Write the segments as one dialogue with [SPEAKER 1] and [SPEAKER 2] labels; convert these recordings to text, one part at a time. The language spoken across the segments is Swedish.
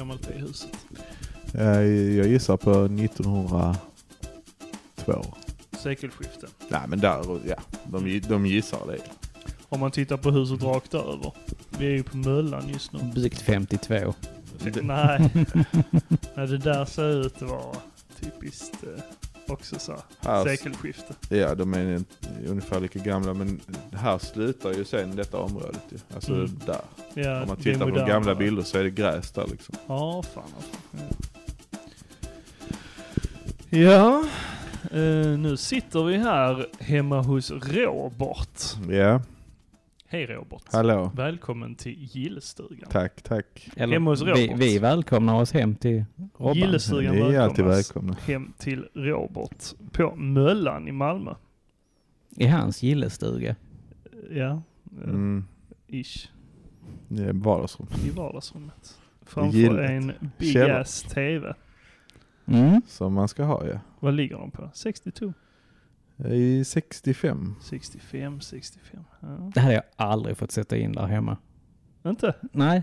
[SPEAKER 1] Alltså, det huset?
[SPEAKER 2] Eh, Jag gissar på 1902.
[SPEAKER 1] Sekelskifte.
[SPEAKER 2] Nej men där, ja. De, gi- de gissar det.
[SPEAKER 1] Om man tittar på huset rakt över. Vi är ju på Möllan just
[SPEAKER 2] Mm.
[SPEAKER 1] nu.
[SPEAKER 3] Byggt 52.
[SPEAKER 1] Nej. Nej, det där ser ut att vara typiskt eh, också så här,
[SPEAKER 2] Här,
[SPEAKER 1] sekelskifte.
[SPEAKER 2] ja, de är en- ungefär lika gamla men här slutar ju sen detta området ju. Alltså
[SPEAKER 1] Mm.
[SPEAKER 2] där.
[SPEAKER 1] Ja,
[SPEAKER 2] Om man
[SPEAKER 1] det är
[SPEAKER 2] tittar på
[SPEAKER 1] modernare.
[SPEAKER 2] gamla bilder så är det gräs där liksom.
[SPEAKER 1] Ja, fan. alltså. vad fan. Ja, ja eh, nu sitter vi här hemma hos Robert.
[SPEAKER 2] Ja,
[SPEAKER 1] Hej Robert.
[SPEAKER 2] hallå.
[SPEAKER 1] Välkommen till Gillestugan.
[SPEAKER 2] Tack, tack.
[SPEAKER 1] Hemma hos
[SPEAKER 3] vi,
[SPEAKER 1] Robert.
[SPEAKER 3] vi välkomnar oss hem till Robban.
[SPEAKER 2] Ni
[SPEAKER 1] Gillestugan
[SPEAKER 2] är alltid
[SPEAKER 1] välkomnas
[SPEAKER 2] välkomna.
[SPEAKER 1] hem till Robert på Möllan i Malmö.
[SPEAKER 3] I hans gillestuga.
[SPEAKER 1] Ja, mm.
[SPEAKER 2] Mm.
[SPEAKER 1] ish.
[SPEAKER 2] Det är vardagsrum.
[SPEAKER 1] I vardagsrummet. Framför
[SPEAKER 2] Gillet.
[SPEAKER 1] en big
[SPEAKER 2] Källor.
[SPEAKER 1] ass TV.
[SPEAKER 3] Mm.
[SPEAKER 2] Som man ska ha ja.
[SPEAKER 1] Vad ligger de på? 62?
[SPEAKER 2] I 65.
[SPEAKER 1] 65, 65. Ja.
[SPEAKER 3] Det hade jag aldrig fått sätta in där hemma.
[SPEAKER 1] Inte?
[SPEAKER 3] Nej.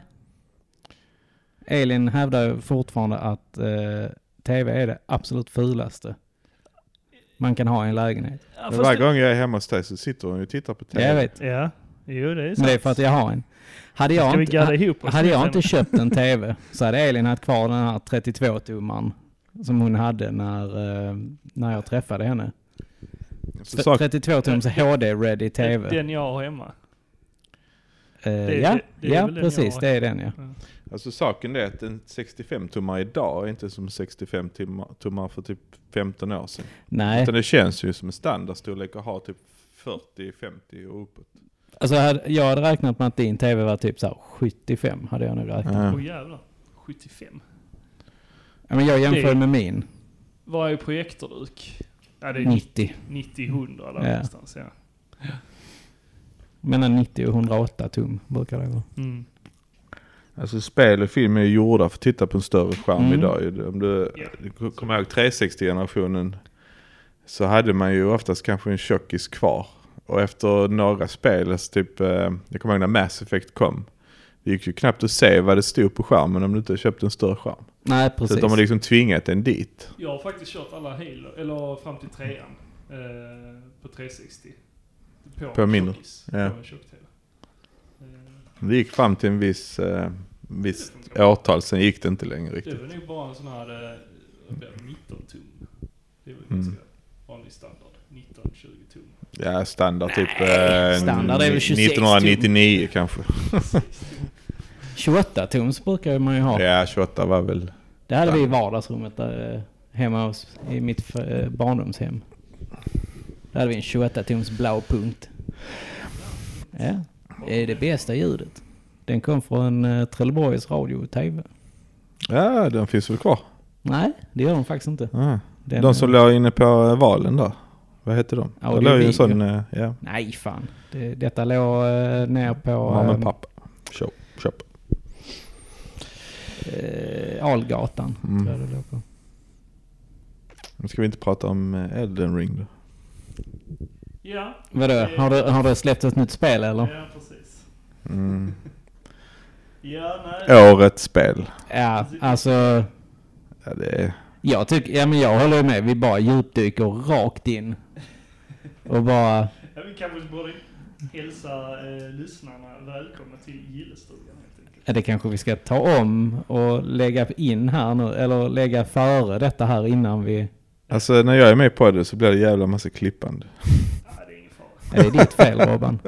[SPEAKER 3] Elin hävdar ju fortfarande att eh, tv är det absolut fulaste man kan ha i en lägenhet.
[SPEAKER 1] Ja,
[SPEAKER 2] Men Varje
[SPEAKER 1] det,
[SPEAKER 2] gång jag är hemma hos dig så sitter hon och tittar på
[SPEAKER 3] Jag
[SPEAKER 2] tv.
[SPEAKER 3] vet.
[SPEAKER 1] ja, jo det är
[SPEAKER 3] Men
[SPEAKER 1] sant.
[SPEAKER 3] det är för att jag har en. Hade
[SPEAKER 1] Ska
[SPEAKER 3] jag,
[SPEAKER 1] vi
[SPEAKER 3] inte,
[SPEAKER 1] gadda
[SPEAKER 3] ha,
[SPEAKER 1] ihop oss
[SPEAKER 3] hade
[SPEAKER 1] nu
[SPEAKER 3] jag
[SPEAKER 1] sen?
[SPEAKER 3] inte köpt en tv så hade Elin haft kvar den här 32-tummaren som hon hade när, eh, när jag träffade henne.
[SPEAKER 2] Så sak,
[SPEAKER 3] 32-tums HD-ready tv.
[SPEAKER 1] Den jag har hemma.
[SPEAKER 3] Eh,
[SPEAKER 1] det-
[SPEAKER 3] ja,
[SPEAKER 1] det är
[SPEAKER 3] ja
[SPEAKER 1] väl den jag
[SPEAKER 3] precis.
[SPEAKER 1] har.
[SPEAKER 3] Det är den ja.
[SPEAKER 2] alltså saken är att en 65-tummare idag är inte som 65-tummare för typ 15 år sedan.
[SPEAKER 3] Nej,
[SPEAKER 2] Utan det känns ju som en standardstorlek att ha typ 40, 50 och uppåt.
[SPEAKER 3] alltså jag hade, jag hade räknat med att din tv var typ så här 75 hade jag nog räknat.
[SPEAKER 1] Åh
[SPEAKER 2] Ja.
[SPEAKER 1] jävlar. 75.
[SPEAKER 3] Ja, men jag jämför
[SPEAKER 1] Det-
[SPEAKER 3] med min.
[SPEAKER 1] Vad är projektorduk? Ja det är 90,
[SPEAKER 3] 90.
[SPEAKER 1] 90-100 där
[SPEAKER 3] Ja.
[SPEAKER 1] någonstans ja.
[SPEAKER 3] Mellan 90 och 108 tum brukar det vara.
[SPEAKER 1] Mm.
[SPEAKER 2] Alltså spel och film är ju gjorda för att titta på en större skärm
[SPEAKER 3] Mm.
[SPEAKER 2] idag. ju. Om du,
[SPEAKER 1] Ja.
[SPEAKER 2] du k- kommer ihåg 360-generationen så hade man ju oftast kanske en tjockis kvar. Och efter några spel, alltså typ, eh, jag kommer ihåg när Mass Effect kom. Det gick ju knappt att se vad det stod på skärmen om du inte köpte en större skärm.
[SPEAKER 3] Nej,
[SPEAKER 2] Så
[SPEAKER 3] precis.
[SPEAKER 2] att de har liksom tvingat en dit.
[SPEAKER 1] Jag har faktiskt kört alla Halo, eller fram till trean. Eh, på 360.
[SPEAKER 2] På
[SPEAKER 1] en
[SPEAKER 2] mindre.
[SPEAKER 1] tjockis,
[SPEAKER 2] Ja.
[SPEAKER 1] På en tjock-tv. Eh,
[SPEAKER 2] Det gick fram till en viss, eh, viss
[SPEAKER 1] Det funkar.
[SPEAKER 2] årtal, sen gick det inte längre
[SPEAKER 1] det
[SPEAKER 2] riktigt.
[SPEAKER 1] var nog bara en sån här eh, vad blir det, 19 tum. Det är väl
[SPEAKER 2] Mm.
[SPEAKER 1] ganska vanlig standard. 19-20 tum.
[SPEAKER 2] Ja, standard typ eh,
[SPEAKER 3] standard är väl 26 tum.
[SPEAKER 2] 1999 kanske.
[SPEAKER 3] 28 tums brukar man ju ha.
[SPEAKER 2] Ja, 28 var väl
[SPEAKER 3] Det hade vi i vardagsrummet där eh, hemma hos, i mitt eh, barndomshem. Där hade vi en 28 tums blå punkt. Ja, det är det bästa ljudet. Den kom från eh, Trelleborgs radio och TV.
[SPEAKER 2] Ja, den finns väl kvar.
[SPEAKER 3] Nej, det gör de faktiskt inte.
[SPEAKER 2] Ja.
[SPEAKER 3] Den,
[SPEAKER 2] de som
[SPEAKER 3] eh,
[SPEAKER 2] låg inne på eh, valen där. Vad hette de?
[SPEAKER 3] Ja,
[SPEAKER 2] det
[SPEAKER 3] det är
[SPEAKER 2] låg ju
[SPEAKER 3] video.
[SPEAKER 2] en sån, eh, ja,
[SPEAKER 3] Nej, fan. Det, detta låg eh, ner på...
[SPEAKER 2] mamma
[SPEAKER 3] eh,
[SPEAKER 2] och pappa. Shop, shop.
[SPEAKER 3] eh, Algatan.
[SPEAKER 2] Mm.
[SPEAKER 3] Tror jag det låg på.
[SPEAKER 2] Nu ska vi inte prata om eh, Elden Ring då.
[SPEAKER 1] Ja,
[SPEAKER 3] Vadå, har du, har du släppt ett nytt spel eller?
[SPEAKER 1] ja precis.
[SPEAKER 2] Mm.
[SPEAKER 1] Ja, nej.
[SPEAKER 2] Årets spel.
[SPEAKER 3] Ja, alltså...
[SPEAKER 2] Ja, det är...
[SPEAKER 3] Jag tycker, ja men jag håller med. Vi bara djupdyker rakt in. Och bara...
[SPEAKER 1] Ja, vi kanske borde hälsa eh, lyssnarna välkomna till Gillestugan helt enkelt.
[SPEAKER 3] ja, Det kanske vi ska ta om och lägga in här nu. Eller lägga före detta här innan vi...
[SPEAKER 2] Alltså när jag är med på det så blir det jävla massa klippande.
[SPEAKER 1] Nej, det är ingen fara.
[SPEAKER 3] Ja, det är ditt fel Robban.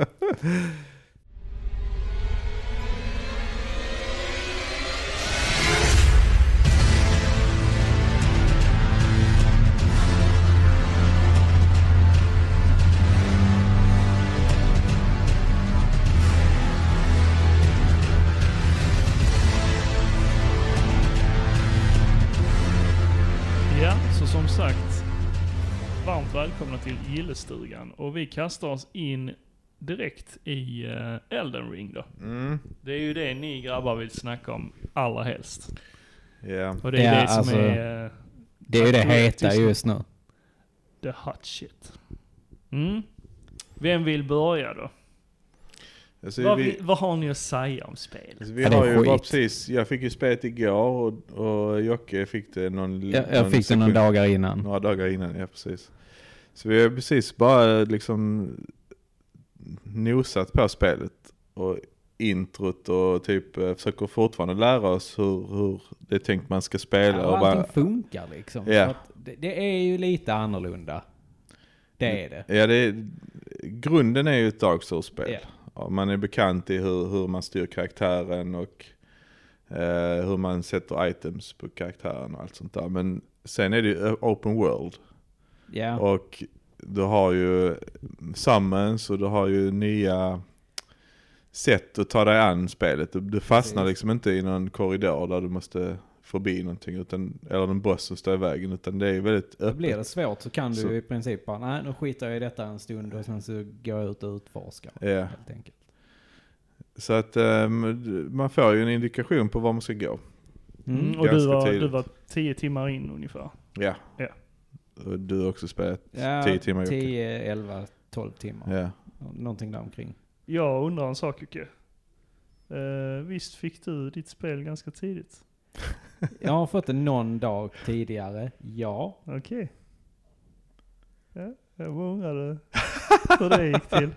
[SPEAKER 1] Ja, så som sagt. Varmt välkomna till Gillestugan. Och vi kastar oss in direkt i eh, Elden Ring då.
[SPEAKER 2] Mm.
[SPEAKER 1] Det är ju det ni grabbar vill snacka om allra helst.
[SPEAKER 2] Ja.
[SPEAKER 1] Och det är
[SPEAKER 3] Ja,
[SPEAKER 1] det som
[SPEAKER 3] alltså-
[SPEAKER 1] är eh,
[SPEAKER 3] Det är ju det heta just nu.
[SPEAKER 1] the hot shit. Mm. Vem vill börja då?
[SPEAKER 2] Alltså,
[SPEAKER 1] vad,
[SPEAKER 2] vi,
[SPEAKER 1] vi, vad har ni att säga om spelet?
[SPEAKER 2] alltså, vi
[SPEAKER 3] Ja, det är
[SPEAKER 2] har ju bara
[SPEAKER 3] skit.
[SPEAKER 2] precis, jag fick ju spelet igår och, och Jocke fick det någon
[SPEAKER 3] Jag, jag
[SPEAKER 2] någon
[SPEAKER 3] fick det några
[SPEAKER 2] sekund-
[SPEAKER 3] dagar innan.
[SPEAKER 2] Några dagar innan, ja precis. Så vi har precis bara liksom nosat på spelet och introt och typ eh, försöker fortfarande lära oss hur, hur det är tänkt man ska spela.
[SPEAKER 3] Ja,
[SPEAKER 2] och
[SPEAKER 3] och
[SPEAKER 2] bara,
[SPEAKER 3] allting funkar liksom.
[SPEAKER 2] Ja.
[SPEAKER 3] Så att det, det är ju lite annorlunda. Det är det.
[SPEAKER 2] ja, det är, grunden är ju ett Dark Souls-spel.
[SPEAKER 3] Ja.
[SPEAKER 2] Ja, man är bekant i hur, hur man styr karaktären och eh, hur man sätter items på karaktären och allt sånt där. Men sen är det ju eh, open world.
[SPEAKER 3] Ja.
[SPEAKER 2] Och du har ju summons och du har ju nya sätt att ta dig an spelet. Du, du fastnar
[SPEAKER 3] Precis.
[SPEAKER 2] liksom inte i någon korridor där du måste förbi någonting, utan, eller en boss som står i vägen, utan det är ju väldigt
[SPEAKER 3] Så blir det
[SPEAKER 2] öppet.
[SPEAKER 3] svårt så kan du
[SPEAKER 2] Så-
[SPEAKER 3] i princip bara, nej nu skiter jag i detta en stund och sen så går jag ut och utforskar.
[SPEAKER 2] Ja.
[SPEAKER 3] Helt enkelt.
[SPEAKER 2] Så att ehm, du- man får ju en indikation på var man ska gå.
[SPEAKER 1] Mm, och du
[SPEAKER 2] ganska
[SPEAKER 1] var, du
[SPEAKER 2] tidigt.
[SPEAKER 1] var tio timmar in ungefär.
[SPEAKER 2] Ja.
[SPEAKER 1] Ja.
[SPEAKER 2] Och du har också spelat
[SPEAKER 3] Ja,
[SPEAKER 2] 10 timmar Jocke.
[SPEAKER 3] 10, 11, 12 timmar.
[SPEAKER 2] Ja.
[SPEAKER 3] Någonting där omkring.
[SPEAKER 1] Jag undrar en sak Jocke. Eh, visst fick du ditt spel ganska tidigt?
[SPEAKER 3] Jag har fått det någon dag tidigare, ja.
[SPEAKER 1] Okej. Ja, jag bara undrade hur det gick till.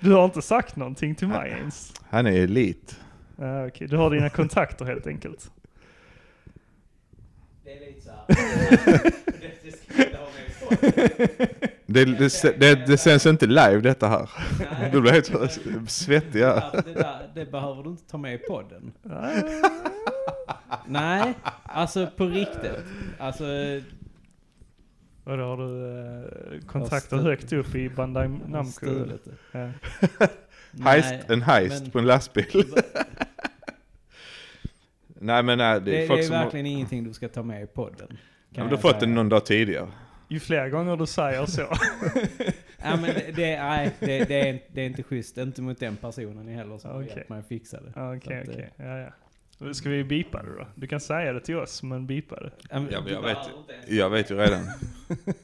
[SPEAKER 1] Du har inte sagt någonting till mig ens?
[SPEAKER 2] Han är elit.
[SPEAKER 1] Ah, Okej, du har dina kontakter helt enkelt.
[SPEAKER 3] Det är lite såhär... det, det ska inte ha
[SPEAKER 2] Det, det, det, det sänds inte live detta här. Du blir helt så- svettig här.
[SPEAKER 3] Alltså, Det, där, det behöver du inte ta med i podden.
[SPEAKER 1] Ah,
[SPEAKER 3] Nej, alltså på riktigt. Alltså,
[SPEAKER 1] Och då har du eh, kontakter
[SPEAKER 3] Jag har
[SPEAKER 1] högt upp i Bandai Namco?
[SPEAKER 3] stulet.
[SPEAKER 1] Ja.
[SPEAKER 2] Heist, en heist
[SPEAKER 3] men-
[SPEAKER 2] på en lastbil. nej men nej,
[SPEAKER 3] Det,
[SPEAKER 2] det är
[SPEAKER 3] det,
[SPEAKER 2] folk
[SPEAKER 3] är
[SPEAKER 2] som har,
[SPEAKER 3] verkligen ingenting du ska ta med i podden. kan
[SPEAKER 2] Ja, men
[SPEAKER 3] jag
[SPEAKER 2] du har fått
[SPEAKER 3] säga.
[SPEAKER 2] den någon dag tidigare.
[SPEAKER 1] Ju fler gånger du säger så.
[SPEAKER 3] Ja, men det, det, nej, det, det, är, det är inte schysst. Inte mot den personen heller som har
[SPEAKER 1] Okej.
[SPEAKER 3] hjälpt mig att fixa det.
[SPEAKER 1] Ah, Okej,
[SPEAKER 3] Så att,
[SPEAKER 1] okej. Ja, ja. Då Ska vi bipa det då? Du kan säga det till oss, men bipa det.
[SPEAKER 3] Ja, men,
[SPEAKER 2] Ja, men
[SPEAKER 3] du
[SPEAKER 2] jag vet-
[SPEAKER 3] behöver inte ens-
[SPEAKER 2] Jag vet ju redan.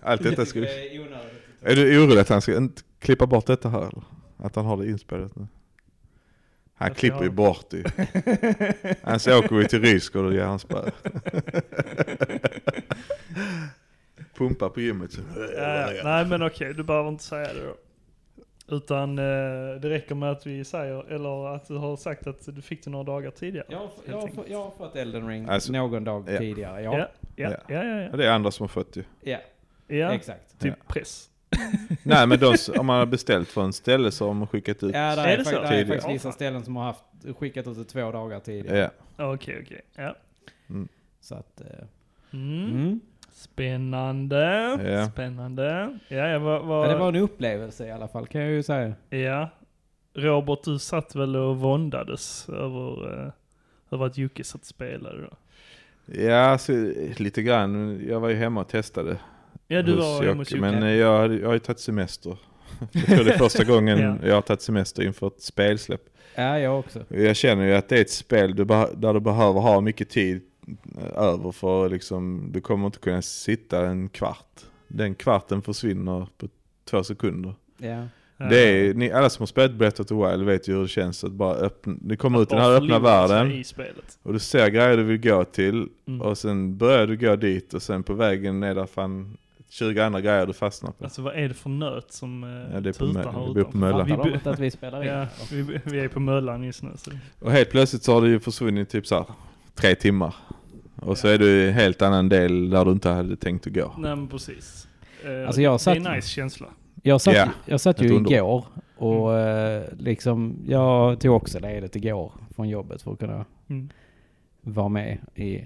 [SPEAKER 2] Allt detta ska vi...
[SPEAKER 3] Det är onödigt att ta
[SPEAKER 2] Är du orolig att han ska inte klippa bort detta här eller? Att han har det inspelat nu? Han
[SPEAKER 1] Att
[SPEAKER 2] klipper
[SPEAKER 1] jag-
[SPEAKER 2] ju bort det Han så Alltså, åker vi till Rydsgård och ger han spö. Pumpar på gymmet så.
[SPEAKER 1] Ja, ja. Eh, nej men okej, du behöver inte säga det då. Utan eh, det räcker med att vi säger, eller att du har sagt att du fick det några dagar tidigare.
[SPEAKER 3] Jag har, f- jag, har,
[SPEAKER 1] Helt
[SPEAKER 3] f- jag har fått Elden Ring
[SPEAKER 2] Alltså,
[SPEAKER 3] någon dag
[SPEAKER 2] ja.
[SPEAKER 3] tidigare.
[SPEAKER 1] Ja,
[SPEAKER 3] Ja,
[SPEAKER 1] ja,
[SPEAKER 2] Ja.
[SPEAKER 1] ja, ja,
[SPEAKER 2] Ja, Det är andra som har fått ju.
[SPEAKER 3] ja.
[SPEAKER 1] ja. ja.
[SPEAKER 3] exakt.
[SPEAKER 1] typ press.
[SPEAKER 2] Nej men de, som- om man har beställt från ställe så har man skickat ut.
[SPEAKER 3] Ja, där
[SPEAKER 1] Är
[SPEAKER 3] är,
[SPEAKER 1] det
[SPEAKER 3] det
[SPEAKER 1] så?
[SPEAKER 3] fakt- där är
[SPEAKER 2] Tidigare.
[SPEAKER 3] faktiskt
[SPEAKER 1] Ja,
[SPEAKER 3] vissa
[SPEAKER 1] fan.
[SPEAKER 3] ställen som har haft, skickat ut det två dagar tidigare.
[SPEAKER 2] Ja.
[SPEAKER 1] Okej, okej. Ja.
[SPEAKER 3] Så att, eh,
[SPEAKER 1] Mm.
[SPEAKER 3] mm.
[SPEAKER 1] Spännande,
[SPEAKER 2] Ja.
[SPEAKER 1] spännande. Ja, ja, vad,
[SPEAKER 3] ja,
[SPEAKER 1] vad,
[SPEAKER 3] det var en upplevelse i alla fall kan jag ju säga.
[SPEAKER 1] ja. Robert, du satt väl och våndades över, eh, över att Jocke satt och spelade då?
[SPEAKER 2] Ja, så, lite grann. Jag var ju hemma och testade
[SPEAKER 1] Ja, du
[SPEAKER 2] hos
[SPEAKER 1] var hemma hos
[SPEAKER 2] Jocke,
[SPEAKER 1] Jocke.
[SPEAKER 2] Men eh, jag, hade- jag har ju tagit semester. Jag tror det är första gången
[SPEAKER 1] Ja.
[SPEAKER 2] jag har tagit semester inför ett spelsläpp.
[SPEAKER 3] Ja, jag också.
[SPEAKER 2] Jag känner ju att det är ett spel du beh- där du behöver ha mycket tid eh, över för liksom, du kommer inte kunna sitta en kvart. Den kvarten försvinner på två sekunder.
[SPEAKER 3] Ja.
[SPEAKER 1] Ja.
[SPEAKER 2] Det är, ni, alla som har spelat Breath of the Wild vet ju hur det känns att bara öppna, det kommer ut i den här
[SPEAKER 1] Bara
[SPEAKER 2] öppna
[SPEAKER 1] förlora sig
[SPEAKER 2] världen
[SPEAKER 1] I spelet.
[SPEAKER 2] och du ser grejer du vill gå till
[SPEAKER 1] Mm.
[SPEAKER 2] och sen börjar du gå dit och sen på vägen är det fan 20 andra grejer du fastnar på.
[SPEAKER 1] Alltså vad är det för nöt som eh,
[SPEAKER 2] Ja, det är på
[SPEAKER 1] tutar
[SPEAKER 2] mö-
[SPEAKER 1] här
[SPEAKER 2] det blir på
[SPEAKER 1] utanför?
[SPEAKER 2] Mölla.
[SPEAKER 1] Ja,
[SPEAKER 3] Fattar de
[SPEAKER 1] vi, be-
[SPEAKER 3] inte att vi spelar in?
[SPEAKER 1] ja, vi, vi är på Möllan just nu. Så.
[SPEAKER 2] Och helt plötsligt så har det ju försvunnit typ så här, tre timmar. Och så är du i en helt annan del där du inte hade tänkt att gå.
[SPEAKER 1] Nej men precis. Eh,
[SPEAKER 3] Alltså, jag har
[SPEAKER 1] Det är
[SPEAKER 3] satt-
[SPEAKER 1] en nice känsla.
[SPEAKER 3] Jag satt,
[SPEAKER 2] Ja,
[SPEAKER 3] jag satt
[SPEAKER 2] ett
[SPEAKER 3] ju
[SPEAKER 2] under.
[SPEAKER 3] igår och eh,
[SPEAKER 1] Mm.
[SPEAKER 3] liksom, jag tog också ledigt igår från jobbet för att kunna
[SPEAKER 1] Mm.
[SPEAKER 3] vara med i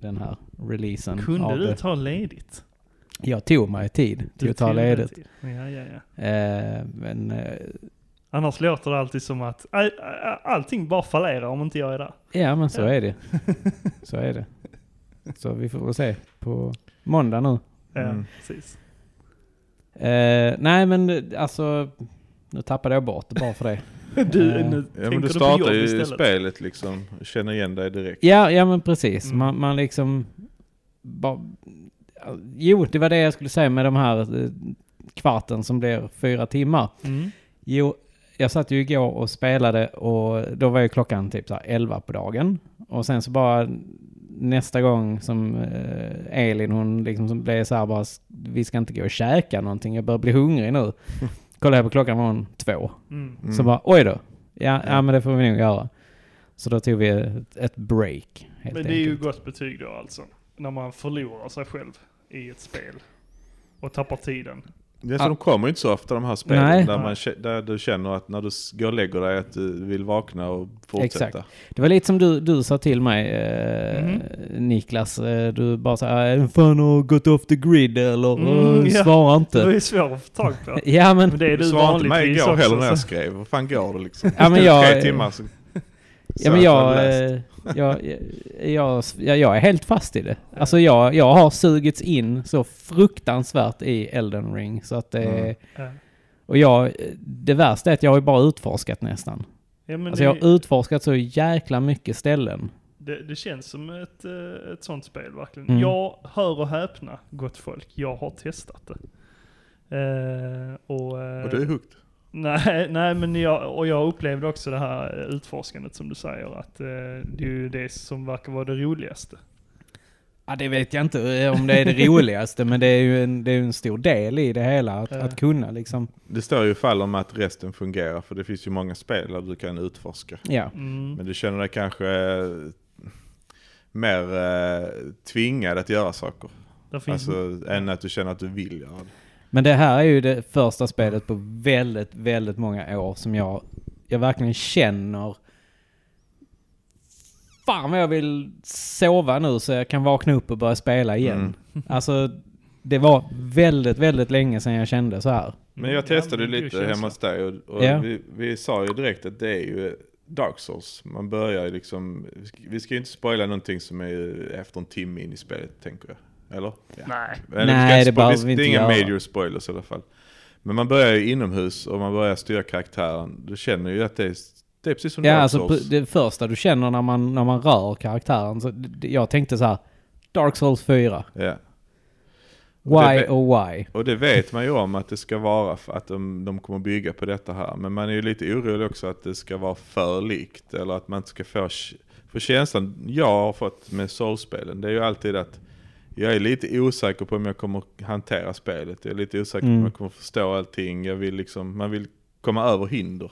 [SPEAKER 3] den här releasen.
[SPEAKER 1] Kunde
[SPEAKER 3] av
[SPEAKER 1] du
[SPEAKER 3] det.
[SPEAKER 1] ta ledigt?
[SPEAKER 3] Jag tog mig tid till
[SPEAKER 1] Du
[SPEAKER 3] att ta
[SPEAKER 1] tog dig
[SPEAKER 3] ledigt.
[SPEAKER 1] tid. Ja, ja, ja.
[SPEAKER 3] Eh, men eh,
[SPEAKER 1] Annars låter det alltid som att aj, aj, allting bara fallerar om inte jag är där.
[SPEAKER 3] ja, men så
[SPEAKER 1] Ja.
[SPEAKER 3] är det. Så är det. Så vi får väl se på måndag nu.
[SPEAKER 1] Ja,
[SPEAKER 2] Mm.
[SPEAKER 1] precis.
[SPEAKER 3] Eh, nej, men eh, alltså, nu tappade jag bort det bara för det.
[SPEAKER 1] Du,
[SPEAKER 3] Eh,
[SPEAKER 1] nu
[SPEAKER 2] Ja, men du
[SPEAKER 1] tänker du på jobb
[SPEAKER 2] startar ju
[SPEAKER 1] istället.
[SPEAKER 2] spelet liksom, känner igen dig direkt.
[SPEAKER 3] Ja, ja men precis.
[SPEAKER 1] Mm.
[SPEAKER 3] Man, man liksom... Bara, jo, det var det jag skulle säga med de här eh, kvarten som blir fyra timmar.
[SPEAKER 1] Mm.
[SPEAKER 3] Jo, jag satt ju igår och spelade och då var ju klockan typ så här 11 på dagen. Och sen så bara nästa gång som eh, Elin hon liksom som blev så här bara vi ska inte gå och käka någonting, jag börjar bli hungrig nu. Kollade jag på klockan var hon två.
[SPEAKER 1] Mm.
[SPEAKER 2] Mm.
[SPEAKER 3] Så bara oj då, ja, ja men det får vi nog göra. Så då tog vi ett, ett break helt
[SPEAKER 1] Men
[SPEAKER 3] enkelt.
[SPEAKER 1] det är ju gott betyg då alltså. När man förlorar sig själv i ett spel. Och tappar tiden.
[SPEAKER 3] Typ.
[SPEAKER 2] Det är Mm. så de kommer ju inte så ofta de här spelen
[SPEAKER 3] ah. Nej.
[SPEAKER 2] där, man, kä- där du känner att när du s- går och lägger dig att du vill vakna och fortsätta.
[SPEAKER 3] Exakt. Det var lite som du, du sa till mig, eh,
[SPEAKER 1] Mhm.
[SPEAKER 3] Niklas. Eh, Du bara så här, "Äh, fan har gått off the grid eller
[SPEAKER 1] Mm,
[SPEAKER 3] eh,
[SPEAKER 1] ja.
[SPEAKER 3] svarar
[SPEAKER 1] Det är
[SPEAKER 3] inte.
[SPEAKER 1] ju svårt att få tag på.
[SPEAKER 3] Ja men,
[SPEAKER 1] Men det är
[SPEAKER 2] Du
[SPEAKER 1] du
[SPEAKER 2] svarade inte mig
[SPEAKER 1] vanligtvis
[SPEAKER 2] igår
[SPEAKER 1] också.
[SPEAKER 2] heller när jag
[SPEAKER 1] så-
[SPEAKER 2] skrev. Vad fan går det liksom?
[SPEAKER 3] Ja, men jag-
[SPEAKER 2] Tre timmar så...
[SPEAKER 3] ja,
[SPEAKER 2] så
[SPEAKER 3] men
[SPEAKER 2] att
[SPEAKER 3] jag,
[SPEAKER 2] läst.
[SPEAKER 3] eh, jag, jag, jag, jag är helt fast i det. Alltså jag, jag har sugits in så fruktansvärt i Elden Ring så att det
[SPEAKER 2] Mm.
[SPEAKER 1] Ja.
[SPEAKER 3] Och jag, det värsta är att jag har ju bara utforskat nästan.
[SPEAKER 1] Ja, men
[SPEAKER 3] Alltså
[SPEAKER 1] det,
[SPEAKER 3] jag har utforskat så jäkla mycket ställen.
[SPEAKER 1] det, det känns som ett, eh, ett sånt spel verkligen.
[SPEAKER 3] Mm.
[SPEAKER 1] Jag hör och häpna, gott folk. Jag har testat det. Eh, och, eh,
[SPEAKER 2] Och du är hooked.
[SPEAKER 1] Nej, nej men jag, och jag upplevde också det här eh, utforskandet som du säger att eh, det är ju det som verkar vara det roligaste.
[SPEAKER 3] Ja, det vet jag inte eh, om det är det roligaste, men det är ju en, det är ju en stor del i det hela att,
[SPEAKER 1] Ja.
[SPEAKER 3] att kunna liksom.
[SPEAKER 2] Det står ju fall om att resten fungerar för det finns ju många spel där du kan utforska.
[SPEAKER 3] Ja.
[SPEAKER 1] Mm.
[SPEAKER 2] Men du känner dig kanske eh, mer eh, tvingad att göra saker.
[SPEAKER 1] Där finns
[SPEAKER 2] Alltså än att du känner att du vill göra det.
[SPEAKER 3] Men det här är ju det första spelet på väldigt, väldigt många år som jag, jag verkligen känner Fan vad jag vill sova nu så jag kan vakna upp och börja spela igen.
[SPEAKER 2] Mm.
[SPEAKER 3] Alltså, det var väldigt, väldigt länge sedan jag kände så här.
[SPEAKER 2] Men jag
[SPEAKER 1] Ja,
[SPEAKER 2] testade
[SPEAKER 1] men det är ju
[SPEAKER 2] lite
[SPEAKER 1] känsla.
[SPEAKER 2] hemma hos dig och, och
[SPEAKER 3] Ja.
[SPEAKER 2] vi, vi sa ju direkt att det är ju Dark Souls. Man börjar ju liksom, vi ska- vi ska ju inte spoila någonting som är efter en timme in i spelet tänker jag. Eller? Ja.
[SPEAKER 1] Nej.
[SPEAKER 2] Eller,
[SPEAKER 3] Nej,
[SPEAKER 2] vi ska
[SPEAKER 3] det
[SPEAKER 2] spo-
[SPEAKER 3] behöver
[SPEAKER 2] vi-
[SPEAKER 3] vi
[SPEAKER 2] Det är
[SPEAKER 3] inte
[SPEAKER 2] inga
[SPEAKER 3] göra.
[SPEAKER 2] major spoilers i alla fall. Men man börjar ju inomhus och man börjar styra karaktären. Du känner ju att det är, det är precis som
[SPEAKER 3] Ja,
[SPEAKER 2] Dark
[SPEAKER 3] alltså
[SPEAKER 2] Souls.
[SPEAKER 3] p- det första du känner när man, när man rör karaktären. Så d- d- jag tänkte så här, Dark Souls 4.
[SPEAKER 2] Ja. Och det
[SPEAKER 3] Why
[SPEAKER 2] ve-
[SPEAKER 3] och why?
[SPEAKER 2] Och det vet man ju om att det ska vara, för att de, de kommer bygga på detta här. Men man är ju lite orolig också att det ska vara för likt. Eller att man inte ska få, för känslan jag har fått med Souls-spelen, det är ju alltid att jag är lite osäker på om jag kommer hantera spelet. Jag är lite osäker på
[SPEAKER 3] Mm.
[SPEAKER 2] om jag kommer förstå allting. Jag vill liksom, man vill komma över hinder.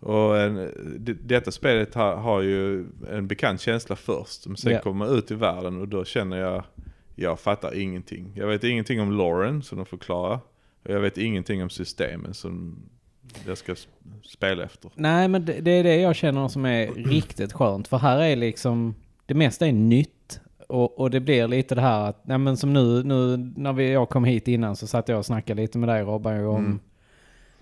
[SPEAKER 2] Och en, det, detta spelet har, har ju en bekant känsla först. Men sen
[SPEAKER 3] Ja.
[SPEAKER 2] kommer man ut i världen och då känner jag, jag fattar ingenting. Jag vet ingenting om Lauren som de förklarar. Och jag vet ingenting om systemen som jag ska s- spela efter.
[SPEAKER 3] Nej, men det, det är det jag känner som är riktigt skönt. För här är liksom, det mesta är nytt. Och, och det blir lite det här att, nej men som nu, nu när vi, jag kom hit innan så satt jag och snackade lite med dig Robban ju om,
[SPEAKER 2] Mm.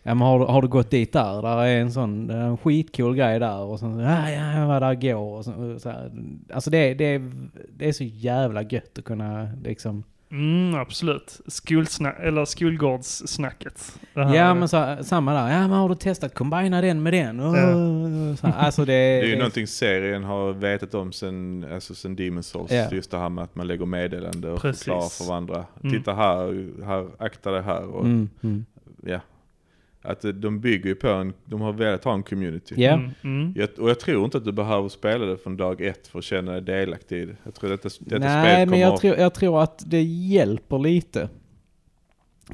[SPEAKER 3] ja men har, du- har du gått dit där? Där är en sån, det är en skitcool grej där. Och sen, ja ja jag var där går. Och så, så här. Alltså det, det, är- det är så jävla gött att kunna liksom,
[SPEAKER 1] Mm, absolut. Skolsna- eller skolgårdssnacket. Det här-
[SPEAKER 3] ja men så, här, samma där, ja men har du testat combina den med den? Och, så här, alltså det,
[SPEAKER 2] Det är ju någonting serien har vetat om sen, alltså sen Demon's Souls.
[SPEAKER 3] Ja.
[SPEAKER 2] Just det här med att man lägger meddelande och
[SPEAKER 1] Precis.
[SPEAKER 2] förklarar för varandra.
[SPEAKER 1] Mm.
[SPEAKER 2] Titta här, här, akta det här. Och,
[SPEAKER 3] Mm, mm.
[SPEAKER 2] ja. Att eh, de bygger ju på en, de har velat ha en community.
[SPEAKER 3] Ja.
[SPEAKER 1] Mm, mm.
[SPEAKER 2] Jag, och jag tror inte att du behöver spela det från dag ett för att känna dig delaktig i det. Jag tror att detta, detta
[SPEAKER 3] Nej,
[SPEAKER 2] spelet kommer...
[SPEAKER 3] men jag tror, jag tror att det hjälper lite.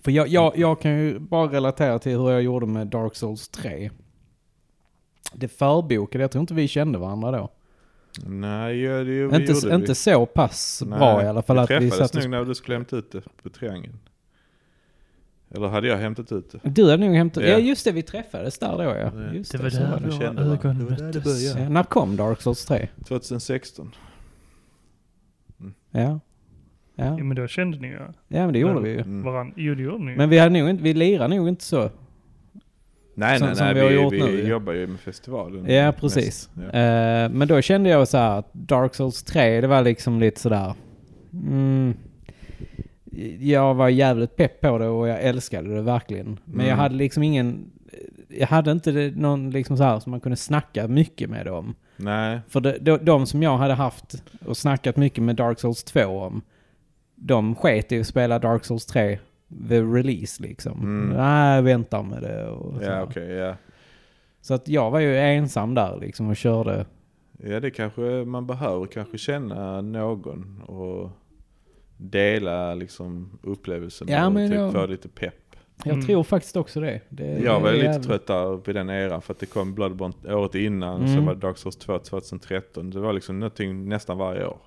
[SPEAKER 3] För jag, jag, jag kan ju bara relatera till hur jag gjorde med Dark Souls 3. Det förbokade, jag tror inte vi kände varandra då.
[SPEAKER 2] Nej, ja, det gjorde
[SPEAKER 3] inte
[SPEAKER 2] vi.
[SPEAKER 3] inte så pass
[SPEAKER 2] Nej,
[SPEAKER 3] bra i alla fall att vi
[SPEAKER 2] träffades
[SPEAKER 3] satt och...
[SPEAKER 2] nog när du skulle hämta ut det på triangeln. Eller hade jag hämtat ut det?
[SPEAKER 3] Du hade nog hämtat...
[SPEAKER 2] Ja.
[SPEAKER 3] Ja, just det, vi träffades där då ja.
[SPEAKER 2] Ja.
[SPEAKER 3] Just
[SPEAKER 1] Det
[SPEAKER 3] det,
[SPEAKER 1] var
[SPEAKER 3] så
[SPEAKER 1] där
[SPEAKER 3] var det.
[SPEAKER 2] vi kände
[SPEAKER 1] våra
[SPEAKER 2] varandra.
[SPEAKER 1] ögon
[SPEAKER 2] Det var där det
[SPEAKER 1] möttes.
[SPEAKER 2] började.
[SPEAKER 3] Ja, när kom Dark Souls 3?
[SPEAKER 2] 2016.
[SPEAKER 3] Ja. Ja,
[SPEAKER 1] Ja, men då kände ni ju
[SPEAKER 3] ja men det gjorde
[SPEAKER 1] Men-
[SPEAKER 3] vi ju.
[SPEAKER 2] Mm.
[SPEAKER 1] varandra. Jo, det gjorde ni ju.
[SPEAKER 3] Men vi, hade nog inte, vi lirade nog inte så.
[SPEAKER 2] Nej,
[SPEAKER 3] Som-
[SPEAKER 2] nej,
[SPEAKER 3] som
[SPEAKER 2] nej.
[SPEAKER 3] vi har
[SPEAKER 2] Vi,
[SPEAKER 3] gjort
[SPEAKER 2] vi,
[SPEAKER 3] nu, ja.
[SPEAKER 2] jobbar ju med festivalen.
[SPEAKER 3] Ja, precis.
[SPEAKER 2] mest. Ja.
[SPEAKER 3] Eh, men då kände jag så här att Dark Souls 3, det var liksom lite sådär... Mm, jag var jävligt pepp på det och jag älskade det verkligen. Men jag
[SPEAKER 2] Mm.
[SPEAKER 3] hade liksom ingen... Jag hade inte det- någon liksom så här som man kunde snacka mycket med om.
[SPEAKER 2] Nej,
[SPEAKER 3] För de, de, de som jag hade haft och snackat mycket med Dark Souls 2 om, de sket i att spela Dark Souls 3 the release liksom.
[SPEAKER 2] Mm.
[SPEAKER 3] Nej, vänta med det och så här.
[SPEAKER 2] ja okej, ja.
[SPEAKER 3] Så att jag var ju ensam där liksom och körde.
[SPEAKER 2] Ja, det kanske man behöver. Kanske känna någon och dela liksom upplevelsen.
[SPEAKER 3] Ja,
[SPEAKER 2] och
[SPEAKER 3] men
[SPEAKER 2] typ
[SPEAKER 3] jag-
[SPEAKER 2] få lite pepp.
[SPEAKER 3] Jag
[SPEAKER 1] Mm.
[SPEAKER 3] tror faktiskt också det. det
[SPEAKER 2] Jag var
[SPEAKER 3] Eh, det är
[SPEAKER 2] lite
[SPEAKER 3] jävligt-
[SPEAKER 2] trött där på den eran för att det kom Bloodborne året innan.
[SPEAKER 3] Mm.
[SPEAKER 2] Så var det Dark Souls 2 2013. Det var liksom någonting nästan varje år.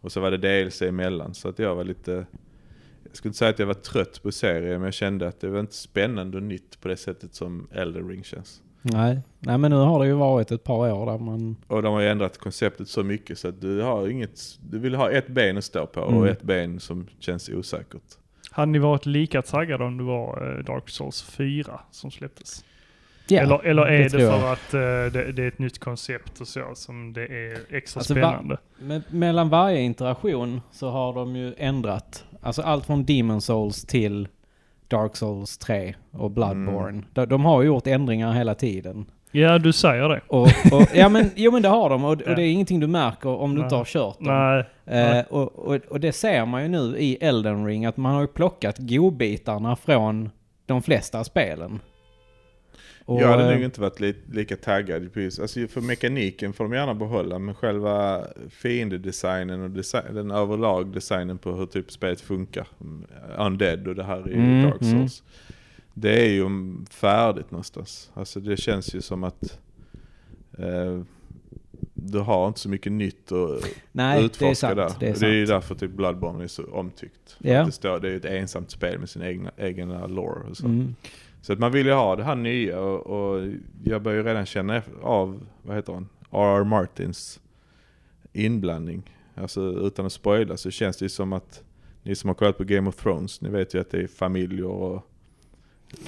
[SPEAKER 2] Och så var det DLC emellan. Så att jag var lite... Jag skulle inte säga att jag var trött på serien men jag kände att det var inte spännande och nytt på det sättet som Elden Ring känns.
[SPEAKER 3] Nej. Nej, men nu har det ju varit ett par år där man...
[SPEAKER 2] Och de har ju ändrat konceptet så mycket så att du har inget, du vill ha ett ben att stå på
[SPEAKER 3] Mm.
[SPEAKER 2] och ett ben som känns osäkert.
[SPEAKER 1] Hade ni varit lika taggade om det var eh, Dark Souls 4 som släpptes?
[SPEAKER 3] Ja,
[SPEAKER 1] eller, eller är det,
[SPEAKER 3] tror jag.
[SPEAKER 1] för att eh, det, det är ett nytt koncept och så som det är extra
[SPEAKER 3] Alltså, va-
[SPEAKER 1] spännande?
[SPEAKER 3] Men mellan varje interaktion så har de ju ändrat. Alltså allt från Demon Souls till Dark Souls 3 och Bloodborne.
[SPEAKER 2] Mm.
[SPEAKER 3] De, de har ju gjort ändringar hela tiden.
[SPEAKER 1] Ja, du säger det.
[SPEAKER 3] Och, och, ja men, jo men det har de och, och
[SPEAKER 1] Ja.
[SPEAKER 3] det är ingenting du märker om du inte
[SPEAKER 1] Nej.
[SPEAKER 3] har kört dem.
[SPEAKER 1] Nej,
[SPEAKER 3] Eh, och, och, och det ser man ju nu i Elden Ring att man har ju plockat godbitarna från de flesta spelen. Och,
[SPEAKER 2] jag hade
[SPEAKER 3] eh,
[SPEAKER 2] nog inte varit li, lika taggad. på just- Alltså för mekaniken får de gärna behålla men själva fiendedesignen och design, den överlag designen på hur typ spelet funkar. mm, Undead och det här i
[SPEAKER 3] Mm,
[SPEAKER 2] Dark Souls. Det är ju färdigt någonstans. Alltså det känns ju som att eh, du har inte så mycket nytt och
[SPEAKER 3] nej, det är
[SPEAKER 2] utforska
[SPEAKER 3] sant.
[SPEAKER 2] där.
[SPEAKER 3] Det är
[SPEAKER 2] och det är ju
[SPEAKER 3] sant.
[SPEAKER 2] därför typ Bloodborne är så omtyckt. För
[SPEAKER 3] Ja.
[SPEAKER 2] Att det, står, det är ju ett ensamt spel med sin egna, egna lore och så.
[SPEAKER 3] Mm.
[SPEAKER 2] Så att man vill ju ha det här nya och, och jag börjar ju redan känna eff- av, vad heter han, R.R. Martins inblandning. Alltså utan att spoila så känns det ju som att ni som har kollat på Game of Thrones, ni vet ju att det är familjer och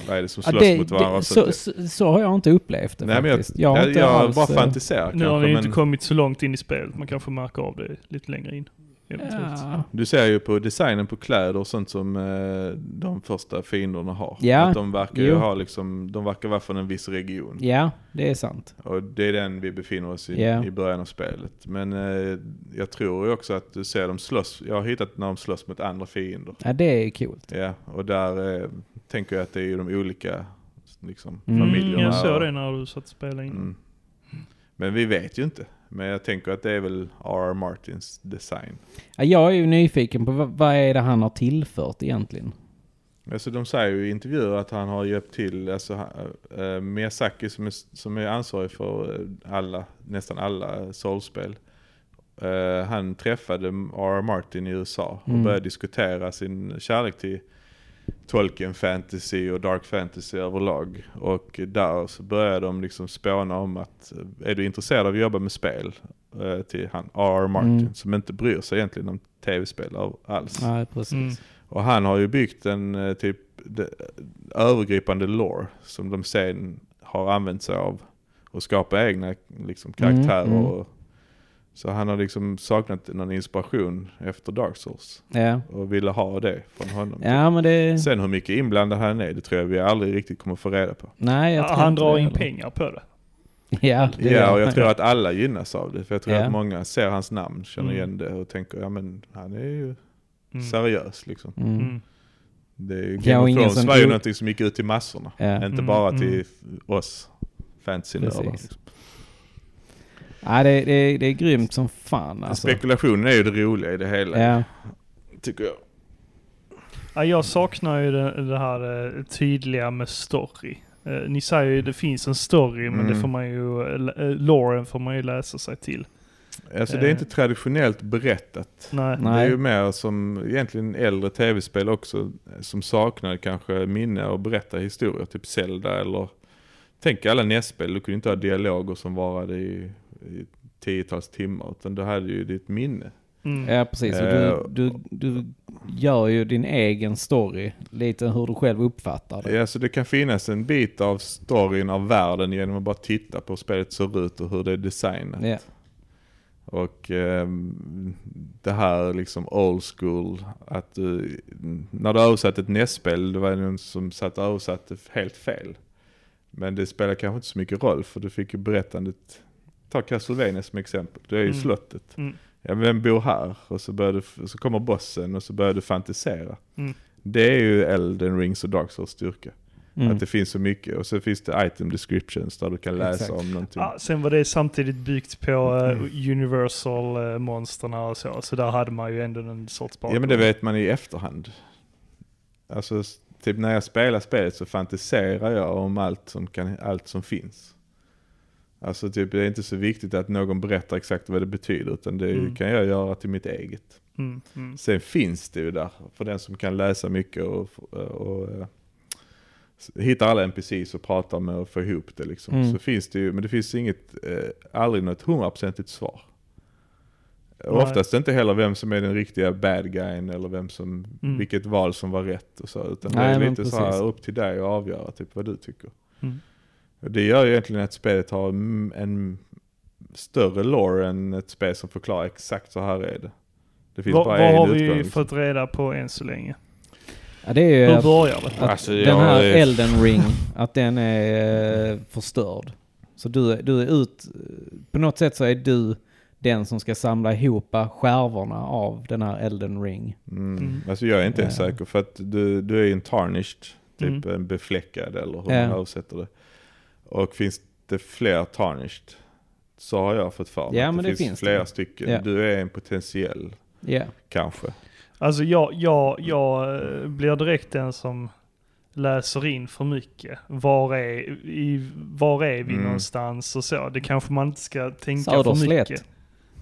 [SPEAKER 2] vad är det som
[SPEAKER 3] Ja,
[SPEAKER 2] slåss
[SPEAKER 3] det-
[SPEAKER 2] mot varandra.
[SPEAKER 3] det-
[SPEAKER 2] så
[SPEAKER 3] så,
[SPEAKER 2] att det-
[SPEAKER 3] så, så har jag inte upplevt det
[SPEAKER 2] nej, men jag,
[SPEAKER 3] faktiskt.
[SPEAKER 2] jag,
[SPEAKER 3] har
[SPEAKER 2] jag,
[SPEAKER 3] inte alls,
[SPEAKER 2] bara
[SPEAKER 3] eh,
[SPEAKER 2] fantiserar
[SPEAKER 1] nu har
[SPEAKER 2] kanske,
[SPEAKER 1] ni ju
[SPEAKER 2] men-
[SPEAKER 1] inte kommit så långt in i spelet. Man kanske märker av det lite längre in. eventuellt.
[SPEAKER 3] Ja.
[SPEAKER 2] Du ser ju på designen på kläder och sånt som eh, de första fienderna har.
[SPEAKER 3] Ja,
[SPEAKER 2] Att de verkar ju
[SPEAKER 3] jo.
[SPEAKER 2] ha liksom, de verkar vara från en viss region.
[SPEAKER 3] ja, det är sant.
[SPEAKER 2] Och det är den vi befinner oss i,
[SPEAKER 3] Ja.
[SPEAKER 2] i början av spelet. Men eh, jag tror ju också att du ser dem slåss, jag har hittat när de slåss mot andra fiender.
[SPEAKER 3] Ja, det är kul.
[SPEAKER 2] Ja, och där eh, tänker jag att det är ju de olika liksom,
[SPEAKER 3] Mm,
[SPEAKER 1] Mm,
[SPEAKER 2] familjerna.
[SPEAKER 1] jag såg
[SPEAKER 2] och-
[SPEAKER 1] det när du satt och spelade in.
[SPEAKER 2] Mm. Men vi vet ju inte. Men jag tänker att det är väl R.R. Martins design.
[SPEAKER 3] Ja, jag är ju nyfiken på vad, vad är det han har tillfört egentligen?
[SPEAKER 2] Alltså de säger ju i intervjuer att han har hjälpt till, alltså han- eh, Miyazaki som är, som är ansvarig för eh, alla, nästan alla Soulspel. Eh, han träffade R.R. Martin i USA och
[SPEAKER 3] Mm.
[SPEAKER 2] började diskutera sin kärlek till Tolkien fantasy och dark fantasy överlag. Och där så började de liksom spåna om att eh, är du intresserad av att jobba med spel? Eh, till han R.R. Martin
[SPEAKER 3] Mm.
[SPEAKER 2] som inte bryr sig egentligen om tv-spel av- alls.
[SPEAKER 3] Ja, precis.
[SPEAKER 1] Mm.
[SPEAKER 2] Och han har ju byggt en eh, typ de, övergripande lore som de sen har använt sig av och skapat egna liksom, karaktärer.
[SPEAKER 3] mm.
[SPEAKER 2] Och, så han har liksom saknat någon inspiration efter Dark Souls
[SPEAKER 3] Ja.
[SPEAKER 2] och ville ha det från honom.
[SPEAKER 3] ja, men det...
[SPEAKER 2] Sen hur mycket inblandad han är, det tror jag vi aldrig riktigt kommer få reda på.
[SPEAKER 3] Nej, jag
[SPEAKER 1] Ja,
[SPEAKER 3] tror
[SPEAKER 1] han
[SPEAKER 3] inte
[SPEAKER 1] drar
[SPEAKER 3] det
[SPEAKER 1] in
[SPEAKER 3] heller.
[SPEAKER 1] pengar på det.
[SPEAKER 3] Ja, det gör
[SPEAKER 2] Ja, och jag
[SPEAKER 3] han.
[SPEAKER 2] tror att alla gynnas av det. För jag tror
[SPEAKER 3] Ja.
[SPEAKER 2] att många ser hans namn, känner
[SPEAKER 1] Mm.
[SPEAKER 2] igen det och tänker, ja men han är ju
[SPEAKER 1] Mm.
[SPEAKER 2] seriös liksom.
[SPEAKER 3] Mm.
[SPEAKER 1] Mm.
[SPEAKER 2] Det är ju
[SPEAKER 3] Ja, och
[SPEAKER 2] Game of
[SPEAKER 3] ingen
[SPEAKER 2] Thrones
[SPEAKER 3] som
[SPEAKER 2] var ju
[SPEAKER 3] tror-
[SPEAKER 2] någonting som gick ut till massorna.
[SPEAKER 3] Ja.
[SPEAKER 2] Inte
[SPEAKER 1] Mm,
[SPEAKER 2] bara
[SPEAKER 1] mm.
[SPEAKER 2] till f- oss fantasynördar.
[SPEAKER 3] Precis. Ja, det, det, det är grymt som fan alltså.
[SPEAKER 2] Spekulationen är ju det roliga i det hela,
[SPEAKER 3] Ja.
[SPEAKER 2] tycker jag.
[SPEAKER 1] Ja, jag saknar ju det, det här eh, tydliga med story. Eh, Ni säger ju det finns en story, men
[SPEAKER 2] Mm.
[SPEAKER 1] det får man ju, eh, loren får man ju läsa sig till.
[SPEAKER 2] Alltså det är
[SPEAKER 1] Eh.
[SPEAKER 2] inte traditionellt berättat.
[SPEAKER 1] Nej.
[SPEAKER 3] Nej.
[SPEAKER 2] Det är ju mer som egentligen äldre tv-spel också, som saknar kanske minne och berätta historier, typ Zelda eller... Tänk alla NES-spel, du kunde inte ha dialoger som varade i, i tiotals timmar, utan du hade ju ditt minne.
[SPEAKER 1] Mm.
[SPEAKER 3] Ja, precis. Och
[SPEAKER 2] Eh,
[SPEAKER 3] du, du, du gör ju din egen story, lite hur du själv uppfattar det.
[SPEAKER 2] Ja, så det kan finnas en bit av storyn av världen genom att bara titta på hur spelet ser ut och hur det är designat.
[SPEAKER 3] Ja.
[SPEAKER 2] Och ehm, det här liksom old school, att du, när du översatte ett NES-spel, det var någon som satt och översatte helt fel. Men det spelar kanske inte så mycket roll för du fick ju berättandet, ta Castlevania som exempel, det är ju
[SPEAKER 1] Mm.
[SPEAKER 2] slottet.
[SPEAKER 1] Mm.
[SPEAKER 2] Ja, vem bor här? Och så, börjar du, så kommer bossen och så börjar du fantisera.
[SPEAKER 1] Mm.
[SPEAKER 2] Det är ju Elden Rings och Dark Souls styrka.
[SPEAKER 3] Mm.
[SPEAKER 2] Att det finns så mycket. Och så finns det item descriptions där du kan läsa
[SPEAKER 3] Exakt.
[SPEAKER 2] om någonting.
[SPEAKER 1] Ja, sen var det samtidigt byggt på eh,
[SPEAKER 2] Mm.
[SPEAKER 1] Universal-monsterna och så, så där hade man ju ändå en sorts bakgrund.
[SPEAKER 2] Ja men det vet man i efterhand. Alltså s- typ när jag spelar spelet så fantiserar jag om allt som, kan, allt som finns. Alltså typ det är inte så viktigt att någon berättar exakt vad det betyder utan det
[SPEAKER 1] Mm.
[SPEAKER 2] kan jag göra till mitt eget.
[SPEAKER 1] Mm, mm.
[SPEAKER 2] Sen finns det ju där för den som kan läsa mycket och, och, eh, s- hitta alla NPCs och prata med och få ihop det liksom.
[SPEAKER 3] Mm.
[SPEAKER 2] Så finns det ju, men det finns inget, eh, aldrig något hundraprocentigt svar. Och
[SPEAKER 1] Nej.
[SPEAKER 2] oftast inte heller vem som är den riktiga bad guyen eller vem som,
[SPEAKER 1] Mm.
[SPEAKER 2] vilket val som var rätt och så. Utan
[SPEAKER 3] Nej,
[SPEAKER 2] det är
[SPEAKER 3] men
[SPEAKER 2] lite så här
[SPEAKER 3] precis.
[SPEAKER 2] upp till dig att avgöra typ vad du tycker.
[SPEAKER 1] Mm.
[SPEAKER 2] Och det gör ju egentligen att spelet har mm, en större lore än ett spel som förklarar exakt så här är det. Det finns
[SPEAKER 1] Vad,
[SPEAKER 2] bara
[SPEAKER 1] vad
[SPEAKER 2] en
[SPEAKER 1] har vi
[SPEAKER 2] utgång.
[SPEAKER 1] fått reda på än så länge?
[SPEAKER 3] Ja, det är ju
[SPEAKER 1] Hur
[SPEAKER 3] att,
[SPEAKER 1] börjar det?
[SPEAKER 3] att
[SPEAKER 2] Alltså,
[SPEAKER 3] den
[SPEAKER 2] jag
[SPEAKER 3] här
[SPEAKER 2] är-
[SPEAKER 3] elden ring, att den är eh, förstörd. Så du, är- du är ut, på något sätt så är du den som ska samla ihop skärvorna av den här elden ring.
[SPEAKER 2] Mm.
[SPEAKER 1] Mm.
[SPEAKER 2] Alltså jag är inte ens
[SPEAKER 3] Ja.
[SPEAKER 2] säker för att du, du är ju en tarnished, typ
[SPEAKER 1] Mm.
[SPEAKER 2] en befläckad eller hur
[SPEAKER 3] Ja.
[SPEAKER 2] man översätter det. Och finns det fler tarnished så har jag fått för mig
[SPEAKER 3] Ja,
[SPEAKER 2] att
[SPEAKER 3] men det finns det.
[SPEAKER 2] flera stycken.
[SPEAKER 3] Ja.
[SPEAKER 2] Du är en potentiell
[SPEAKER 3] Ja.
[SPEAKER 2] kanske.
[SPEAKER 1] Alltså jag, jag, jag eh, blir direkt den som läser in för mycket. Var är, i, var är vi
[SPEAKER 2] Mm.
[SPEAKER 1] någonstans och så. Det kanske man inte ska tänka för
[SPEAKER 3] Söderslätt.
[SPEAKER 1] mycket.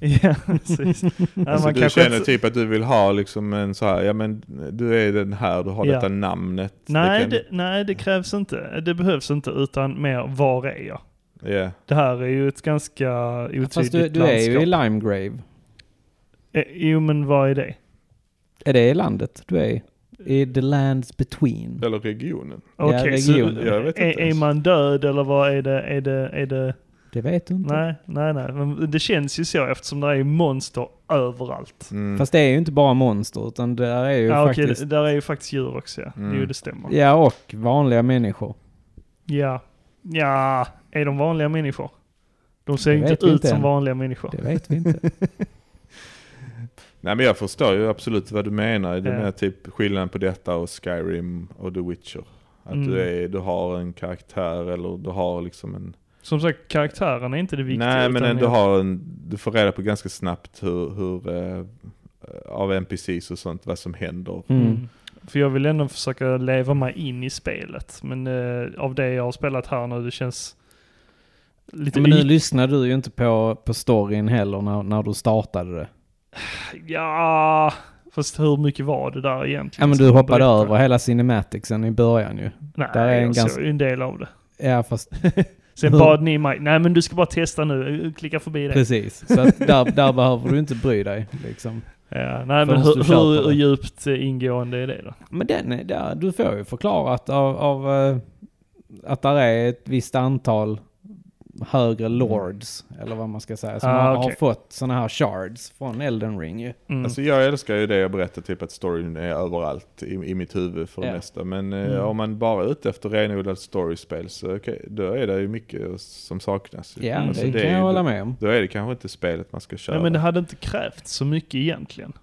[SPEAKER 1] Ja, precis. Nej,
[SPEAKER 2] Alltså
[SPEAKER 1] man
[SPEAKER 2] du
[SPEAKER 1] kanske
[SPEAKER 2] känner
[SPEAKER 1] inte-
[SPEAKER 2] typ att du vill ha liksom en så här, ja men du är den här, du har
[SPEAKER 1] Ja.
[SPEAKER 2] detta namnet.
[SPEAKER 1] Nej,
[SPEAKER 2] kan-
[SPEAKER 1] det, nej, det krävs inte. Det behövs inte, utan mer var är jag?
[SPEAKER 2] Ja.
[SPEAKER 1] Det här är ju ett ganska otydligt
[SPEAKER 3] Fast du, du är
[SPEAKER 1] landskap.
[SPEAKER 3] ju i Limegrave.
[SPEAKER 1] Eh, Jo, men vad är det?
[SPEAKER 3] Är det i landet du är i? I the lands between.
[SPEAKER 2] Eller regionen.
[SPEAKER 1] Okej, så
[SPEAKER 3] regionen.
[SPEAKER 2] Jag vet
[SPEAKER 1] är,
[SPEAKER 2] inte ens.
[SPEAKER 1] är man död eller vad är det? Är det, är det?
[SPEAKER 3] Det vet du inte.
[SPEAKER 1] Nej, nej, nej. Men det känns ju så eftersom det är monster överallt.
[SPEAKER 2] Mm.
[SPEAKER 3] Fast det är ju inte bara monster, utan det är ju
[SPEAKER 1] Ja, okej,
[SPEAKER 3] faktiskt...
[SPEAKER 1] där är ju faktiskt djur också ja.
[SPEAKER 2] Mm.
[SPEAKER 1] Jo, det stämmer.
[SPEAKER 3] Ja, och vanliga människor.
[SPEAKER 1] Ja. Ja, är de vanliga människor? De ser
[SPEAKER 3] Det
[SPEAKER 1] ju
[SPEAKER 3] vet
[SPEAKER 1] inte
[SPEAKER 3] vi
[SPEAKER 1] ut
[SPEAKER 3] inte
[SPEAKER 1] som
[SPEAKER 3] än.
[SPEAKER 1] vanliga människor.
[SPEAKER 3] Det vet vi inte.
[SPEAKER 2] Nej men jag förstår ju absolut vad du menar. Du
[SPEAKER 1] Ja.
[SPEAKER 2] menar typ skillnaden på detta och Skyrim och The Witcher. Att
[SPEAKER 1] Mm.
[SPEAKER 2] du, är, du har en karaktär eller du har liksom en...
[SPEAKER 1] Som sagt, karaktären är inte det viktiga.
[SPEAKER 2] nej men
[SPEAKER 1] utan
[SPEAKER 2] du,
[SPEAKER 1] jag-
[SPEAKER 2] har en, du får reda på ganska snabbt hur, hur eh, av NPCs och sånt vad som händer.
[SPEAKER 3] Mm.
[SPEAKER 1] För jag vill ändå försöka leva mig in i spelet. Men eh, av det jag har spelat här nu, det känns lite...
[SPEAKER 3] Men nu
[SPEAKER 1] yt-
[SPEAKER 3] lyssnar du ju inte på, på storyn heller när, när du startade det.
[SPEAKER 1] ja, fast hur mycket var det där egentligen?
[SPEAKER 3] Ja men
[SPEAKER 1] som
[SPEAKER 3] du
[SPEAKER 1] de
[SPEAKER 3] hoppade
[SPEAKER 1] berättar?
[SPEAKER 3] över hela cinematicsen i början ju.
[SPEAKER 1] Nej,
[SPEAKER 3] där är en
[SPEAKER 1] jag
[SPEAKER 3] ganska-
[SPEAKER 1] såg ju en del av det.
[SPEAKER 3] Ja fast
[SPEAKER 1] Sen
[SPEAKER 3] Hur-
[SPEAKER 1] bad ni mig, nej men du ska bara testa nu, klicka förbi det.
[SPEAKER 3] precis. Så att där, där behöver du inte bry dig liksom.
[SPEAKER 1] Ja, nej men
[SPEAKER 3] Förrän
[SPEAKER 1] hur,
[SPEAKER 3] du köper
[SPEAKER 1] hur
[SPEAKER 3] det.
[SPEAKER 1] djupt eh, ingående är det då?
[SPEAKER 3] Men den, är- där, du får ju förklarat av, av eh, att där är ett visst antal högre
[SPEAKER 2] Mm.
[SPEAKER 3] lords, eller vad man ska säga, som
[SPEAKER 1] Ah,
[SPEAKER 3] har, har
[SPEAKER 1] okej.
[SPEAKER 3] fått sådana här shards från Elden Ring ju.
[SPEAKER 1] Mm.
[SPEAKER 2] Alltså jag älskar ju det jag berättar, typ att storyn är överallt i, i mitt huvud för det
[SPEAKER 3] Ja.
[SPEAKER 2] mesta. Men eh,
[SPEAKER 1] Mm.
[SPEAKER 2] om man bara är ute efter renodlat storyspel så okej, då är det ju mycket som saknas. ju.
[SPEAKER 3] Ja,
[SPEAKER 2] Alltså,
[SPEAKER 3] det,
[SPEAKER 2] är
[SPEAKER 3] kan jag
[SPEAKER 2] ju-
[SPEAKER 3] hålla med om.
[SPEAKER 2] Då är det kanske inte spelet man ska köra.
[SPEAKER 1] Nej men det hade inte krävt så mycket egentligen.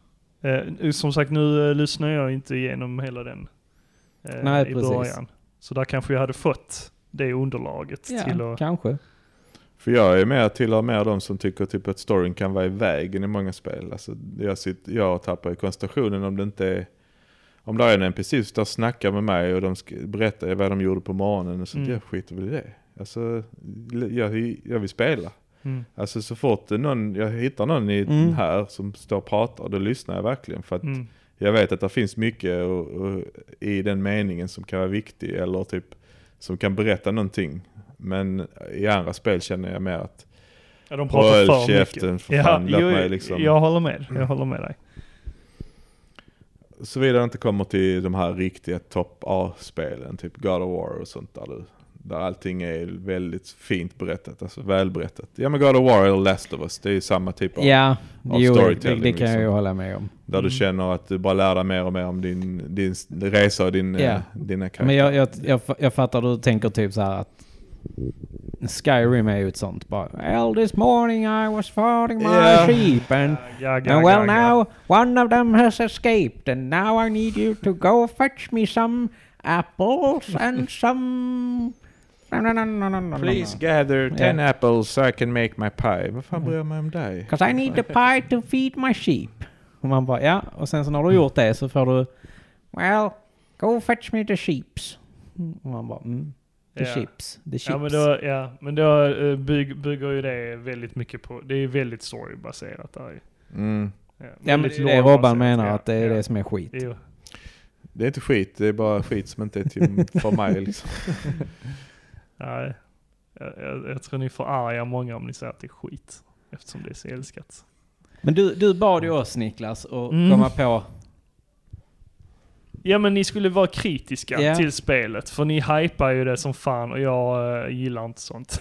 [SPEAKER 1] Eh, som sagt, nu eh, lyssnar jag inte igenom hela den eh,
[SPEAKER 3] Nej,
[SPEAKER 1] i
[SPEAKER 3] precis.
[SPEAKER 1] början. Så där kanske jag hade fått det underlaget
[SPEAKER 3] Ja,
[SPEAKER 1] till att...
[SPEAKER 3] kanske.
[SPEAKER 2] För jag är mer tillhör mer de som tycker typ att storyn kan vara i vägen i många spel. Alltså, jag, sitter, jag tappar ju koncentrationen om det inte är... Om det är en NPC som står och snackar med mig och de sk- berättar vad de gjorde på morgonen och sånt,
[SPEAKER 1] Mm.
[SPEAKER 2] jag skiter väl i det. Alltså, jag, jag vill spela.
[SPEAKER 1] Mm.
[SPEAKER 2] Alltså så fort någon, jag hittar någon i
[SPEAKER 3] Mm.
[SPEAKER 2] här som står och pratar, då lyssnar jag verkligen. För att
[SPEAKER 1] Mm.
[SPEAKER 2] jag vet att det finns mycket och, och, i den meningen som kan vara viktig eller typ som kan berätta någonting. Men i andra spel känner jag mer att
[SPEAKER 1] Ja, de pratar
[SPEAKER 2] håll
[SPEAKER 1] för
[SPEAKER 2] käften
[SPEAKER 1] mycket.
[SPEAKER 2] för fan, låt mig liksom.
[SPEAKER 1] Jag håller med, jag håller med dig.
[SPEAKER 2] Såvida det inte kommer till de här riktiga topp A-spelen, typ God of War och sånt där du där allting är väldigt fint berättat, alltså välberättat. Ja men God of War eller Last of Us, det är ju samma typ av
[SPEAKER 3] Ja, jo, det,
[SPEAKER 2] storytelling
[SPEAKER 3] det kan jag ju
[SPEAKER 2] liksom.
[SPEAKER 3] hålla med om.
[SPEAKER 2] Där du
[SPEAKER 1] Mm.
[SPEAKER 2] känner att du bara lär dig mer och mer om din, din s- resa och din,
[SPEAKER 3] Ja.
[SPEAKER 2] eh, dina karaktärer.
[SPEAKER 3] Men jag, jag, jag, fa- jag fattar, du tänker typ så här att Skyrim är ju ett sånt bara. Well this morning I was farting my
[SPEAKER 2] Ja.
[SPEAKER 3] sheep and,
[SPEAKER 1] Ja, ja,
[SPEAKER 3] and
[SPEAKER 1] ja,
[SPEAKER 3] well
[SPEAKER 1] ja.
[SPEAKER 3] now one of them has escaped and now I need you to go fetch me some apples and some...
[SPEAKER 2] Please gather ten
[SPEAKER 3] Yeah.
[SPEAKER 2] apples so I can make my pie. Vad
[SPEAKER 1] Mm.
[SPEAKER 2] fan bryr jag mig om dig?
[SPEAKER 3] Because I need the pie to feed my sheep. Och man bara, ja. Och sen så när du har gjort det så får du... Well, go fetch me the sheeps. Och man bara, mm. The
[SPEAKER 1] Ja.
[SPEAKER 3] sheeps. The sheeps.
[SPEAKER 1] Ja men, då, ja, men då eh, byg, bygger ju det väldigt mycket på, det är väldigt storybaserat där ju.
[SPEAKER 2] Mm.
[SPEAKER 1] Ja,
[SPEAKER 3] Ja, men det
[SPEAKER 1] väldigt
[SPEAKER 3] är det
[SPEAKER 1] lore-baserat,
[SPEAKER 3] Robban menar,
[SPEAKER 1] ja,
[SPEAKER 3] att det är
[SPEAKER 1] ja.
[SPEAKER 3] det som är skit.
[SPEAKER 1] Jo.
[SPEAKER 2] Det är inte skit, det är bara skit som inte är till för mig liksom.
[SPEAKER 1] Nej. Jag, jag, jag tror ni förargar många om ni säger att det är skit. Eftersom det är så älskat.
[SPEAKER 3] Men du, du bad ju oss Niklas att
[SPEAKER 1] Mm.
[SPEAKER 3] komma på...
[SPEAKER 1] Ja men ni skulle vara kritiska
[SPEAKER 3] Ja.
[SPEAKER 1] till spelet, för ni hypar ju det som fan och jag eh, gillar inte sånt.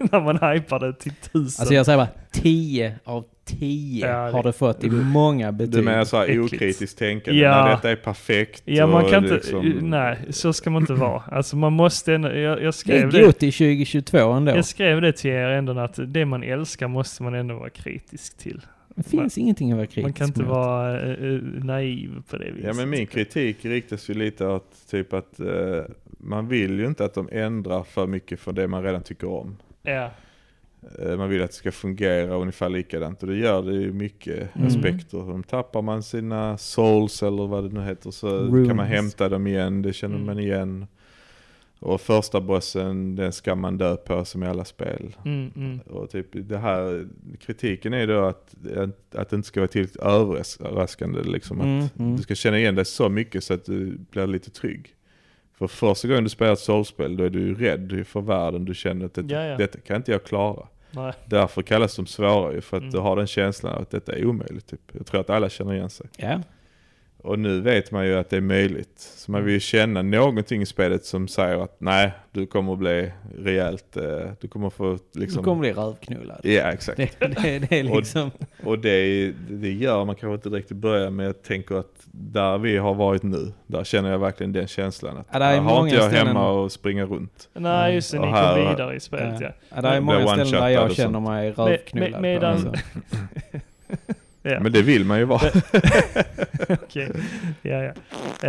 [SPEAKER 1] När man hypar det till tusen.
[SPEAKER 3] Alltså jag säger bara, 10 av 10
[SPEAKER 1] Ja, det-
[SPEAKER 3] har du fått i många
[SPEAKER 2] Du
[SPEAKER 3] betyg.
[SPEAKER 2] menar såhär
[SPEAKER 1] Äckligt.
[SPEAKER 2] okritiskt tänkande,
[SPEAKER 1] Ja.
[SPEAKER 2] när detta är perfekt
[SPEAKER 1] Ja man
[SPEAKER 2] och
[SPEAKER 1] kan inte,
[SPEAKER 2] liksom-
[SPEAKER 1] nej så ska man inte vara. Alltså man måste, ändå- jag, jag
[SPEAKER 3] Det är
[SPEAKER 1] skrev det.
[SPEAKER 3] gott i 2022 ändå.
[SPEAKER 1] Jag skrev det till er ändå att det man älskar måste man ändå vara kritisk till.
[SPEAKER 3] Det finns ingenting att vara kritisk
[SPEAKER 1] Man kan inte
[SPEAKER 3] mot.
[SPEAKER 1] vara eh, eh, naiv på det viset.
[SPEAKER 2] Ja men min kritik riktas ju lite åt typ att eh, man vill ju inte att de ändrar för mycket för det man redan tycker om.
[SPEAKER 1] Ja,
[SPEAKER 2] Eh, man vill att det ska fungera ungefär likadant och det gör det ju mycket
[SPEAKER 3] Mm.
[SPEAKER 2] aspekter. De tappar man sina souls eller vad det nu heter så kan man
[SPEAKER 3] Runes.
[SPEAKER 2] hämta dem igen, det känner
[SPEAKER 1] Mm.
[SPEAKER 2] man igen. Och första bossen den ska man dö på som i alla spel.
[SPEAKER 1] mm, mm.
[SPEAKER 2] Och typ det här, kritiken är då att, att det inte ska vara tillräckligt överraskande. Liksom,
[SPEAKER 3] Mm,
[SPEAKER 2] att
[SPEAKER 3] mm.
[SPEAKER 2] Du ska känna igen dig så mycket så att du blir lite trygg. För första gången du spelar ett soulspel då är du ju rädd för världen. Du känner att det,
[SPEAKER 1] Ja, ja.
[SPEAKER 2] detta kan inte jag klara.
[SPEAKER 1] Nej.
[SPEAKER 2] Därför kallas de svåra ju, för att
[SPEAKER 1] Mm.
[SPEAKER 2] du har den känslan av att detta är omöjligt. Typ. Jag tror att alla känner igen sig.
[SPEAKER 3] Ja.
[SPEAKER 2] Och nu vet man ju att det är möjligt. Så man vill ju känna någonting i spelet som säger att nej, du kommer att bli rejält, eh, du kommer få liksom...
[SPEAKER 3] Du kommer bli rövknullad.
[SPEAKER 2] Ja, exakt.
[SPEAKER 3] Det, det, det är
[SPEAKER 2] Och-
[SPEAKER 3] liksom...
[SPEAKER 2] Och det, det gör man kanske inte direkt i början men jag tänker att där vi har varit nu, där känner jag verkligen den känslan. Att
[SPEAKER 3] Ja, där är
[SPEAKER 2] där har
[SPEAKER 3] många
[SPEAKER 2] inte jag
[SPEAKER 3] ställen-
[SPEAKER 2] hemma och springa runt.
[SPEAKER 1] Nej just det,
[SPEAKER 2] Och
[SPEAKER 1] ni
[SPEAKER 2] här-
[SPEAKER 1] kom vidare i spelet ja.
[SPEAKER 3] Ja, det är
[SPEAKER 2] Det är
[SPEAKER 3] många ställen där
[SPEAKER 2] one-shotad
[SPEAKER 3] jag
[SPEAKER 2] och
[SPEAKER 3] känner
[SPEAKER 2] sånt.
[SPEAKER 3] mig
[SPEAKER 1] med-
[SPEAKER 3] rövknullad. på,
[SPEAKER 1] medan-
[SPEAKER 3] alltså.
[SPEAKER 1] ja.
[SPEAKER 2] Men det vill man ju vara.
[SPEAKER 1] Okej, ja, ja.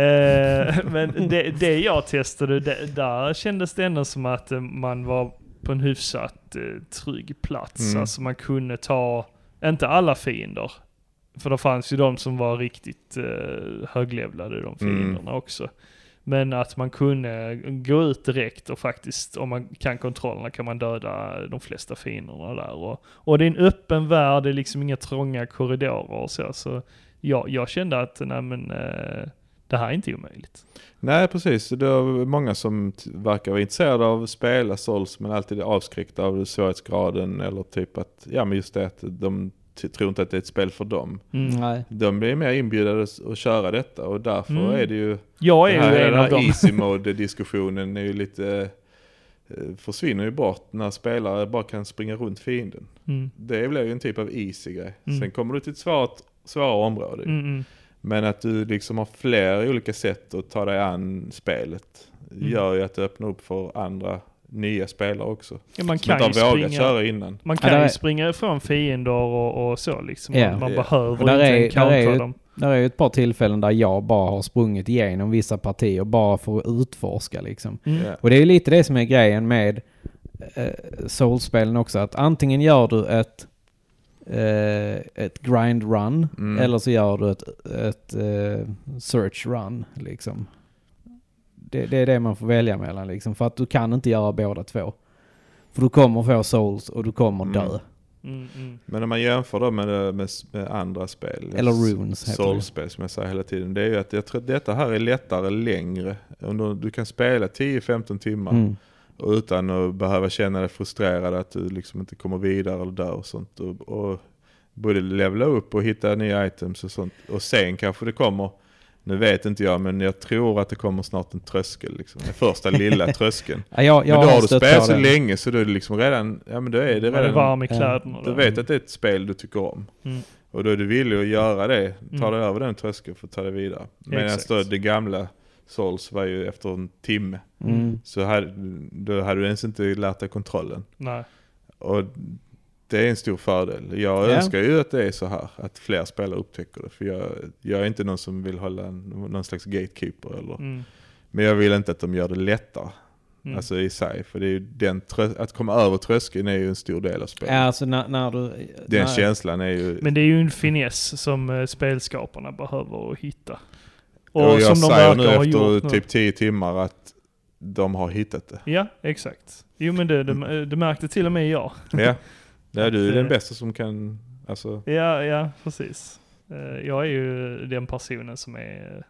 [SPEAKER 1] Eh, men det, det jag testade, det, där kändes det ändå som att eh, man var på en hyfsat eh, trygg plats.
[SPEAKER 2] Mm.
[SPEAKER 1] Alltså man kunde ta, inte alla fiender, för det fanns ju de som var riktigt eh, höglevlade de fienderna också. Men att man kunde gå ut direkt och faktiskt, om man kan kontrollerna kan man döda de flesta fienderna där. Och, och det är en öppen värld, det är liksom inga trånga korridorer och så. så jag, jag kände att nej men eh, det här är inte omöjligt.
[SPEAKER 2] Nej precis, det är många som t- verkar vara intresserade av att spela Souls men alltid är avskräckta av svårighetsgraden eller typ att, ja men just det att de t- tror inte att det är ett spel för dem.
[SPEAKER 1] Mm.
[SPEAKER 3] Nej.
[SPEAKER 2] De blir mer inbjudna att s- att köra detta och därför
[SPEAKER 1] Mm.
[SPEAKER 2] är det ju
[SPEAKER 1] Jag
[SPEAKER 2] Den
[SPEAKER 1] är ju
[SPEAKER 2] här,
[SPEAKER 1] en
[SPEAKER 2] den
[SPEAKER 1] av
[SPEAKER 2] här
[SPEAKER 1] dem.
[SPEAKER 2] easy mode-diskussionen är ju lite, eh, försvinner ju bort när spelare bara kan springa runt fienden.
[SPEAKER 1] Mm.
[SPEAKER 2] Det blir ju en typ av easy-grej.
[SPEAKER 1] Mm.
[SPEAKER 2] Sen kommer du till ett svårt, svårare område.
[SPEAKER 1] Mm, mm.
[SPEAKER 2] Men att du liksom har fler olika sätt att ta dig an spelet
[SPEAKER 1] Mm.
[SPEAKER 2] gör ju att det öppnar upp för andra nya spelare också.
[SPEAKER 1] Ja, man
[SPEAKER 2] Som
[SPEAKER 1] kan
[SPEAKER 2] inte
[SPEAKER 1] ju
[SPEAKER 2] har vågat
[SPEAKER 1] springa,
[SPEAKER 2] köra innan.
[SPEAKER 1] man
[SPEAKER 3] Ja,
[SPEAKER 1] kan
[SPEAKER 3] där är-
[SPEAKER 1] ju springa ifrån fiender och, och så liksom.
[SPEAKER 3] Ja.
[SPEAKER 1] Man, man
[SPEAKER 2] Ja.
[SPEAKER 1] behöver
[SPEAKER 3] Där är-
[SPEAKER 1] inte
[SPEAKER 3] där är
[SPEAKER 1] countera
[SPEAKER 3] ju-
[SPEAKER 1] dem.
[SPEAKER 3] Det är ju ett par tillfällen där jag bara har sprungit igenom vissa partier bara för att utforska liksom.
[SPEAKER 1] Mm.
[SPEAKER 2] Ja.
[SPEAKER 3] Och det är ju lite det som är grejen med eh, Souls-spelen också. Att antingen gör du ett, eh, ett grind run
[SPEAKER 2] Mm.
[SPEAKER 3] eller så gör du ett, ett eh, search run liksom. Det, det är det man får välja mellan liksom. För att du kan inte göra båda två. För du kommer få souls och du kommer
[SPEAKER 2] Mm.
[SPEAKER 3] dö.
[SPEAKER 1] Mm, mm.
[SPEAKER 2] Men om man jämför då med, med, med andra spel.
[SPEAKER 3] Eller runes heter det.
[SPEAKER 2] Soulspel som jag säger hela tiden. Det är ju att jag tror att detta här är lättare längre. Om du- Du kan spela 10-15 timmar
[SPEAKER 3] Mm.
[SPEAKER 2] och utan att behöva känna dig frustrerad att du liksom inte kommer vidare eller dör och sånt. Och, och både levla upp och hitta nya items och sånt. Och sen kanske det kommer, nu vet inte jag men jag tror att det kommer snart en tröskel. Liksom. Den första lilla tröskeln.
[SPEAKER 3] Ja, jag, jag
[SPEAKER 2] men då har du
[SPEAKER 3] stött
[SPEAKER 2] spelat
[SPEAKER 3] på
[SPEAKER 2] så
[SPEAKER 3] det.
[SPEAKER 2] länge så då är det liksom redan, ja men då är det
[SPEAKER 1] Man är
[SPEAKER 2] redan
[SPEAKER 1] varm i
[SPEAKER 3] ja.
[SPEAKER 1] kläderna.
[SPEAKER 2] du
[SPEAKER 1] då.
[SPEAKER 2] vet att det är ett spel du tycker om.
[SPEAKER 1] Mm.
[SPEAKER 2] Och då är du villig att göra det, ta
[SPEAKER 1] Mm.
[SPEAKER 2] dig över den tröskeln för att ta dig vidare. Medan
[SPEAKER 1] Exakt.
[SPEAKER 2] då det gamla Souls var ju efter en timme.
[SPEAKER 3] Mm.
[SPEAKER 2] Så här, då hade du ens inte lärt dig kontrollen.
[SPEAKER 1] Nej.
[SPEAKER 2] Och det är en stor fördel. Jag
[SPEAKER 3] Ja.
[SPEAKER 2] önskar ju att det är så här, att fler spelare upptäcker det. För jag, jag är inte någon som vill hålla en, någon slags gatekeeper eller
[SPEAKER 1] Mm.
[SPEAKER 2] Men jag vill inte att de gör det lättare.
[SPEAKER 1] Mm.
[SPEAKER 2] Alltså i sig. För det är ju den trö- att komma över tröskeln är ju en stor del av spelet.
[SPEAKER 3] Ja, alltså när, när du...
[SPEAKER 2] Den
[SPEAKER 3] när,
[SPEAKER 2] känslan är ju...
[SPEAKER 1] Men det är ju en finess som eh, spelskaparna behöver att hitta.
[SPEAKER 2] Och, jag säger nu
[SPEAKER 1] ha
[SPEAKER 2] efter
[SPEAKER 1] gjort nu.
[SPEAKER 2] typ 10 timmar att de har hittat det.
[SPEAKER 1] Ja, exakt. Jo men det,
[SPEAKER 2] Mm.
[SPEAKER 1] det, det märkte till och med jag.
[SPEAKER 2] Ja, ja du är
[SPEAKER 1] Att,
[SPEAKER 2] den
[SPEAKER 1] eh,
[SPEAKER 2] bästa som kan... Alltså,
[SPEAKER 1] Ja, ja precis. Eh, Jag är ju den personen som är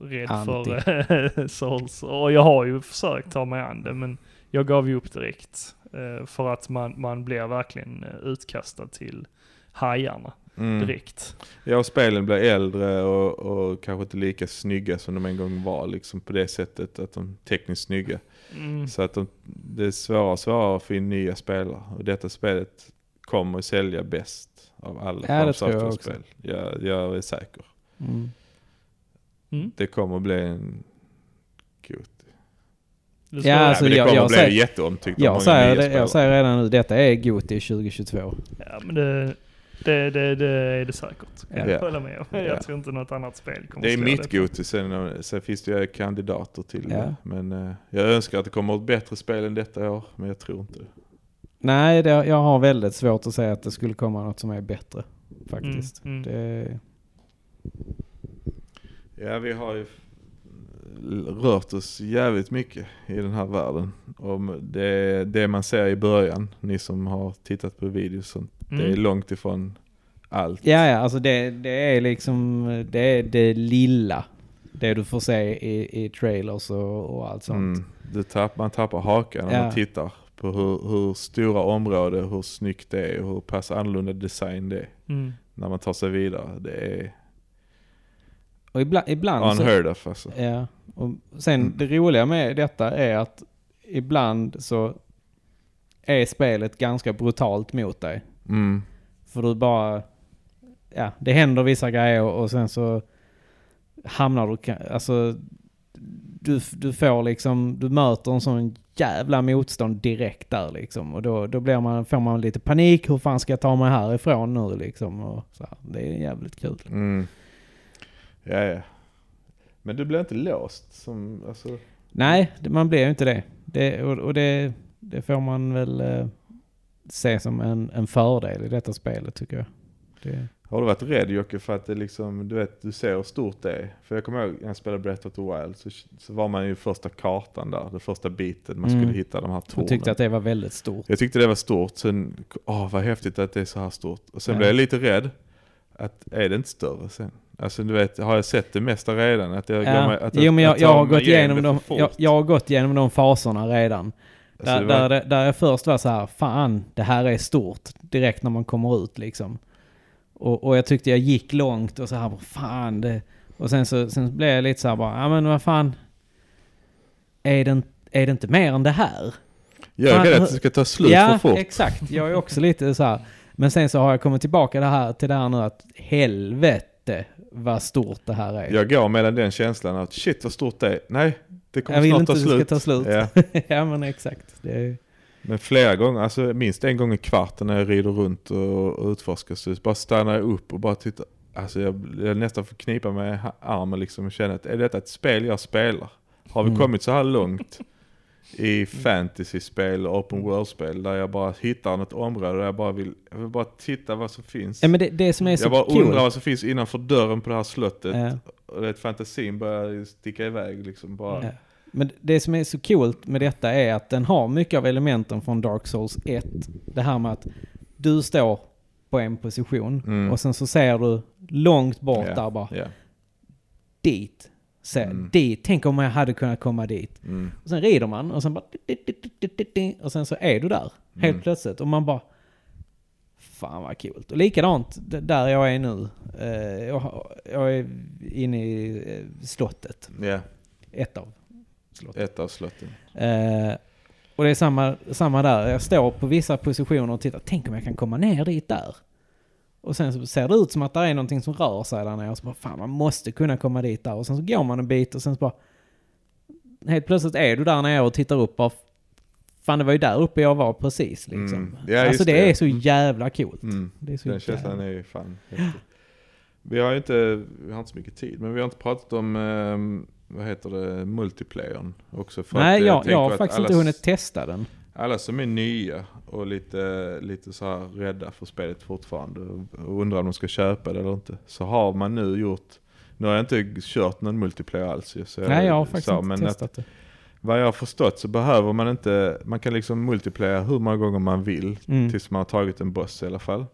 [SPEAKER 1] eh, rädd
[SPEAKER 3] Anti.
[SPEAKER 1] för eh, souls. Och jag har ju försökt ta mig an det men jag gav ju upp direkt. eh, För att man, man blir verkligen eh, utkastad till hajarna
[SPEAKER 2] mm.
[SPEAKER 1] direkt.
[SPEAKER 2] Ja, och spelen blir äldre och, och kanske inte lika snygga som de en gång var. Liksom på det sättet att de är tekniskt snygga.
[SPEAKER 1] Mm.
[SPEAKER 2] Så att de, det är svårare och svårare att få in nya spelare. Och detta spelet kommer att sälja bäst av alla
[SPEAKER 3] Ja, det
[SPEAKER 2] From
[SPEAKER 3] tror jag också.
[SPEAKER 2] Software-spel. Jag, jag är säker.
[SPEAKER 3] Mm.
[SPEAKER 1] Mm.
[SPEAKER 2] Det kommer att bli en... God.
[SPEAKER 1] Det
[SPEAKER 3] Ja,
[SPEAKER 1] tror jag.
[SPEAKER 3] alltså,
[SPEAKER 2] Nej, men det
[SPEAKER 3] jag-
[SPEAKER 2] kommer
[SPEAKER 3] jag
[SPEAKER 2] att bli
[SPEAKER 3] säger-
[SPEAKER 2] jätteomtyckt av
[SPEAKER 3] Jag,
[SPEAKER 2] många
[SPEAKER 3] säger,
[SPEAKER 2] nya
[SPEAKER 3] det, jag
[SPEAKER 2] spelare.
[SPEAKER 3] säger redan nu, detta är Goti 2022.
[SPEAKER 1] Ja, men det, det, det, det är det säkert. Kan
[SPEAKER 2] Ja.
[SPEAKER 1] jag hålla med om.
[SPEAKER 2] Ja.
[SPEAKER 1] Jag tror inte något annat spel kommer
[SPEAKER 2] Det är
[SPEAKER 1] slå
[SPEAKER 2] mitt Goti, sen, sen finns det ju kandidater till
[SPEAKER 3] Ja.
[SPEAKER 2] det. Men eh, jag önskar att det kommer ett bättre spel än detta år, men jag tror inte det.
[SPEAKER 3] Nej, det, jag har väldigt svårt att säga att det skulle komma något som är bättre. Faktiskt.
[SPEAKER 1] Mm, mm.
[SPEAKER 3] Det,
[SPEAKER 2] Ja, vi har ju rört oss jävligt mycket i den här världen. Och det, det man ser i början, ni som har tittat på videos, sånt, det är
[SPEAKER 1] Mm.
[SPEAKER 2] långt ifrån allt.
[SPEAKER 3] ja, ja, alltså det, det är liksom det, är det lilla. Det du får se i, i trailers och, och allt sånt.
[SPEAKER 2] Mm, det tapp, man tappar hakan när
[SPEAKER 3] Ja.
[SPEAKER 2] man tittar på hur, hur stora områden, hur snyggt det är och hur pass annorlunda design det är.
[SPEAKER 1] Mm.
[SPEAKER 2] När man tar sig vidare. Det är
[SPEAKER 3] Och ibland, ibland så,
[SPEAKER 2] unheard of alltså.
[SPEAKER 3] Ja, och sen det roliga med detta är att ibland så är spelet ganska brutalt mot dig.
[SPEAKER 2] Mm.
[SPEAKER 3] För du bara, ja det händer vissa grejer och sen så hamnar du, ka- alltså du, du får liksom, du möter en sån jävla motstånd direkt där liksom. Och då, då blir man, får man lite panik, hur fan ska jag ta mig härifrån nu liksom? Och så här, det är jävligt kul.
[SPEAKER 2] Mm. Ja, ja. Men du blir inte låst som, alltså.
[SPEAKER 3] Nej, det- man blir ju inte det. det och och det, det får man väl eh, se som en, en fördel i detta spelet tycker jag. Det,
[SPEAKER 2] Har du varit rädd Jocke för att det liksom, du vet, du ser hur stort det är? För jag kommer ihåg när jag spelade Breath of the Wild så, så var man ju första kartan där, den första biten man
[SPEAKER 3] Mm.
[SPEAKER 2] skulle hitta de här tornen.
[SPEAKER 3] jag tyckte att det var väldigt stort.
[SPEAKER 2] Jag tyckte det var stort, sen, åh vad häftigt att det är så här stort. Och sen
[SPEAKER 3] Ja.
[SPEAKER 2] blev jag lite rädd, att är det inte större sen? Alltså du vet, har jag sett det mesta redan? Att jag, glömmer,
[SPEAKER 3] Ja.
[SPEAKER 2] att
[SPEAKER 3] Jo men jag,
[SPEAKER 2] tar
[SPEAKER 3] jag, har
[SPEAKER 2] mig
[SPEAKER 3] gått igenom
[SPEAKER 2] det
[SPEAKER 3] de,
[SPEAKER 2] för fort.
[SPEAKER 3] jag, jag har gått igenom de faserna redan.
[SPEAKER 2] Alltså,
[SPEAKER 3] där,
[SPEAKER 2] det
[SPEAKER 3] där,
[SPEAKER 2] var-
[SPEAKER 3] det- där jag först var så här, fan det här är stort. Direkt när man kommer ut liksom. Och, och jag tyckte jag gick långt och så här, fan det... Och sen så, sen så blev jag lite så här bara, ja men vad fan. Är det, inte- är det inte mer än det här?
[SPEAKER 2] Jag är
[SPEAKER 3] Fan,
[SPEAKER 2] rädd
[SPEAKER 3] hur-
[SPEAKER 2] att det ska ta slut
[SPEAKER 3] ja,
[SPEAKER 2] för fort.
[SPEAKER 3] exakt. Jag är också lite så här. Men sen så har jag kommit tillbaka det här, till det här nu att helvete vad stort det här är.
[SPEAKER 2] Jag går mellan den känslan att shit vad stort det är. Nej, det kommer
[SPEAKER 3] Jag vill
[SPEAKER 2] snart
[SPEAKER 3] inte
[SPEAKER 2] ta
[SPEAKER 3] att det ska
[SPEAKER 2] slut.
[SPEAKER 3] ta slut.
[SPEAKER 2] Ja.
[SPEAKER 3] ja men exakt. Det är,
[SPEAKER 2] Men flera gånger, alltså minst en gång i kvarten när jag rider runt och och utforskar så bara stannar jag upp och bara tittar. Alltså jag, jag nästan får knipa mig i ha- armen liksom och känna att är detta ett spel jag spelar? Har vi
[SPEAKER 3] Mm.
[SPEAKER 2] kommit så här långt i fantasyspel och open world-spel där jag bara hittar något område där jag bara vill, jag vill bara titta vad som finns.
[SPEAKER 3] ja, men det, det som är så
[SPEAKER 2] jag bara
[SPEAKER 3] kul.
[SPEAKER 2] undrar vad som finns innanför dörren på det här slottet.
[SPEAKER 3] Ja.
[SPEAKER 2] Och det, fantasin börjar ju sticka iväg liksom bara.
[SPEAKER 3] Ja. Men det som är så kul med detta är att den har mycket av elementen från Dark Souls 1. Det här med att du står på en position
[SPEAKER 2] Mm.
[SPEAKER 3] och sen så ser du långt bort
[SPEAKER 2] Ja.
[SPEAKER 3] där bara,
[SPEAKER 2] Ja.
[SPEAKER 3] dit. Se,
[SPEAKER 2] Mm.
[SPEAKER 3] dit. Tänk om jag hade kunnat komma dit.
[SPEAKER 2] Mm.
[SPEAKER 3] Och sen rider man och sen bara... Och sen så är du där. Helt
[SPEAKER 2] Mm.
[SPEAKER 3] plötsligt. Och man bara... Fan vad kul. Och likadant d- där jag är nu. Eh, Jag, har- jag är inne i eh, slottet.
[SPEAKER 2] Ja,
[SPEAKER 3] Ett av slottet.
[SPEAKER 2] ett av slotten.
[SPEAKER 3] Eh, Och det är samma, samma där. Jag står på vissa positioner och tittar. Tänk om jag kan komma ner dit där. Och sen så ser det ut som att det är någonting som rör sig där nere. Och så bara, fan man måste kunna komma dit där. Och sen så går man en bit och sen så bara... Helt plötsligt är du där nere och tittar upp bara... Fan det var ju där uppe jag var precis liksom.
[SPEAKER 2] Mm. Ja,
[SPEAKER 3] alltså
[SPEAKER 2] just
[SPEAKER 3] det,
[SPEAKER 2] det.
[SPEAKER 3] är så jävla coolt.
[SPEAKER 2] Mm.
[SPEAKER 3] Det är så
[SPEAKER 2] Den känslan är ju fan häftig. Vi har ju inte, vi har inte så mycket tid, men vi har inte pratat om ehm, vad heter det, multiplayern också. För att,
[SPEAKER 3] Nej,
[SPEAKER 2] eh,
[SPEAKER 3] jag,
[SPEAKER 2] tänker
[SPEAKER 3] jag har
[SPEAKER 2] att
[SPEAKER 3] faktiskt
[SPEAKER 2] alla,
[SPEAKER 3] inte hunnit testa den.
[SPEAKER 2] Alla som är nya och lite, lite så här rädda för spelet fortfarande och undrar om de ska köpa det eller inte. Så har man nu gjort, nu har jag inte kört någon multiplayer alls ju, så
[SPEAKER 3] Nej, jag har faktiskt
[SPEAKER 2] så,
[SPEAKER 3] inte
[SPEAKER 2] men
[SPEAKER 3] testat det.
[SPEAKER 2] Vad jag har förstått så behöver man inte, man kan liksom multiplaya hur många gånger man vill
[SPEAKER 3] Mm.
[SPEAKER 2] tills man har tagit en boss i alla fall.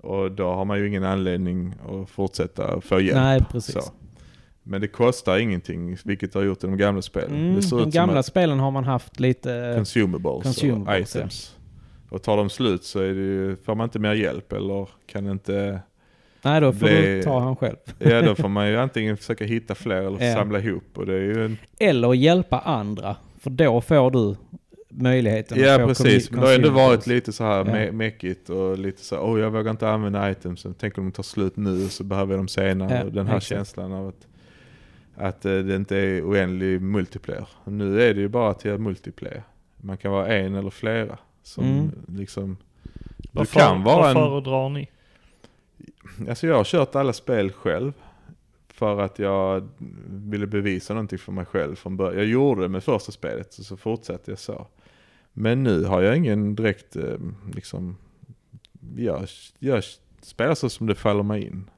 [SPEAKER 2] Och då har man ju ingen anledning att fortsätta få hjälp.
[SPEAKER 3] Nej, precis.
[SPEAKER 2] Så. Men det kostar ingenting, vilket det har gjort i de gamla spelen.
[SPEAKER 3] Mm,
[SPEAKER 2] det ser
[SPEAKER 3] de
[SPEAKER 2] ut som
[SPEAKER 3] gamla
[SPEAKER 2] att
[SPEAKER 3] spelen har man haft lite...
[SPEAKER 2] consumables,
[SPEAKER 3] consumables,
[SPEAKER 2] och items. Och tar de slut så är det ju, får man inte mer hjälp eller kan inte...
[SPEAKER 3] Nej, då får du
[SPEAKER 2] det-
[SPEAKER 3] ta han själv.
[SPEAKER 2] Ja, då får man ju antingen försöka hitta fler eller
[SPEAKER 3] Ja.
[SPEAKER 2] samla ihop. Och det är ju en,
[SPEAKER 3] Eller hjälpa andra, för då får du möjligheten
[SPEAKER 2] ja,
[SPEAKER 3] få
[SPEAKER 2] precis.
[SPEAKER 3] commu-
[SPEAKER 2] Men det har ändå
[SPEAKER 3] consumables.
[SPEAKER 2] varit lite så här
[SPEAKER 3] Ja.
[SPEAKER 2] me- mekigt och lite så här, oh jag vågar inte använda itemsen. Tänk om de tar slut nu så behöver jag dem senare.
[SPEAKER 3] Ja,
[SPEAKER 2] och den här
[SPEAKER 3] exakt.
[SPEAKER 2] känslan av att, att eh, det inte är oändlig multiplayer. Nu är det ju bara till att multiplayer. Man kan vara en eller flera. Som
[SPEAKER 3] Mm.
[SPEAKER 2] liksom, du
[SPEAKER 1] Vad
[SPEAKER 2] kan
[SPEAKER 1] för-
[SPEAKER 2] vara
[SPEAKER 1] vad
[SPEAKER 2] en...
[SPEAKER 1] föredrar ni?
[SPEAKER 2] Alltså jag har kört alla spel själv. För att jag ville bevisa någonting för mig själv från början. Jag gjorde det med första spelet och så fortsatte jag så. Men nu har jag ingen direkt eh, liksom, jag, jag spelar så som det faller mig in.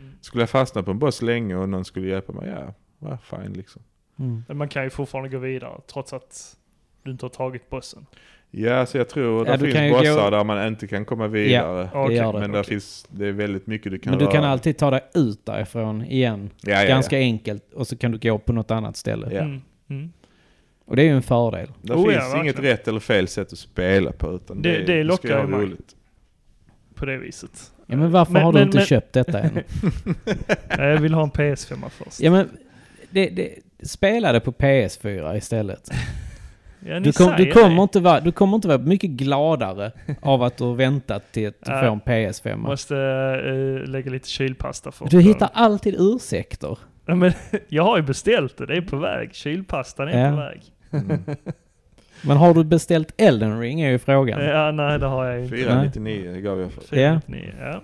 [SPEAKER 1] Mm.
[SPEAKER 2] Skulle jag fastna på en boss länge och någon skulle hjälpa mig, ja, va, fine liksom.
[SPEAKER 3] Mm.
[SPEAKER 1] Men Man kan ju fortfarande gå vidare trots att du inte har tagit bossen.
[SPEAKER 2] Ja, så jag tror
[SPEAKER 3] Ja,
[SPEAKER 2] det
[SPEAKER 3] du kan ju
[SPEAKER 2] finns bossar
[SPEAKER 3] gå-
[SPEAKER 2] där man inte kan komma vidare.
[SPEAKER 1] Okej,
[SPEAKER 3] gör det.
[SPEAKER 2] Men där finns, det är väldigt mycket du kan
[SPEAKER 3] Men du kan
[SPEAKER 2] röra.
[SPEAKER 3] alltid ta dig ut därifrån igen.
[SPEAKER 2] ja, ja, ja.
[SPEAKER 3] Ganska enkelt. Och så kan du gå på något annat ställe.
[SPEAKER 2] Ja.
[SPEAKER 1] Mm. Mm.
[SPEAKER 3] Och det är ju en fördel.
[SPEAKER 2] Det
[SPEAKER 1] Oh, ja,
[SPEAKER 2] finns inget
[SPEAKER 1] verkligen.
[SPEAKER 2] rätt eller fel sätt att spela på utan
[SPEAKER 1] Det-
[SPEAKER 2] det,
[SPEAKER 1] det
[SPEAKER 2] du ska
[SPEAKER 1] lockar
[SPEAKER 2] göra
[SPEAKER 1] ju mig.
[SPEAKER 2] roligt.
[SPEAKER 1] På det viset.
[SPEAKER 3] Ja, men varför
[SPEAKER 1] Men-
[SPEAKER 3] har du
[SPEAKER 1] men-
[SPEAKER 3] inte
[SPEAKER 1] men-
[SPEAKER 3] köpt detta än?
[SPEAKER 1] Nej, Jag vill ha en PS5 först.
[SPEAKER 3] Ja, men det, det, spela det på PS4 istället.
[SPEAKER 1] Ja, ni
[SPEAKER 3] Du, kom, du,
[SPEAKER 1] säger
[SPEAKER 3] kommer
[SPEAKER 1] det.
[SPEAKER 3] inte vara, du kommer inte vara mycket gladare av att du har väntat till att du
[SPEAKER 1] Nej.
[SPEAKER 3] får en PS5.
[SPEAKER 1] Måste eh, lägga lite kylpasta för
[SPEAKER 3] Du
[SPEAKER 1] den.
[SPEAKER 3] hittar alltid ursäkter.
[SPEAKER 1] Ja, men, jag har ju beställt det, det är på väg. Kylpastan är
[SPEAKER 3] Ja.
[SPEAKER 1] på väg.
[SPEAKER 2] Mm.
[SPEAKER 3] Men har du beställt Elden Ring är ju frågan.
[SPEAKER 1] Ja, nej det har jag ju inte.
[SPEAKER 2] 499 gav jag för.
[SPEAKER 3] Ja.
[SPEAKER 1] 499, ja.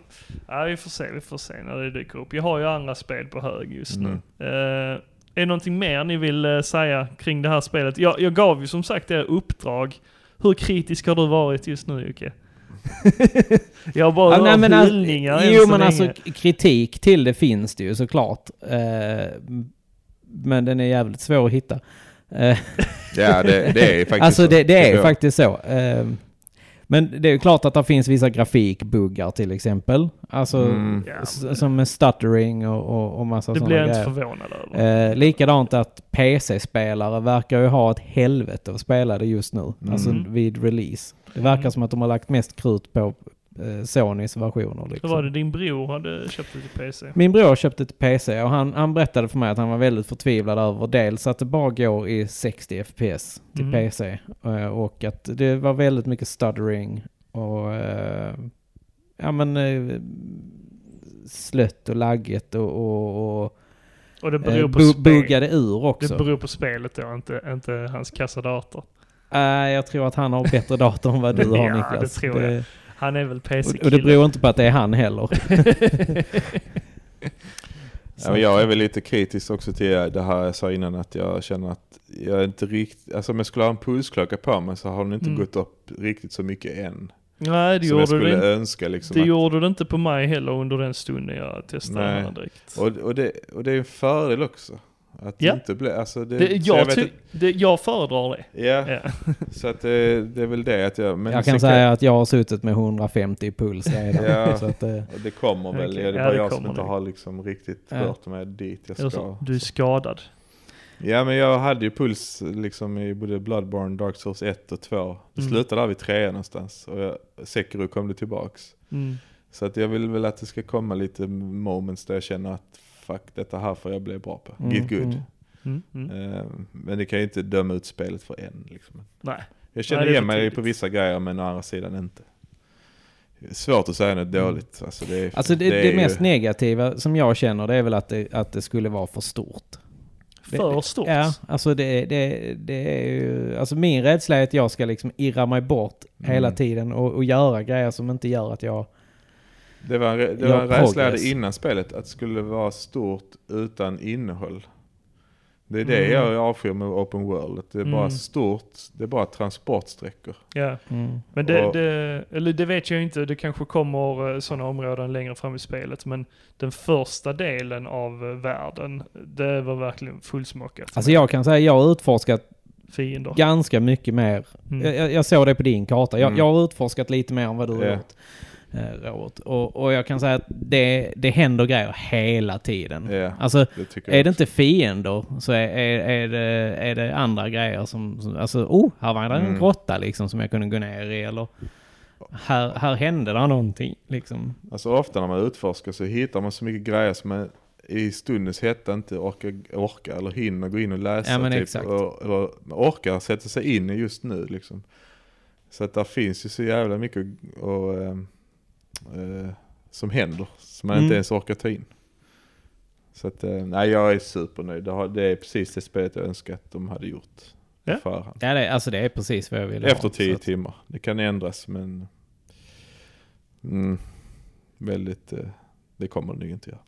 [SPEAKER 1] ja, vi får se, vi får se när det dyker upp. Jag har ju andra spel på hög just
[SPEAKER 2] Mm.
[SPEAKER 1] nu. Eh, är det någonting mer ni vill eh, säga kring det här spelet? Jag, jag gav ju som sagt er uppdrag. Hur kritisk har du varit just nu Jocke? jag har bara
[SPEAKER 3] Ja, nej,
[SPEAKER 1] hört
[SPEAKER 3] men alltså-
[SPEAKER 1] hyllningar än
[SPEAKER 3] jo
[SPEAKER 1] så
[SPEAKER 3] men
[SPEAKER 1] länge.
[SPEAKER 3] alltså k- kritik till det finns det ju såklart. Eh, men den är jävligt svår att hitta. Eh,
[SPEAKER 2] Ja det, det är faktiskt
[SPEAKER 3] alltså
[SPEAKER 2] så.
[SPEAKER 3] det, det är
[SPEAKER 2] går.
[SPEAKER 3] faktiskt så. Eh, men det är ju klart att det finns vissa grafikbuggar till exempel. Alltså
[SPEAKER 2] Mm.
[SPEAKER 1] Ja,
[SPEAKER 3] s-
[SPEAKER 1] men-
[SPEAKER 3] som med stuttering och, och, och massa
[SPEAKER 1] det
[SPEAKER 3] sådana
[SPEAKER 1] blir jag
[SPEAKER 3] grejer.
[SPEAKER 1] inte förvånad över.
[SPEAKER 3] Eh, likadant att PC-spelare verkar ju ha ett helvete att spela det just nu.
[SPEAKER 2] Mm.
[SPEAKER 3] Alltså vid release. Det verkar
[SPEAKER 1] Mm.
[SPEAKER 3] som att de har lagt mest krut på eh, Sonys versioner.
[SPEAKER 1] Hur
[SPEAKER 3] Liksom.
[SPEAKER 1] var det din bror hade köpt det till PC?
[SPEAKER 3] Min bror köpte ett PC och han, han berättade för mig att han var väldigt förtvivlad över dels att det bara går i 60 FPS till
[SPEAKER 1] Mm.
[SPEAKER 3] PC eh, och att det var väldigt mycket stuttering och eh, ja men eh, slött och laggigt och, och, och
[SPEAKER 1] Och det beror
[SPEAKER 3] eh,
[SPEAKER 1] på
[SPEAKER 3] bu-
[SPEAKER 1] spel.
[SPEAKER 3] buggade ur också.
[SPEAKER 1] Det beror på spelet då, inte, inte hans kassadator.
[SPEAKER 3] Nej, jag tror att han har bättre dator än vad du har
[SPEAKER 1] Ja, det
[SPEAKER 3] Niklas.
[SPEAKER 1] tror jag. Han är väl
[SPEAKER 3] och, och
[SPEAKER 1] PC-kille.
[SPEAKER 3] det beror inte på att det är han heller.
[SPEAKER 2] Ja, men jag är väl lite kritisk också till det här jag sa innan att jag känner att jag är inte riktigt, alltså om jag skulle ha en pulsklocka på mig så har den inte
[SPEAKER 1] Mm.
[SPEAKER 2] gått upp riktigt så mycket än.
[SPEAKER 1] Nej, det
[SPEAKER 2] som jag
[SPEAKER 1] gjorde
[SPEAKER 2] skulle
[SPEAKER 1] det inte.
[SPEAKER 2] önska liksom.
[SPEAKER 1] Det
[SPEAKER 2] att-
[SPEAKER 1] gjorde det inte på mig heller under den stunden jag testade
[SPEAKER 2] Nej.
[SPEAKER 1] den här direkt.
[SPEAKER 2] och, och, det, och det är en fördel också. Att
[SPEAKER 1] Ja.
[SPEAKER 2] det inte blir, alltså det,
[SPEAKER 1] Det,
[SPEAKER 2] så jag
[SPEAKER 1] jag,
[SPEAKER 2] vet
[SPEAKER 1] ty-
[SPEAKER 2] inte-
[SPEAKER 1] det, jag föredrar det.
[SPEAKER 2] Ja,
[SPEAKER 1] Ja.
[SPEAKER 2] så att det, det är väl det att jag, men
[SPEAKER 3] jag kan
[SPEAKER 2] sen
[SPEAKER 3] säga att jag har suttit med 150 i puls redan.
[SPEAKER 2] Ja.
[SPEAKER 3] så att, eh,
[SPEAKER 2] Och Det kommer väl,
[SPEAKER 1] Okej,
[SPEAKER 2] ja, det är
[SPEAKER 1] ja,
[SPEAKER 2] bara
[SPEAKER 1] det
[SPEAKER 2] jag som
[SPEAKER 1] kommer
[SPEAKER 2] inte
[SPEAKER 1] nog.
[SPEAKER 2] har liksom riktigt
[SPEAKER 3] Ja.
[SPEAKER 2] rört mig dit jag
[SPEAKER 1] Jag
[SPEAKER 2] ska.
[SPEAKER 1] sa, du är skadad.
[SPEAKER 2] Ja men jag hade ju puls liksom i både Bloodborne, Dark Souls 1 och 2. Det
[SPEAKER 1] Mm.
[SPEAKER 2] slutade där vid 3 någonstans och jag, Sekiro kom det tillbaks.
[SPEAKER 1] Mm.
[SPEAKER 2] Så att jag vill väl att det ska komma lite moments där jag känner att fuck detta här får jag bli bra på.
[SPEAKER 3] Mm,
[SPEAKER 2] Get good.
[SPEAKER 3] mm.
[SPEAKER 1] Mm. Mm.
[SPEAKER 2] Eh, men det kan ju inte döma ut spelet för en liksom.
[SPEAKER 1] Nej.
[SPEAKER 2] Jag känner
[SPEAKER 1] Nej, det är
[SPEAKER 2] igen
[SPEAKER 1] för
[SPEAKER 2] mig
[SPEAKER 1] tidigt.
[SPEAKER 2] på vissa grejer men å andra sidan inte. Svårt att säga något dåligt. Alltså det är,
[SPEAKER 3] alltså det, det,
[SPEAKER 2] är
[SPEAKER 3] mest
[SPEAKER 2] ju,
[SPEAKER 3] negativa som jag känner det är väl att det, att det skulle vara för stort.
[SPEAKER 1] För stort.
[SPEAKER 3] Ja, alltså det, det, det är ju... Alltså min rädsla är att jag ska liksom irra mig bort hela
[SPEAKER 2] Mm.
[SPEAKER 3] tiden och, och göra grejer som inte gör att jag...
[SPEAKER 2] Det var en, rä- det
[SPEAKER 3] Ja,
[SPEAKER 2] var en rädsla jag hade
[SPEAKER 3] progress.
[SPEAKER 2] innan spelet, att det skulle vara stort utan innehåll. Det är det
[SPEAKER 1] Mm.
[SPEAKER 2] jag avskyr med open world. att Det är bara
[SPEAKER 1] Mm.
[SPEAKER 2] stort, det är bara transportsträckor.
[SPEAKER 1] Ja,
[SPEAKER 3] Mm.
[SPEAKER 1] men det,
[SPEAKER 2] Och-
[SPEAKER 1] det, eller det vet jag inte. Det kanske kommer sådana områden längre fram i spelet. Men den första delen av eh, världen, det var verkligen fullsmockat.
[SPEAKER 3] Alltså jag kan säga jag har utforskat
[SPEAKER 1] Fiender.
[SPEAKER 3] ganska mycket mer.
[SPEAKER 1] Mm.
[SPEAKER 3] Jag- Jag, jag såg det på din karta. Jag,
[SPEAKER 2] Mm.
[SPEAKER 3] jag har utforskat lite mer än vad du har
[SPEAKER 2] Ja.
[SPEAKER 3] gjort, eh, Robert. Och, och jag kan säga att det, det händer grejer hela tiden.
[SPEAKER 2] Ja,
[SPEAKER 3] Alltså,
[SPEAKER 2] det tycker
[SPEAKER 3] är
[SPEAKER 2] jag.
[SPEAKER 3] det inte fiender så är, är, är, det, är det andra grejer som, som alltså, oh, här var det en
[SPEAKER 2] Mm.
[SPEAKER 3] råtta liksom som jag kunde gå ner i eller här, här hände det någonting liksom.
[SPEAKER 2] Alltså ofta när man utforskar så hittar man så mycket grejer som man i stundens hetta inte orkar, orkar eller hinner gå in och läsa. typ.
[SPEAKER 3] Ja, men exakt.
[SPEAKER 2] Och, eller orkar sätta sig in i just nu liksom. Så att där finns ju så jävla mycket och, ehm, eh, som händer som man
[SPEAKER 3] Mm.
[SPEAKER 2] inte ens orkar ta in. Så att, eh, nej jag är supernöjd. Det, har, det är precis det spelet jag önskar att de hade gjort.
[SPEAKER 1] Ja.
[SPEAKER 2] på förhand.
[SPEAKER 3] Ja, det, alltså det är precis vad jag ville
[SPEAKER 2] Efter
[SPEAKER 3] ha.
[SPEAKER 2] tio
[SPEAKER 3] Så att-
[SPEAKER 2] timmar. Det kan ändras men... Mm, väldigt... Eh, det kommer det nog inte göra.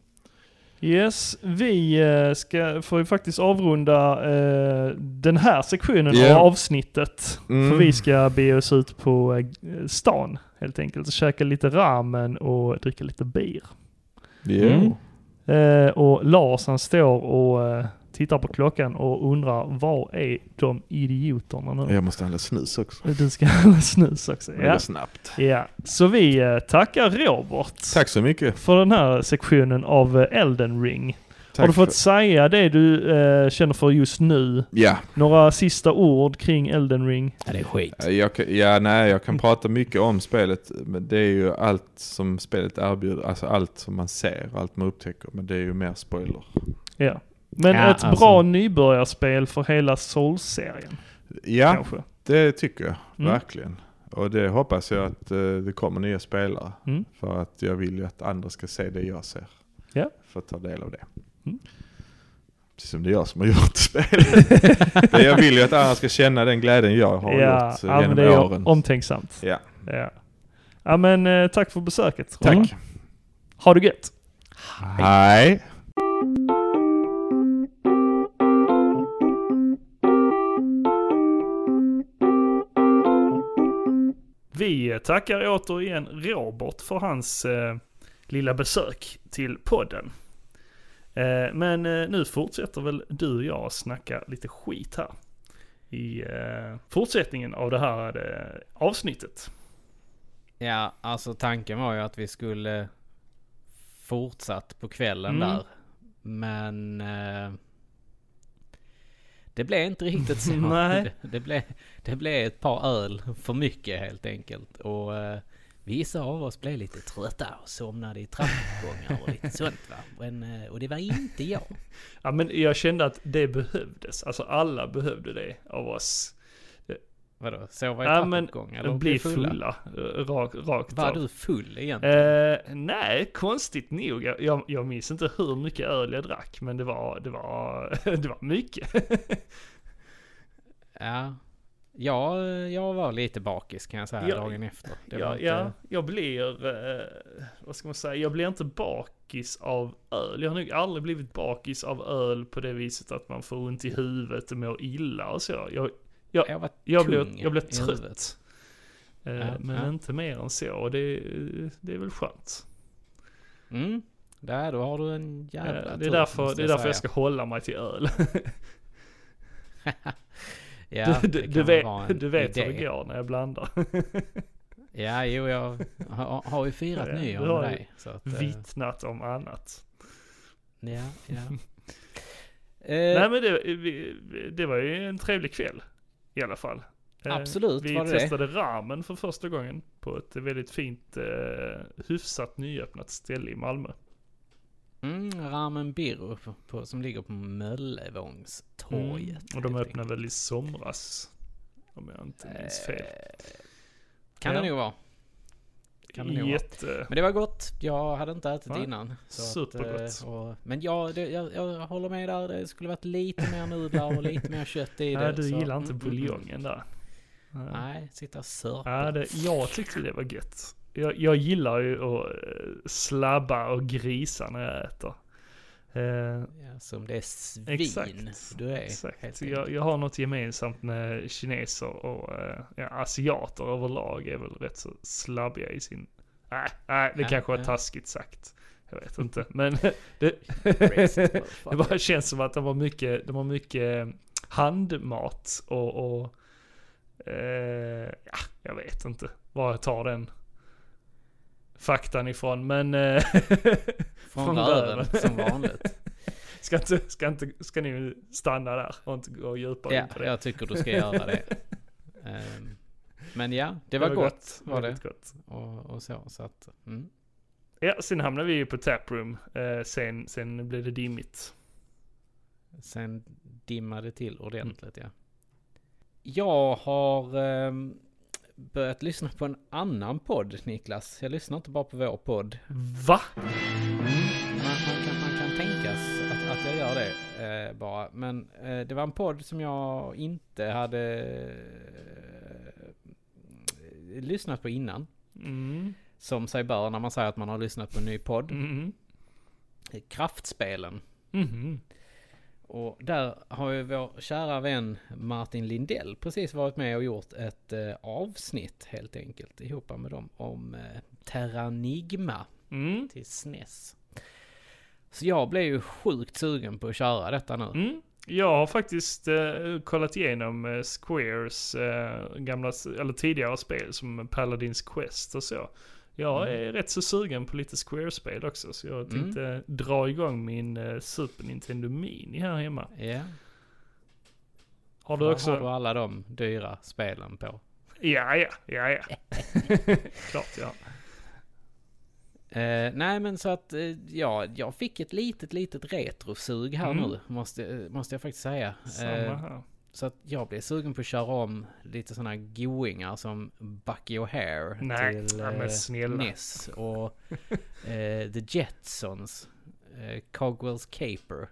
[SPEAKER 1] Yes, vi eh, ska, får ju faktiskt avrunda eh, den här sektionen
[SPEAKER 2] Ja.
[SPEAKER 1] av avsnittet.
[SPEAKER 2] Mm.
[SPEAKER 1] För vi ska bege oss ut på eh, stan helt enkelt. Käka lite ramen och dricka lite bier.
[SPEAKER 2] Jo.
[SPEAKER 3] Mm.
[SPEAKER 1] Eh, och Lars han står och eh, tittar på klockan och undrar var är de idioterna nu?
[SPEAKER 2] Jag måste handla snus också.
[SPEAKER 1] Du ska handla snus också.
[SPEAKER 2] Men det
[SPEAKER 1] Ja.
[SPEAKER 2] går snabbt.
[SPEAKER 1] ja, så vi eh, tackar Robert
[SPEAKER 2] Tack så mycket.
[SPEAKER 1] för den här sektionen av eh, Elden Ring.
[SPEAKER 2] Tack
[SPEAKER 1] Har du fått
[SPEAKER 2] För,
[SPEAKER 1] säga det du eh, känner för just nu?
[SPEAKER 2] ja.
[SPEAKER 1] Några sista ord kring Elden Ring?
[SPEAKER 3] Ja, det är skit.
[SPEAKER 2] Jag, kan- ja, nej, jag kan prata mycket om spelet. Men det är ju allt som spelet erbjuder. Alltså allt som man ser, allt man upptäcker. Men det är ju mer spoiler.
[SPEAKER 1] Ja. Men
[SPEAKER 3] Ja,
[SPEAKER 1] ett
[SPEAKER 3] alltså.
[SPEAKER 1] bra nybörjarspel för hela Souls-serien
[SPEAKER 2] Ja,
[SPEAKER 1] kanske?
[SPEAKER 2] det tycker jag.
[SPEAKER 1] Mm.
[SPEAKER 2] Verkligen. Och det hoppas jag att eh, det kommer nya spelare.
[SPEAKER 1] Mm.
[SPEAKER 2] För att jag vill ju att andra ska se det jag ser.
[SPEAKER 1] Ja.
[SPEAKER 2] För att ta del av det.
[SPEAKER 1] Mm.
[SPEAKER 2] Precis som det är jag som har gjort spelet. Men jag vill ju att andra ska känna den glädjen jag har
[SPEAKER 1] ja,
[SPEAKER 2] gjort eh,
[SPEAKER 1] ja, men
[SPEAKER 2] genom
[SPEAKER 1] det är
[SPEAKER 2] åren.
[SPEAKER 1] omtänksamt.
[SPEAKER 2] Ja.
[SPEAKER 1] Ja. ja men eh, tack för besöket.
[SPEAKER 2] Tack.
[SPEAKER 1] Robert. Ha det gött.
[SPEAKER 2] Hej.
[SPEAKER 1] Vi tackar återigen Robert för hans eh, lilla besök till podden. Eh, men eh, nu fortsätter väl du och jag snacka lite skit här. I eh, fortsättningen av det här eh, avsnittet.
[SPEAKER 3] Ja, alltså tanken var ju att vi skulle fortsatt på kvällen
[SPEAKER 1] Mm.
[SPEAKER 3] där. Men eh, det blev inte riktigt så.
[SPEAKER 1] Nej.
[SPEAKER 3] Det, det, blev, det blev ett par öl för mycket helt enkelt. Och eh, vissa av oss blev lite trötta och somnade i trappuppgångar och lite sånt va. Men, eh, och det var inte jag.
[SPEAKER 1] Ja, men jag kände att det behövdes. Alltså alla behövde det av oss.
[SPEAKER 3] Vadå, sova i
[SPEAKER 1] Ja, men
[SPEAKER 3] trappuppgångar? eller
[SPEAKER 1] Bli,
[SPEAKER 3] bli
[SPEAKER 1] fulla. eh, Rak, rakt
[SPEAKER 3] Var
[SPEAKER 1] av.
[SPEAKER 3] du full egentligen?
[SPEAKER 1] Eh, nej, konstigt nog. Jag, jag, jag minns inte hur mycket öl jag drack, men det var, det var, det var mycket.
[SPEAKER 3] Ja. Ja, jag var lite bakis kan jag säga
[SPEAKER 1] Ja.
[SPEAKER 3] dagen efter. Det var
[SPEAKER 1] Jag,
[SPEAKER 3] inte...
[SPEAKER 1] jag, jag blir, eh, vad ska man säga, jag blir inte bakis av öl. Jag har nog aldrig blivit bakis av öl på det viset att man får ont i huvudet och mår illa och så. Jag,
[SPEAKER 3] Jag var
[SPEAKER 1] jag, blir,
[SPEAKER 3] tung
[SPEAKER 1] jag blir
[SPEAKER 3] i huvudet.
[SPEAKER 1] trött. Eh,
[SPEAKER 3] Ja,
[SPEAKER 1] men
[SPEAKER 3] ja.
[SPEAKER 1] inte mer än så, och det, det är väl skönt.
[SPEAKER 3] Mm. Där, då har du en
[SPEAKER 1] Eh,
[SPEAKER 3] jävla
[SPEAKER 1] det
[SPEAKER 3] tur,
[SPEAKER 1] är därför,
[SPEAKER 3] måste
[SPEAKER 1] det är därför
[SPEAKER 3] säga.
[SPEAKER 1] jag ska hålla mig till öl.
[SPEAKER 3] Ja,
[SPEAKER 1] du, du,
[SPEAKER 3] det
[SPEAKER 1] du,
[SPEAKER 3] kan vara en
[SPEAKER 1] vet, du vet hur det
[SPEAKER 3] idé.
[SPEAKER 1] går när jag blandar.
[SPEAKER 3] Ja, jo, jag har, har ju firat
[SPEAKER 1] Ja, ja,
[SPEAKER 3] nyår
[SPEAKER 1] du har
[SPEAKER 3] med
[SPEAKER 1] ju
[SPEAKER 3] dig. Så att, eh,
[SPEAKER 1] Vittnat om annat.
[SPEAKER 3] Ja, ja.
[SPEAKER 1] Nej
[SPEAKER 3] Eh,
[SPEAKER 1] men det, vi, det var ju en trevlig kväll i alla fall. Eh,
[SPEAKER 3] Absolut,
[SPEAKER 1] Vi
[SPEAKER 3] var det det?
[SPEAKER 1] testade ramen för första gången på ett väldigt fint, eh, hyfsat nyöppnat ställe i Malmö.
[SPEAKER 3] mm, ramen Biro på, på, som ligger på Möllevångstorget.
[SPEAKER 1] Mm. Och de
[SPEAKER 3] helt
[SPEAKER 1] öppnade väl i somras. Om jag inte
[SPEAKER 3] enkelt.
[SPEAKER 1] minns fel.
[SPEAKER 3] Eh, Kan
[SPEAKER 1] Ja.
[SPEAKER 3] det nog vara. kan det nog vara.
[SPEAKER 1] Jätte...
[SPEAKER 3] Men det var gott. Jag hade inte ätit
[SPEAKER 1] Nej.
[SPEAKER 3] innan. Så att, eh,
[SPEAKER 1] Supergott.
[SPEAKER 3] och, men ja, det, jag, jag håller med där. Det skulle varit lite mer nudlar och lite mer kött i det.
[SPEAKER 1] Nej, du
[SPEAKER 3] så-
[SPEAKER 1] gillar inte
[SPEAKER 3] mm, mm, mm.
[SPEAKER 1] buljongen där. Nej.
[SPEAKER 3] Nej, sitta och sörpla.
[SPEAKER 1] Ja, det, jag tyckte det var gött. Jag, jag gillar ju att eh, slabba och grisa när jag äter. Eh,
[SPEAKER 3] Ja, som det är svin
[SPEAKER 1] Exakt.
[SPEAKER 3] du är.
[SPEAKER 1] Exakt.
[SPEAKER 3] helt
[SPEAKER 1] Jag, jag har något gemensamt med kineser och eh, ja, asiater överlag är väl rätt så slabbiga i sin... Nej, nej, det
[SPEAKER 3] Ja,
[SPEAKER 1] kanske var
[SPEAKER 3] ja.
[SPEAKER 1] taskigt sagt. Jag vet inte. Men det,
[SPEAKER 3] Rest,
[SPEAKER 1] det
[SPEAKER 3] motherfucker.
[SPEAKER 1] bara känns som att de har mycket, de har mycket handmat och... och eh, ja, jag vet inte var jag tar den faktan ifrån. Men... eh,
[SPEAKER 3] Från
[SPEAKER 1] från
[SPEAKER 3] röven,
[SPEAKER 1] röven.
[SPEAKER 3] som vanligt.
[SPEAKER 1] Ska, inte, ska, inte, ska ni stanna där och inte gå djupare
[SPEAKER 3] ja,
[SPEAKER 1] in på det?
[SPEAKER 3] jag tycker du ska göra det. Ehm, men ja, det var, gott, var det.
[SPEAKER 1] Väldigt gott.
[SPEAKER 3] Och, och så, så att, mm.
[SPEAKER 1] Ja, sen hamnade vi ju på Taproom. Eh, sen, sen blev det dimmigt.
[SPEAKER 3] Sen dimmade det till ordentligt, ja. Jag har ehm, börjat lyssna på en annan podd, Niklas. Jag lyssnar inte bara på vår podd.
[SPEAKER 1] Va?
[SPEAKER 3] Man, man, kan, man kan tänkas att, att jag gör det eh, bara. Men eh, det var en podd som jag inte hade eh, lyssnat på innan.
[SPEAKER 1] Mm.
[SPEAKER 3] Som sig bör när man säger att man har lyssnat på en ny podd.
[SPEAKER 1] Mm.
[SPEAKER 3] Kraftspelen.
[SPEAKER 1] Mm.
[SPEAKER 3] Och där har ju vår kära vän Martin Lindell precis varit med och gjort ett eh, avsnitt helt enkelt ihop med dem om eh, Terranigma.
[SPEAKER 1] Mm.
[SPEAKER 3] till SNES. Så jag blev ju sjukt sugen på att köra detta nu.
[SPEAKER 1] Mm. Jag har faktiskt eh, kollat igenom eh, Squares eh, gamla, s- eller tidigare spel som Paladins Quest och så. Jag
[SPEAKER 3] Mm.
[SPEAKER 1] är rätt så sugen på lite Square-spel också, så jag tänkte dra igång min eh, Super Nintendo Mini här hemma.
[SPEAKER 3] Ja.
[SPEAKER 1] Har
[SPEAKER 3] Där
[SPEAKER 1] du också?
[SPEAKER 3] har du alla de dyra spelen på.
[SPEAKER 1] Ja, ja, ja, ja. Klart ja.
[SPEAKER 3] Eh, nej men så att eh, ja, jag fick ett litet litet retrosug här
[SPEAKER 1] Mm.
[SPEAKER 3] nu måste, eh, måste jag faktiskt säga.
[SPEAKER 1] Samma
[SPEAKER 3] Eh,
[SPEAKER 1] här.
[SPEAKER 3] så att jag blev sugen på att köra om lite sådana goingar som Bucky O'Hare
[SPEAKER 1] Nej,
[SPEAKER 3] till
[SPEAKER 1] ja, men snälla.
[SPEAKER 3] NES och eh, The Jetsons, eh, Cogwells Caper.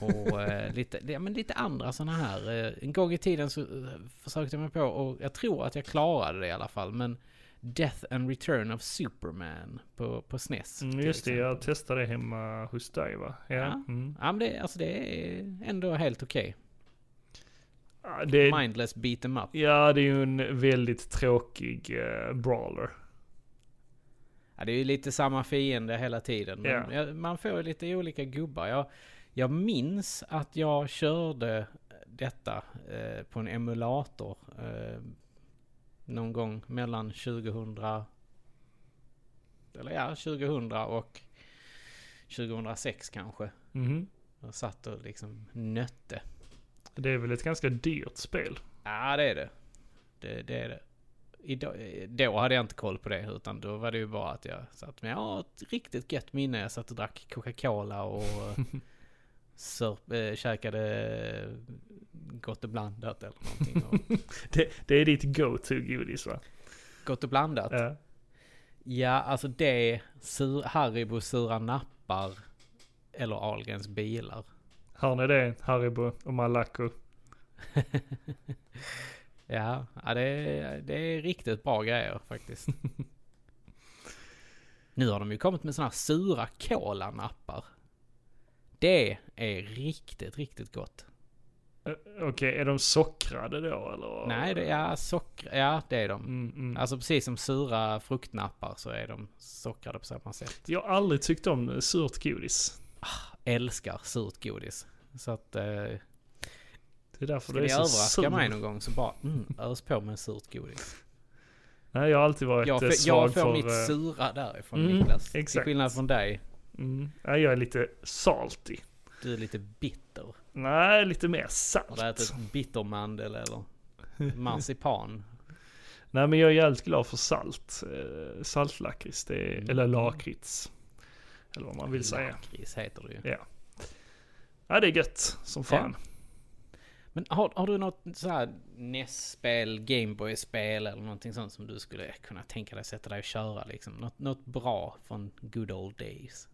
[SPEAKER 3] Och eh, lite, ja, men lite andra sådana här. Eh, en gång i tiden så eh, försökte jag mig på, och jag tror att jag klarade det i alla fall, men Death and Return of Superman på, på SNES.
[SPEAKER 1] Mm,
[SPEAKER 3] till
[SPEAKER 1] just det, jag
[SPEAKER 3] exempel.
[SPEAKER 1] testade hemma hos dig va? Ja.
[SPEAKER 3] Ja.
[SPEAKER 1] Mm.
[SPEAKER 3] Ja men det, alltså det är ändå helt okej.
[SPEAKER 1] Ah, Det,
[SPEAKER 3] Mindless beat em up.
[SPEAKER 1] ja, det är ju en väldigt tråkig eh, brawler.
[SPEAKER 3] Ja, det är ju lite samma fiende hela tiden. Men
[SPEAKER 1] Ja.
[SPEAKER 3] jag, man får ju lite olika gubbar. Jag, jag minns att jag körde detta eh, på en emulator eh, någon gång mellan 2000 eller ja, 2000 och 2006 kanske.
[SPEAKER 1] Mhm.
[SPEAKER 3] Jag satt och liksom nötte.
[SPEAKER 1] Det är väl ett ganska dyrt spel?
[SPEAKER 3] Ja, det är det. Det, det är det. Idag, eh, då hade jag inte koll på det, utan då var det ju bara att jag satt med ja, ett riktigt gött minne. Jag satt och drack Coca-Cola och eh, sörp, äh, käkade eh, Gott och blandat eller någonting. Och
[SPEAKER 1] Det, det är ditt go-to-godis va?
[SPEAKER 3] gott och blandat?
[SPEAKER 1] Ja.
[SPEAKER 3] Ja, alltså det, sur, Haribo sura nappar eller Ahlgrens bilar.
[SPEAKER 1] Har ni det, Haribo och Malaco?
[SPEAKER 3] Ja, ja det, är- det är riktigt bra grejer faktiskt. nu har de ju kommit med såna här sura kolanappar. Det är riktigt, riktigt gott.
[SPEAKER 1] Eh, Okej, är de sockrade då eller?
[SPEAKER 3] Nej, det är socker... Ja, det är de.
[SPEAKER 1] Mm, mm.
[SPEAKER 3] Alltså precis som sura fruktnappar så är de sockrade på samma sätt.
[SPEAKER 1] Jag har aldrig tyckt om eh, surt godis.
[SPEAKER 3] Älskar surt godis. Så att... Eh,
[SPEAKER 1] Det är
[SPEAKER 3] ska
[SPEAKER 1] därför det är
[SPEAKER 3] ni
[SPEAKER 1] så
[SPEAKER 3] överraska
[SPEAKER 1] sur.
[SPEAKER 3] mig någon gång så bara mm, ös på med surt godis.
[SPEAKER 1] Nej, jag har alltid varit
[SPEAKER 3] Jag,
[SPEAKER 1] eh,
[SPEAKER 3] får-
[SPEAKER 1] svag
[SPEAKER 3] jag
[SPEAKER 1] för...
[SPEAKER 3] får mitt
[SPEAKER 1] eh,
[SPEAKER 3] sura därifrån
[SPEAKER 1] Mm,
[SPEAKER 3] Niklas. Till
[SPEAKER 1] exakt.
[SPEAKER 3] skillnad från dig.
[SPEAKER 1] mm. Nej, jag är lite salty.
[SPEAKER 3] Du är lite bitter.
[SPEAKER 1] Nej, lite mer
[SPEAKER 3] Har du
[SPEAKER 1] salt.
[SPEAKER 3] ätit bittermandel eller marsipan?
[SPEAKER 1] Nej men jag är jävligt glad för salt. Eh, Saltlakrits, det är, eller lakrits. Eller vad man vill säga.
[SPEAKER 3] Mm. Lakrits heter det ju.
[SPEAKER 1] Ja. Ja det är gött som fan.
[SPEAKER 3] Men har, har du något så här NES-spel, Gameboy-spel eller någonting sånt som du skulle kunna tänka dig sätta dig och köra liksom? Något, något bra från good old days?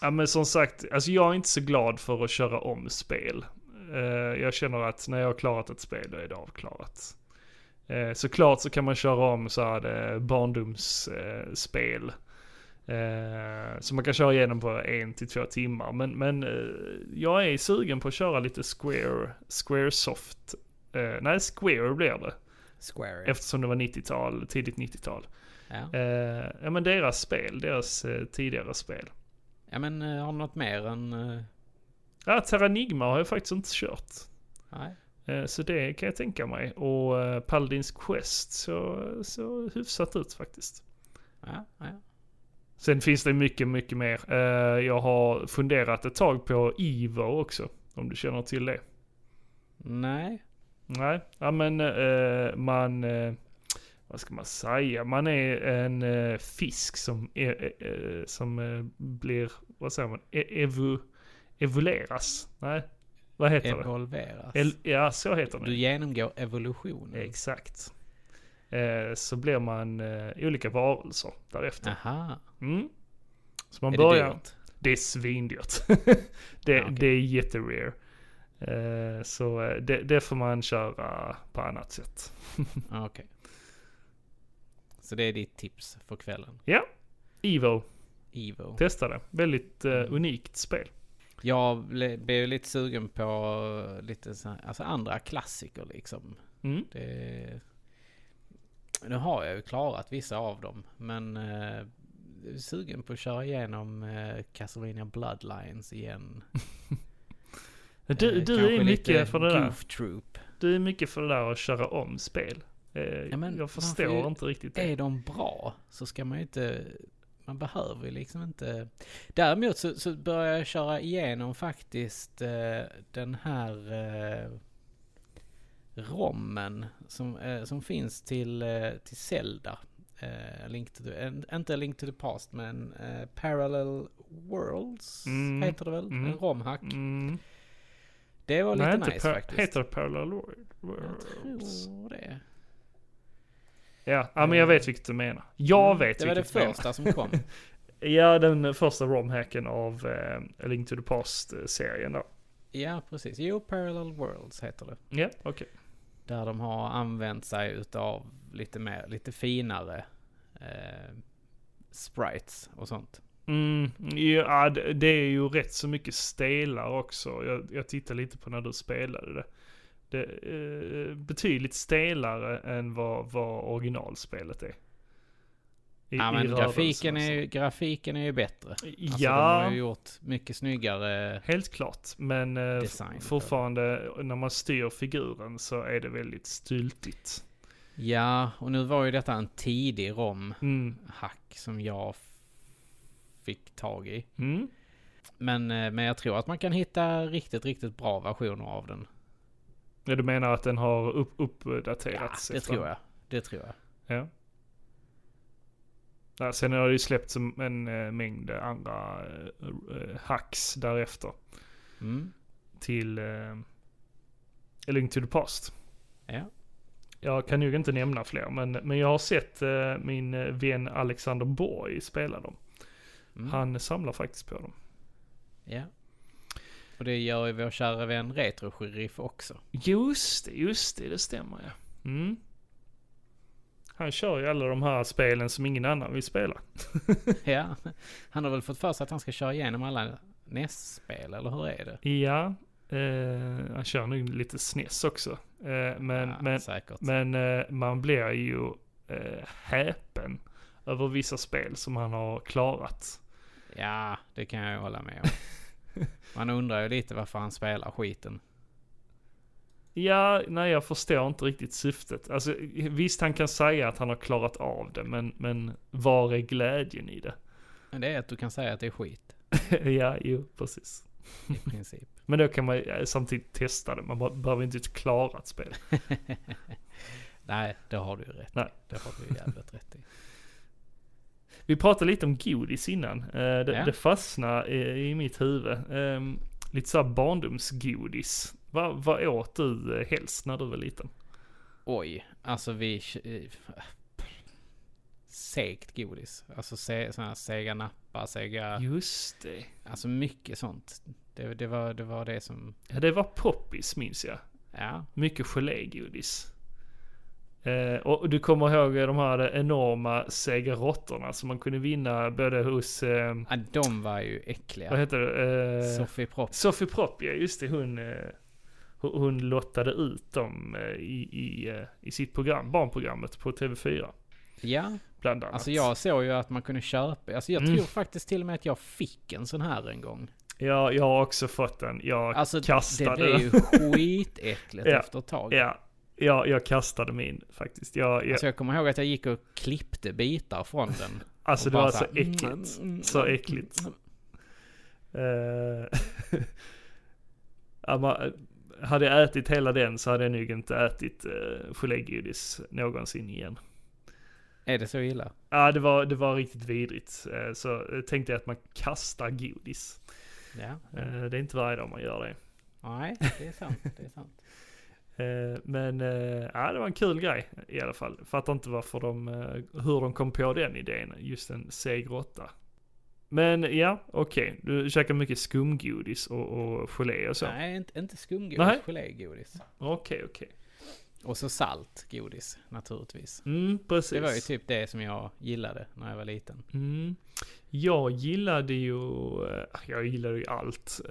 [SPEAKER 1] Ja men som sagt, alltså jag är inte så glad för att köra om spel. Eh, Jag känner att när jag har klarat ett spel, då är det avklarat. Eh, Såklart så kan man köra om så här eh, barndomsspel. Eh, som man kan köra igenom på en till två timmar. Men, men eh, jag är sugen på att köra lite Square, Square Soft. Eh, nej, Square blir det.
[SPEAKER 3] Square.
[SPEAKER 1] Eftersom det var 90-tal, tidigt 90-tal.
[SPEAKER 3] Ja.
[SPEAKER 1] Eh, ja men deras spel, deras eh, tidigare spel.
[SPEAKER 3] ja men eh, har du något mer än... eh,
[SPEAKER 1] Ja, Terranigma har jag faktiskt inte kört.
[SPEAKER 3] Nej.
[SPEAKER 1] Eh, Så det kan jag tänka mig. Och eh, Paladins Quest så, så hyfsat ut faktiskt.
[SPEAKER 3] Ja, ja.
[SPEAKER 1] Sen finns det mycket, mycket mer. Eh, Jag har funderat ett tag på Ivo också. Om du känner till det.
[SPEAKER 3] Nej.
[SPEAKER 1] Nej, ja, men eh, man... eh, vad ska man säga? Man är en eh, fisk som, är, eh, eh, som eh, blir... Vad säger man? E- evo, evoleras? Nej, vad heter det?
[SPEAKER 3] Evolveras.
[SPEAKER 1] El, ja, så heter det.
[SPEAKER 3] Du genomgår evolutionen.
[SPEAKER 1] Exakt. Eh, så blir man eh, olika varelser därefter.
[SPEAKER 3] Aha.
[SPEAKER 1] Mm. Så man
[SPEAKER 3] Är det
[SPEAKER 1] börjar... Det,
[SPEAKER 3] dyrt?
[SPEAKER 1] är svindyrt. det,
[SPEAKER 3] Ja, okej.
[SPEAKER 1] det är jätterare. Eh, så eh, det, det får man köra på annat sätt.
[SPEAKER 3] Ja, Okej. Så det är ditt tips för kvällen.
[SPEAKER 1] Evo,
[SPEAKER 3] Evo.
[SPEAKER 1] testa det. Väldigt eh,
[SPEAKER 3] Mm.
[SPEAKER 1] unikt spel.
[SPEAKER 3] Jag ble- blev lite sugen på lite så här, alltså andra klassiker liksom.
[SPEAKER 1] Mm.
[SPEAKER 3] Det, nu har jag ju klarat vissa av dem, men eh, jag är sugen på att köra igenom eh, Castlevania Bloodlines igen.
[SPEAKER 1] Du,
[SPEAKER 3] Eh,
[SPEAKER 1] du
[SPEAKER 3] kanske
[SPEAKER 1] är
[SPEAKER 3] lite
[SPEAKER 1] mycket för det där.
[SPEAKER 3] Goof Troop.
[SPEAKER 1] Du är mycket för det där att köra om spel. Eh,
[SPEAKER 3] men man
[SPEAKER 1] jag
[SPEAKER 3] får
[SPEAKER 1] förstår
[SPEAKER 3] ju-
[SPEAKER 1] inte riktigt det.
[SPEAKER 3] Är de bra så ska man ju inte... Man behöver ju liksom inte... Däremot så, så börjar jag köra igenom faktiskt eh, den här eh, rommen som, eh, som finns till, eh, till Zelda. Eh, Link to the, en- inte Link to the Past men eh, Parallel Worlds
[SPEAKER 1] Mm.
[SPEAKER 3] heter det väl?
[SPEAKER 1] Mm.
[SPEAKER 3] En romhack.
[SPEAKER 1] Mm.
[SPEAKER 3] Det var
[SPEAKER 1] Nej,
[SPEAKER 3] lite
[SPEAKER 1] inte
[SPEAKER 3] nice
[SPEAKER 1] par-
[SPEAKER 3] faktiskt.
[SPEAKER 1] heter det Parallel World?
[SPEAKER 3] Jag tror det.
[SPEAKER 1] Ja, ja, men jag vet vilket du menar. Jag
[SPEAKER 3] Eh, Mm,
[SPEAKER 1] vet
[SPEAKER 3] Det var det
[SPEAKER 1] vilket du menar.
[SPEAKER 3] första som kom.
[SPEAKER 1] Ja, den första romhacken av eh, A Link to the Past-serien då.
[SPEAKER 3] ja, precis. Jo, Parallel Worlds heter det.
[SPEAKER 1] Ja, okej.
[SPEAKER 3] Där de har använt sig utav lite mer, lite finare eh, sprites och sånt.
[SPEAKER 1] Mm, ja, det det är ju rätt så mycket stelar också. Jag, jag tittade lite på när du spelade det. Det är eh, betydligt stelare än vad, vad originalspelet är. I,
[SPEAKER 3] ja,
[SPEAKER 1] i
[SPEAKER 3] men
[SPEAKER 1] rörelsen
[SPEAKER 3] grafiken
[SPEAKER 1] och
[SPEAKER 3] är,
[SPEAKER 1] så.
[SPEAKER 3] ju, grafiken är ju bättre. Alltså, De
[SPEAKER 1] ja,
[SPEAKER 3] har ju gjort mycket snyggare.
[SPEAKER 1] helt klart. Men eh, f-
[SPEAKER 3] Design.
[SPEAKER 1] fortfarande när man styr figuren så är det väldigt styltigt.
[SPEAKER 3] Ja, och nu var ju detta en tidig romhack
[SPEAKER 1] Mm.
[SPEAKER 3] som jag f- fick tag i.
[SPEAKER 1] Mm.
[SPEAKER 3] Men, eh, men jag tror att man kan hitta riktigt, riktigt bra versioner av den.
[SPEAKER 1] Ja, du menar att den har upp,
[SPEAKER 3] Ja,
[SPEAKER 1] uppdaterats?
[SPEAKER 3] det
[SPEAKER 1] efter-
[SPEAKER 3] tror jag. Det tror jag.
[SPEAKER 1] Ja. Ja, sen har det ju släppts en, en eh, mängd andra eh, eh, hacks därefter.
[SPEAKER 3] Mm.
[SPEAKER 1] Till eh, A Link to the Past.
[SPEAKER 3] Ja.
[SPEAKER 1] Jag kan nog inte nämna fler, men, men jag har sett eh, min eh, vän Alexander Borg spela dem.
[SPEAKER 3] Mm.
[SPEAKER 1] Han samlar faktiskt på dem.
[SPEAKER 3] Ja. Och det gör ju vår kära vän Retro-Sheriff också.
[SPEAKER 1] Just det, just det, det stämmer ja. Mm. Han kör ju alla de här spelen som ingen annan vill spela.
[SPEAKER 3] ja. Han har väl fått för sig att han ska köra igenom alla NES-spel, eller hur är det?
[SPEAKER 1] Ja, eh, han kör nog lite snäss också. Eh, men
[SPEAKER 3] ja,
[SPEAKER 1] men,
[SPEAKER 3] säkert.
[SPEAKER 1] men eh, man blir ju eh, häpen över vissa spel som han har klarat.
[SPEAKER 3] Ja, det kan jag ju hålla med om. Man undrar ju lite varför han spelar skiten.
[SPEAKER 1] Ja, nej jag förstår inte riktigt syftet. Alltså visst han kan säga att han har klarat av det, men, men var är glädjen i det?
[SPEAKER 3] Men det är att du kan säga att det är skit,
[SPEAKER 1] ja, jo, precis.
[SPEAKER 3] i princip.
[SPEAKER 1] Men då kan man eh, samtidigt testa det, man bara- behöver inte ett klarat spel.
[SPEAKER 3] Nej, det har du ju rätt
[SPEAKER 1] Nej.
[SPEAKER 3] i. Det har du ju jävligt rätt i.
[SPEAKER 1] Vi pratade lite om godis innan. Eh, det,
[SPEAKER 3] Ja.
[SPEAKER 1] det fastnade i, i mitt huvud. Ehm, lite såhär barndomsgodis. Va- Vad åt du eh, helst när du var liten?
[SPEAKER 3] Oj, alltså vi... Segt godis. Alltså se, såna här Sega Nappa, Sega...
[SPEAKER 1] Just det.
[SPEAKER 3] Alltså mycket sånt. Det, det, var, det var det som...
[SPEAKER 1] Ja, det var poppis minns jag.
[SPEAKER 3] Ja,
[SPEAKER 1] Mycket gelégodis. Eh, Eh, och du kommer ihåg de här enorma segerrottorna som man kunde vinna både hos, eh,
[SPEAKER 3] Ja, de var ju
[SPEAKER 1] vad
[SPEAKER 3] äckliga.
[SPEAKER 1] heter det? Eh,
[SPEAKER 3] Sofie Propp.
[SPEAKER 1] Sofie Propp, ja just det, hon, eh, hon hon lottade ut dem eh, i, i, eh, i sitt program, barnprogrammet på TV4.
[SPEAKER 3] Ja,
[SPEAKER 1] Bland annat.
[SPEAKER 3] alltså jag såg ju att man kunde köpa. Alltså jag
[SPEAKER 1] Mm.
[SPEAKER 3] tror faktiskt till och med att jag fick en sån här en gång.
[SPEAKER 1] Ja, jag har också fått den. Jag
[SPEAKER 3] Alltså
[SPEAKER 1] kastade
[SPEAKER 3] det blev ju skitäckligt
[SPEAKER 1] Ja.
[SPEAKER 3] efter ett tag.
[SPEAKER 1] Ja, ja, jag kastade min faktiskt. Jag, jag,
[SPEAKER 3] Alltså
[SPEAKER 1] alltså,
[SPEAKER 3] jag kommer ihåg att jag gigick och klippte bitar från den. och
[SPEAKER 1] Alltså det var
[SPEAKER 3] bara
[SPEAKER 1] så
[SPEAKER 3] så här,
[SPEAKER 1] äckligt.
[SPEAKER 3] mm, mm, mm,
[SPEAKER 1] så
[SPEAKER 3] mm,
[SPEAKER 1] äckligt. Eh, ja, man- hade jag ätit hela den så hade jag nog inte ätit uh, gelégodis någonsin igen.
[SPEAKER 3] Är det så illa?
[SPEAKER 1] Ja, det, var, det var riktigt vidrigt. Eh, så eh, tänkte jag att man kastar godis.
[SPEAKER 3] Ja.
[SPEAKER 1] Eh, det är inte varje dag man gör det.
[SPEAKER 3] Nej, det är sant. Det är sant.
[SPEAKER 1] Eh, Men eh, ja, det var en kul grej i alla fall. Fattar inte varför de, eh, hur de kom på den idén, just en seg råtta. Men ja, okej, du käkar mycket skumgodis och, och gelé och så.
[SPEAKER 3] Nej, inte, inte
[SPEAKER 1] Nej.
[SPEAKER 3] skumgodis, gelégodis.
[SPEAKER 1] Okej, okej.
[SPEAKER 3] Och så saltgodis, naturligtvis.
[SPEAKER 1] Mm, precis.
[SPEAKER 3] Det var ju typ det som jag gillade när jag var liten.
[SPEAKER 1] mm. Jag gillade ju, eh, jag gillade ju allt.
[SPEAKER 3] Så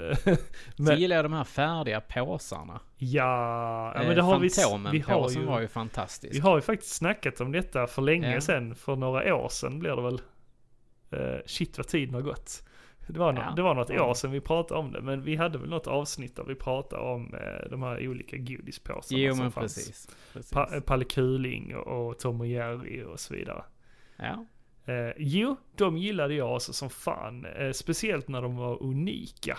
[SPEAKER 1] men,
[SPEAKER 3] gillade jag de här färdiga påsarna.
[SPEAKER 1] ja, ja,
[SPEAKER 3] Eh,
[SPEAKER 1] men det har vi, s- vi har
[SPEAKER 3] Fantomen-påsen
[SPEAKER 1] ju,
[SPEAKER 3] var ju
[SPEAKER 1] vi
[SPEAKER 3] fantastisk.
[SPEAKER 1] har ju faktiskt snackat om detta för länge
[SPEAKER 3] Ja.
[SPEAKER 1] sedan, för några år sedan blir det väl. Eh, shit vad tiden har gått. Det var, nå-
[SPEAKER 3] Ja.
[SPEAKER 1] det var något
[SPEAKER 3] Ja.
[SPEAKER 1] år sedan vi pratade om det, men vi hade väl något avsnitt där vi pratade om eh, de här olika godispåsarna
[SPEAKER 3] Jo
[SPEAKER 1] som
[SPEAKER 3] men
[SPEAKER 1] fanns.
[SPEAKER 3] precis. precis.
[SPEAKER 1] Pa- eh, Palle Kuling och, och Tom och Jerry och så vidare.
[SPEAKER 3] ja.
[SPEAKER 1] Eh, jo, de gillade jag också som fan. Eh, speciellt när de var unika.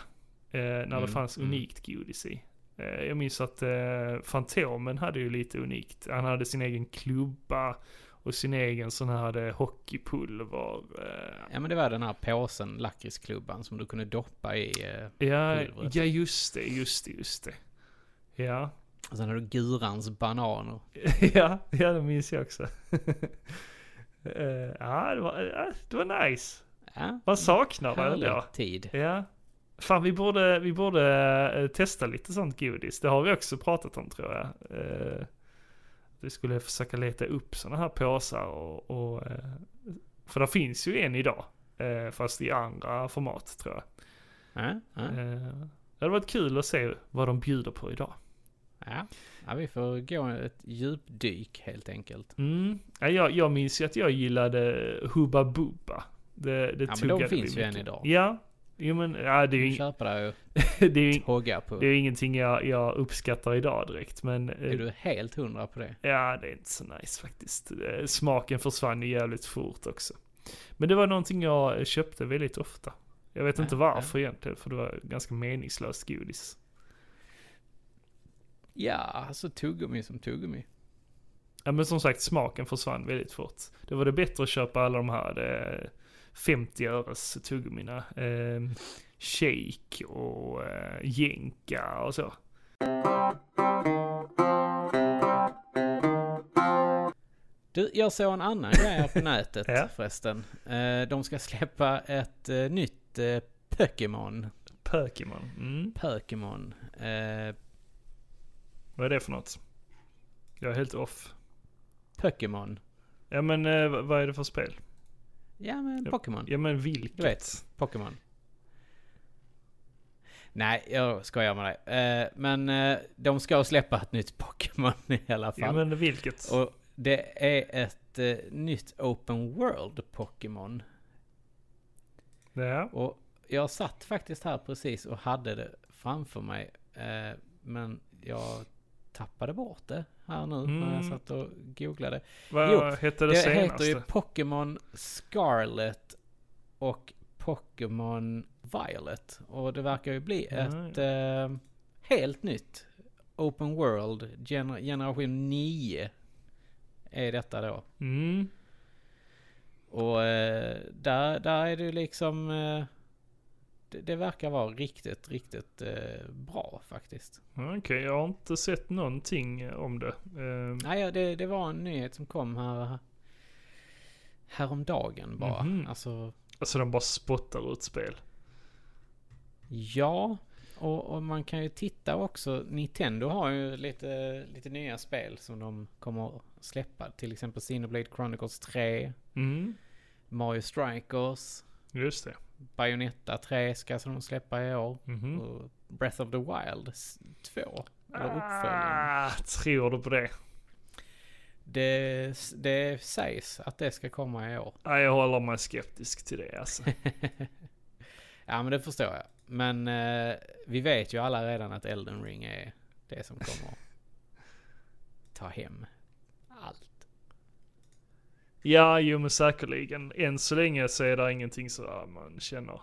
[SPEAKER 1] Eh, när det
[SPEAKER 3] Mm,
[SPEAKER 1] fanns
[SPEAKER 3] mm.
[SPEAKER 1] unikt godis i. Eh, jag minns att eh, Fantomen hade ju lite unikt. Han hade sin egen klubba och sin egen sån här eh, hockeypulver. Eh,
[SPEAKER 3] ja men det var den här påsen, lakritsklubban, som du kunde doppa i. eh,
[SPEAKER 1] ja,
[SPEAKER 3] Pulvret.
[SPEAKER 1] ja, just det, just det, just det. Ja,
[SPEAKER 3] Och sen hade du Gurans bananer.
[SPEAKER 1] ja, ja det minns jag också. eh, ja, det var, ja, det var nice.
[SPEAKER 3] Ja,
[SPEAKER 1] Man saknar det
[SPEAKER 3] härlig
[SPEAKER 1] ändå.
[SPEAKER 3] tid.
[SPEAKER 1] Ja. Fan vi borde, vi borde eh, testa lite sånt godis. Det har vi också pratat om tror jag. Eh, vi skulle försöka leta upp sådana här påsar och, och eh, för det finns ju en idag. Eh, fast i andra format tror jag.
[SPEAKER 3] Ja, ja,
[SPEAKER 1] Eh, det hade varit kul att se vad de bjuder på idag.
[SPEAKER 3] ja. ja, vi får gå ett djupdyk helt enkelt.
[SPEAKER 1] Mm. Ja, jag, jag minns ju att jag gillade Hubba Bubba. Det, det
[SPEAKER 3] men de
[SPEAKER 1] tuggade vi
[SPEAKER 3] finns ju
[SPEAKER 1] mycket.
[SPEAKER 3] än idag.
[SPEAKER 1] Ja, jo, men ja, det är ju,
[SPEAKER 3] Du köper där
[SPEAKER 1] det är ju
[SPEAKER 3] och tågar på.
[SPEAKER 1] Det är ingenting jag, jag uppskattar idag direkt, men eh,
[SPEAKER 3] Är du helt hundra på det?
[SPEAKER 1] ja, det är inte så nice faktiskt. Eh, Smaken försvann ju jävligt fort också. Men det var någonting jag eh, köpte väldigt ofta. Jag vet
[SPEAKER 3] Ja,
[SPEAKER 1] inte varför egentligen, för det var ganska meningslöst godis.
[SPEAKER 3] Ja, alltså tuggummi som tuggummi.
[SPEAKER 1] Ja, men som sagt, smaken försvann väldigt fort. Det var det bättre att köpa alla de här eh, 50 öres tuggummina. Eh, shake och eh, jenka och så.
[SPEAKER 3] Du, jag såg en annan grej här på nätet
[SPEAKER 1] Ja.
[SPEAKER 3] förresten. Eh, De ska släppa ett eh, nytt eh, Pokémon.
[SPEAKER 1] Pokémon. Mm.
[SPEAKER 3] Pokémon. Eh,
[SPEAKER 1] Vad är det för något? Jag är helt off.
[SPEAKER 3] Pokémon.
[SPEAKER 1] Ja men eh, v- vad är det för spel?
[SPEAKER 3] Ja men
[SPEAKER 1] Ja.
[SPEAKER 3] Pokémon.
[SPEAKER 1] Ja men vilket?
[SPEAKER 3] Du vet, Pokémon. Nej, jag skojar med dig. Eh, Men eh, de ska släppa ett nytt Pokémon i alla fall.
[SPEAKER 1] Ja men vilket?
[SPEAKER 3] Och det är ett eh, nytt Open World Pokémon.
[SPEAKER 1] Ja.
[SPEAKER 3] Och jag satt faktiskt här precis och hade det framför mig. Eh, men jag tappade bort det här nu när jag
[SPEAKER 1] Mm.
[SPEAKER 3] satt och googlade.
[SPEAKER 1] Vad
[SPEAKER 3] Jo,
[SPEAKER 1] hette det,
[SPEAKER 3] Det, heter
[SPEAKER 1] senaste?
[SPEAKER 3] ju Pokémon Scarlet och Pokémon Violet. Och det verkar ju bli
[SPEAKER 1] Ja,
[SPEAKER 3] ett eh, helt nytt Open World gener- generation 9. Är detta då.
[SPEAKER 1] Mm.
[SPEAKER 3] Och eh, där, där är det ju liksom... Eh, det, det verkar vara riktigt, riktigt eh, bra faktiskt.
[SPEAKER 1] Okej, jag har inte sett någonting om det. Ehm,
[SPEAKER 3] Nej, ja, det, det var en nyhet som kom här häromdagen bara.
[SPEAKER 1] Mhm.
[SPEAKER 3] Alltså,
[SPEAKER 1] Alltså de bara spottar ut spel.
[SPEAKER 3] ja. Och, och man kan ju titta också. Nintendo har ju lite, lite nya spel som de kommer släppa. Till exempel Xenoblade Chronicles 3,
[SPEAKER 1] Mm,
[SPEAKER 3] Mario Strikers,
[SPEAKER 1] just det.
[SPEAKER 3] Bayonetta 3 ska de släppa i år.
[SPEAKER 1] Mhm.
[SPEAKER 3] Och Breath of the Wild 2, eller uppföljaren.
[SPEAKER 1] Ah, tror du på det?
[SPEAKER 3] Det, det sägs att det ska komma i år.
[SPEAKER 1] Nej, jag håller mig skeptisk till det alltså.
[SPEAKER 3] Ja men det förstår jag. Men eh, vi vet ju alla redan att Elden Ring är det som kommer ta hem allt.
[SPEAKER 1] Ja, jo men säkerligen. Än så länge så är det ingenting så här man känner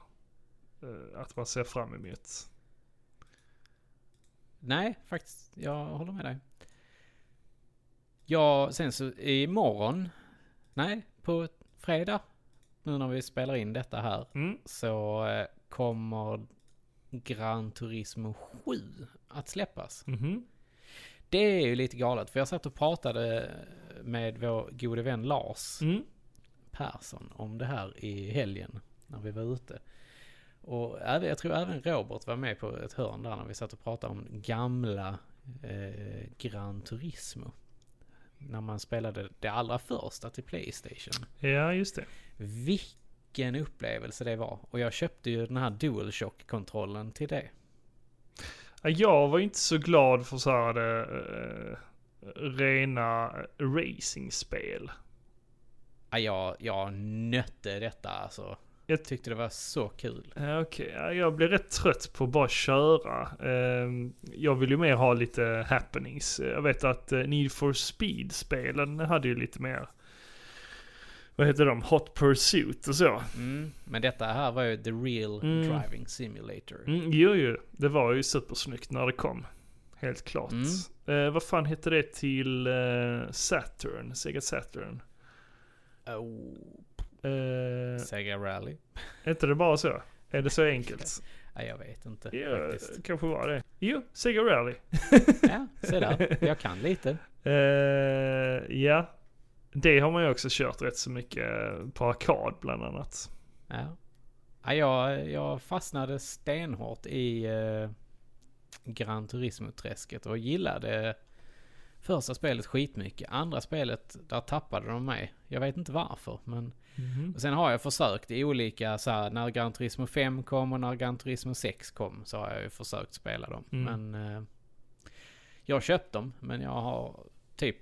[SPEAKER 1] eh, att man ser fram emot.
[SPEAKER 3] Nej, faktiskt. Jag håller med dig. Ja, sen så imorgon. Nej, på fredag. Nu när vi spelar in detta här.
[SPEAKER 1] Mm.
[SPEAKER 3] Så eh, kommer Gran Turismo 7 att släppas.
[SPEAKER 1] Mhm.
[SPEAKER 3] Det är ju lite galet. För jag satt och pratade med vår gode vän Lars.
[SPEAKER 1] Mm.
[SPEAKER 3] Persson om det här i helgen när vi var ute. Och även, jag tror även Robert var med på ett hörn där när vi satt och pratade om gamla eh, Gran Turismo. När man spelade det allra första till Playstation.
[SPEAKER 1] Ja, just det.
[SPEAKER 3] Vilken upplevelse det var! Och jag köpte ju den här DualShock-kontrollen till det.
[SPEAKER 1] Ja, Jag var inte så glad för så här det, rena racingspel.
[SPEAKER 3] Ja, jag, jag nötte detta alltså.
[SPEAKER 1] Jag-
[SPEAKER 3] Jag tyckte det var så kul.
[SPEAKER 1] Ja, Okej, Ja, jag blir rätt trött på att bara köra. Ehm, Jag vill ju mer ha lite happenings. Jag vet att eh, Need for Speed-spelen hade ju lite mer, vad heter de, Hot Pursuit och så.
[SPEAKER 3] Mm. Men detta här var ju the real
[SPEAKER 1] Mm.
[SPEAKER 3] driving simulator.
[SPEAKER 1] Mm, jo, jo, det var ju supersnyggt när det kom. Helt klart. Eh, vad fan hette det till eh, Saturn, Sega Saturn?
[SPEAKER 3] Oh,
[SPEAKER 1] Eh,
[SPEAKER 3] Sega Rally.
[SPEAKER 1] Är inte det bara så? Är det så enkelt?
[SPEAKER 3] Ja, jag vet inte
[SPEAKER 1] Ja,
[SPEAKER 3] faktiskt.
[SPEAKER 1] kanske var det. Jo, Sega Rally.
[SPEAKER 3] Ja, se där. Jag kan lite.
[SPEAKER 1] Eh, ja, det har man ju också kört rätt så mycket eh, på arkad bland annat.
[SPEAKER 3] Ja. Ja, jag, jag fastnade stenhårt i eh, Gran Turismo-träsket och gillade första spelet skitmycket. Andra spelet, där tappade de mig. Jag vet inte varför, men... Och sen har jag försökt i olika så här, när Gran Turismo 5 kom och när Gran Turismo 6 kom så har jag ju försökt spela dem.
[SPEAKER 1] Mm.
[SPEAKER 3] Men eh, jag har köpt dem, men jag har typ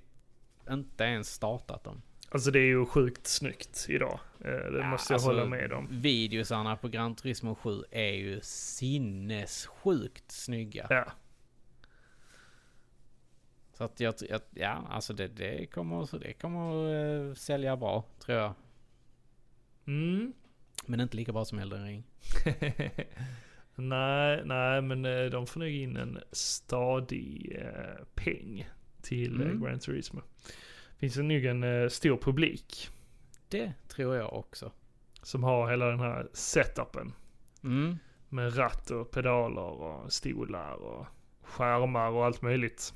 [SPEAKER 3] inte ens startat dem.
[SPEAKER 1] Alltså det är ju sjukt snyggt idag. Eh, det
[SPEAKER 3] Ja,
[SPEAKER 1] måste jag
[SPEAKER 3] alltså,
[SPEAKER 1] hålla med om.
[SPEAKER 3] Videosarna på Gran Turismo 7 är ju sinnessjukt snygga.
[SPEAKER 1] Ja.
[SPEAKER 3] Så att jag, jag ja, alltså det, det kommer, så det kommer eh, sälja bra, tror jag.
[SPEAKER 1] Mm.
[SPEAKER 3] Men inte lika bra som Elden Ring.
[SPEAKER 1] nej, nej, men eh, de får nog in en stadig eh, peng till eh,
[SPEAKER 3] Mm.
[SPEAKER 1] Gran Turismo. Finns det nog en eh, stor publik
[SPEAKER 3] Det tror jag också.
[SPEAKER 1] som har hela den här setupen.
[SPEAKER 3] Mm.
[SPEAKER 1] Med ratt och pedaler och stolar och skärmar och allt möjligt.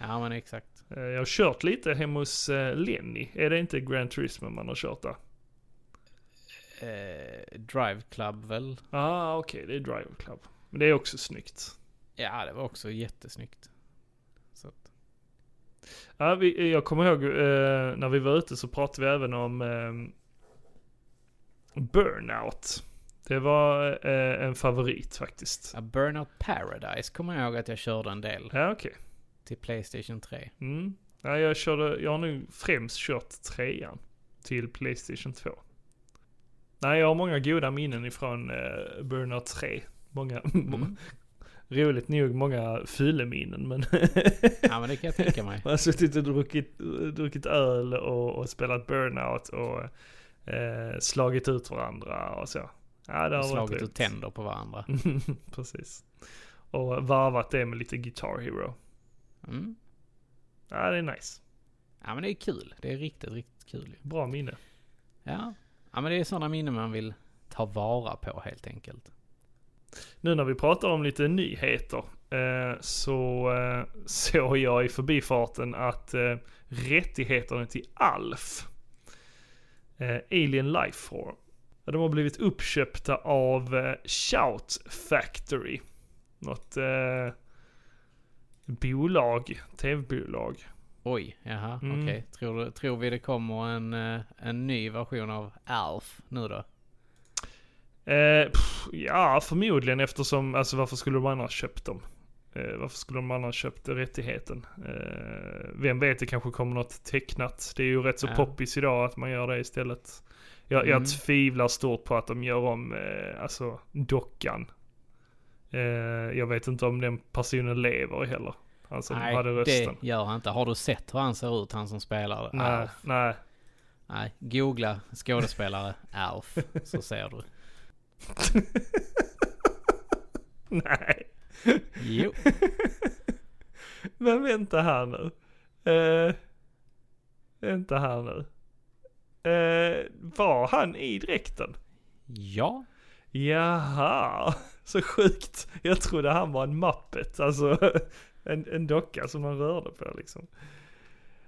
[SPEAKER 3] Ja, men exakt.
[SPEAKER 1] Eh, Jag har kört lite hemma hos eh, Lenny. Är det inte Gran Turismo man har kört där?
[SPEAKER 3] Eh, Drive Club väl?
[SPEAKER 1] Ah, okej, det är Driver Club. Men det är också snyggt.
[SPEAKER 3] Ja, det var också jättesnyggt. Så att,
[SPEAKER 1] Ja, vi, jag kommer ihåg eh, när vi var ute så pratade vi även om eh, Burnout. Det var eh, en favorit faktiskt.
[SPEAKER 3] ja, Burnout Paradise kommer jag ihåg att jag körde en del
[SPEAKER 1] Ja, okej.
[SPEAKER 3] till Playstation 3.
[SPEAKER 1] Mm. Ja, jag, körde, jag har nu främst kört trean till Playstation 2. Nej, jag har många goda minnen ifrån eh, Burnout 3. Många,
[SPEAKER 3] Mm.
[SPEAKER 1] roligt nog många fylleminnen men
[SPEAKER 3] Ja, men det kan jag tänka mig.
[SPEAKER 1] man har suttit och druckit, druckit öl och, och spelat Burnout och eh, slagit ut varandra och så. Ja, det har
[SPEAKER 3] Och Slagit ut
[SPEAKER 1] varit
[SPEAKER 3] tänder på varandra.
[SPEAKER 1] roligt. Precis. Och varvat det med lite Guitar Hero.
[SPEAKER 3] Mm.
[SPEAKER 1] Ja, det är nice.
[SPEAKER 3] Ja men det är kul. Det är riktigt, riktigt kul ju.
[SPEAKER 1] Bra minne.
[SPEAKER 3] Ja. Ja men det är sådana minnen man vill ta vara på helt enkelt.
[SPEAKER 1] Nu när vi pratar om lite nyheter eh, så eh, såg jag i förbifarten att eh, rättigheterna till ALF, eh, Alien Life Form, ja, de har blivit uppköpta av eh, Shout Factory. Något eh, bolag, tv-bolag.
[SPEAKER 3] Oj, jaha,
[SPEAKER 1] Mm.
[SPEAKER 3] okej. Tror, du- tror vi det kommer en, eh, en ny version av Alf nu då?
[SPEAKER 1] Eh, pff, ja, förmodligen eftersom, alltså varför skulle de andra ha köpt dem? Eh, varför skulle de andra ha köpt rättigheten? Eh, vem vet, det kanske kommer något tecknat. Det är ju rätt så
[SPEAKER 3] Ja.
[SPEAKER 1] poppis idag att man gör det istället. Jag, jag
[SPEAKER 3] Mm.
[SPEAKER 1] tvivlar stort på att de gör om, eh, alltså dockan. Eh, jag vet inte om den personen lever heller. Han som hade rösten.
[SPEAKER 3] det gör han inte. Har du sett hur han ser ut, han som spelar
[SPEAKER 1] Nej,
[SPEAKER 3] Alf?
[SPEAKER 1] nej.
[SPEAKER 3] Nej, googla skådespelare Alf så ser du.
[SPEAKER 1] nej.
[SPEAKER 3] Jo.
[SPEAKER 1] Men vänta här nu. Eh, vänta här nu. Eh, var han i dräkten?
[SPEAKER 3] Ja.
[SPEAKER 1] Jaha, så sjukt. Jag trodde han var en muppet, alltså en, en docka som man rörde på liksom.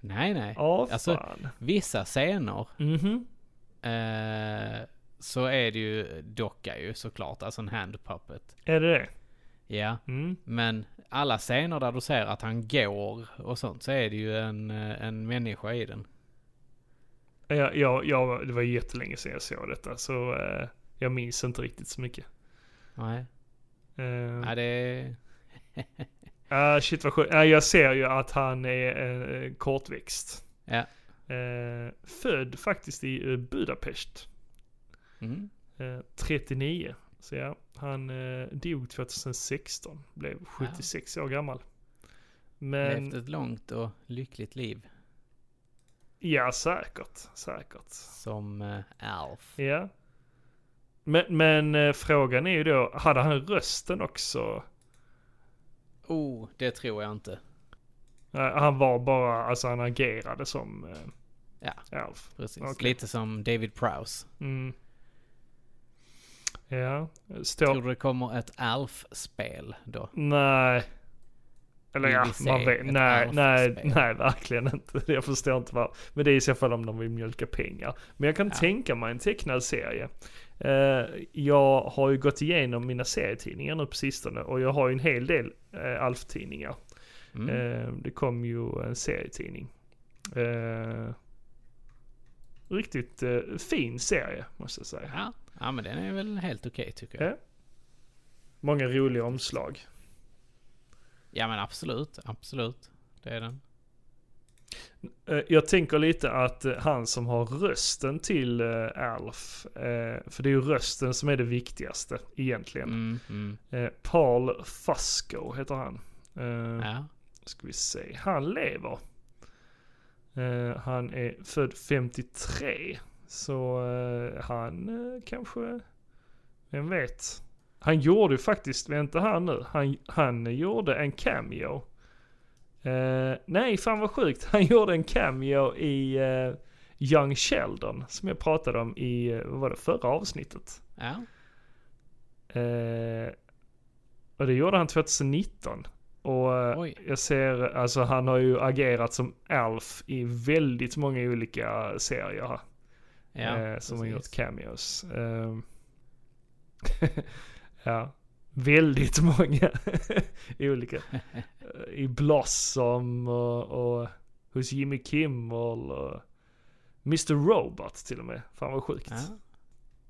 [SPEAKER 3] Nej, nej.
[SPEAKER 1] Ja, fan.
[SPEAKER 3] Alltså- Vissa scener
[SPEAKER 1] Mhm.
[SPEAKER 3] eh, så är det ju docka ju såklart, alltså en hand puppet.
[SPEAKER 1] Är det det?
[SPEAKER 3] Ja,
[SPEAKER 1] Mm.
[SPEAKER 3] men alla scener där du ser att han går och sånt så är det ju en, eh, en människa i den.
[SPEAKER 1] Jag, jag, jag, det var jättelänge sedan jag såg detta, så eh, jag minns inte riktigt så mycket.
[SPEAKER 3] Nej,
[SPEAKER 1] Eh,
[SPEAKER 3] nej det är...
[SPEAKER 1] Ah shit vad skönt. Ah, jag ser ju att han är eh, kortväxt.
[SPEAKER 3] Ja.
[SPEAKER 1] Eh, född faktiskt i eh, Budapest.
[SPEAKER 3] Mm.
[SPEAKER 1] Eh, 39. Så ja, han eh, dog 2016. Blev 76 år gammal. Men
[SPEAKER 3] Levt ett långt och lyckligt liv
[SPEAKER 1] ja, säkert. Säkert.
[SPEAKER 3] som eh, Alf.
[SPEAKER 1] Ja. Men, men eh, frågan är ju då, hade han rösten också?
[SPEAKER 3] Oh, det tror jag inte.
[SPEAKER 1] Eh, han var bara, alltså han agerade som eh,
[SPEAKER 3] Ja,
[SPEAKER 1] Alf.
[SPEAKER 3] precis.
[SPEAKER 1] Okej.
[SPEAKER 3] Lite som David Prowse.
[SPEAKER 1] Mm. Ja, står...
[SPEAKER 3] Tror du det kommer ett Alf-spel då?
[SPEAKER 1] Nej. Eller
[SPEAKER 3] Vill
[SPEAKER 1] ja,
[SPEAKER 3] vi se
[SPEAKER 1] man vet.
[SPEAKER 3] ett
[SPEAKER 1] Nej, nej,
[SPEAKER 3] Alf-spel?
[SPEAKER 1] nej, verkligen inte. Jag förstår inte vad. Men det är i så fall om de vill mjölka pengar. Men jag kan
[SPEAKER 3] Ja.
[SPEAKER 1] tänka mig en tecknad serie. Eh, jag har ju gått igenom mina serietidningar nu på sistone och jag har ju en hel del eh, Alf-tidningar.
[SPEAKER 3] Mm.
[SPEAKER 1] Eh, det kom ju en serietidning. Eh, riktigt eh, fin serie måste jag säga.
[SPEAKER 3] Ja. ja, men den är väl helt okej tycker jag.
[SPEAKER 1] Ja. Många roliga omslag.
[SPEAKER 3] Ja, men absolut, absolut. Det är den.
[SPEAKER 1] Eh, Jag tänker lite att eh, han som har rösten till eh, Alf, eh, för det är ju rösten som är det viktigaste egentligen.
[SPEAKER 3] Mm, mm.
[SPEAKER 1] Eh, Paul Fusco heter han. Eh,
[SPEAKER 3] Ja.
[SPEAKER 1] Ska vi se, han lever. Eh, Han är född 53, så eh, han eh, kanske, vem vet. Han gjorde ju faktiskt, vänta här nu, han, han gjorde en cameo. Eh, nej, fan vad sjukt. Han gjorde en cameo i eh, Young Sheldon som jag pratade om i, eh, vad var det, förra avsnittet.
[SPEAKER 3] ja.
[SPEAKER 1] Eh, och det gjorde han 2019. Och eh,
[SPEAKER 3] Oj.
[SPEAKER 1] jag ser, alltså han har ju agerat som Alf i väldigt många olika serier här,
[SPEAKER 3] ja
[SPEAKER 1] eh, som har
[SPEAKER 3] precis.
[SPEAKER 1] gjort cameos. Eh, ja, väldigt många olika. Eh, I Blossom och, och hos Jimmy Kimmel och Mr Robot till och med. Fan vad sjukt.
[SPEAKER 3] Ja.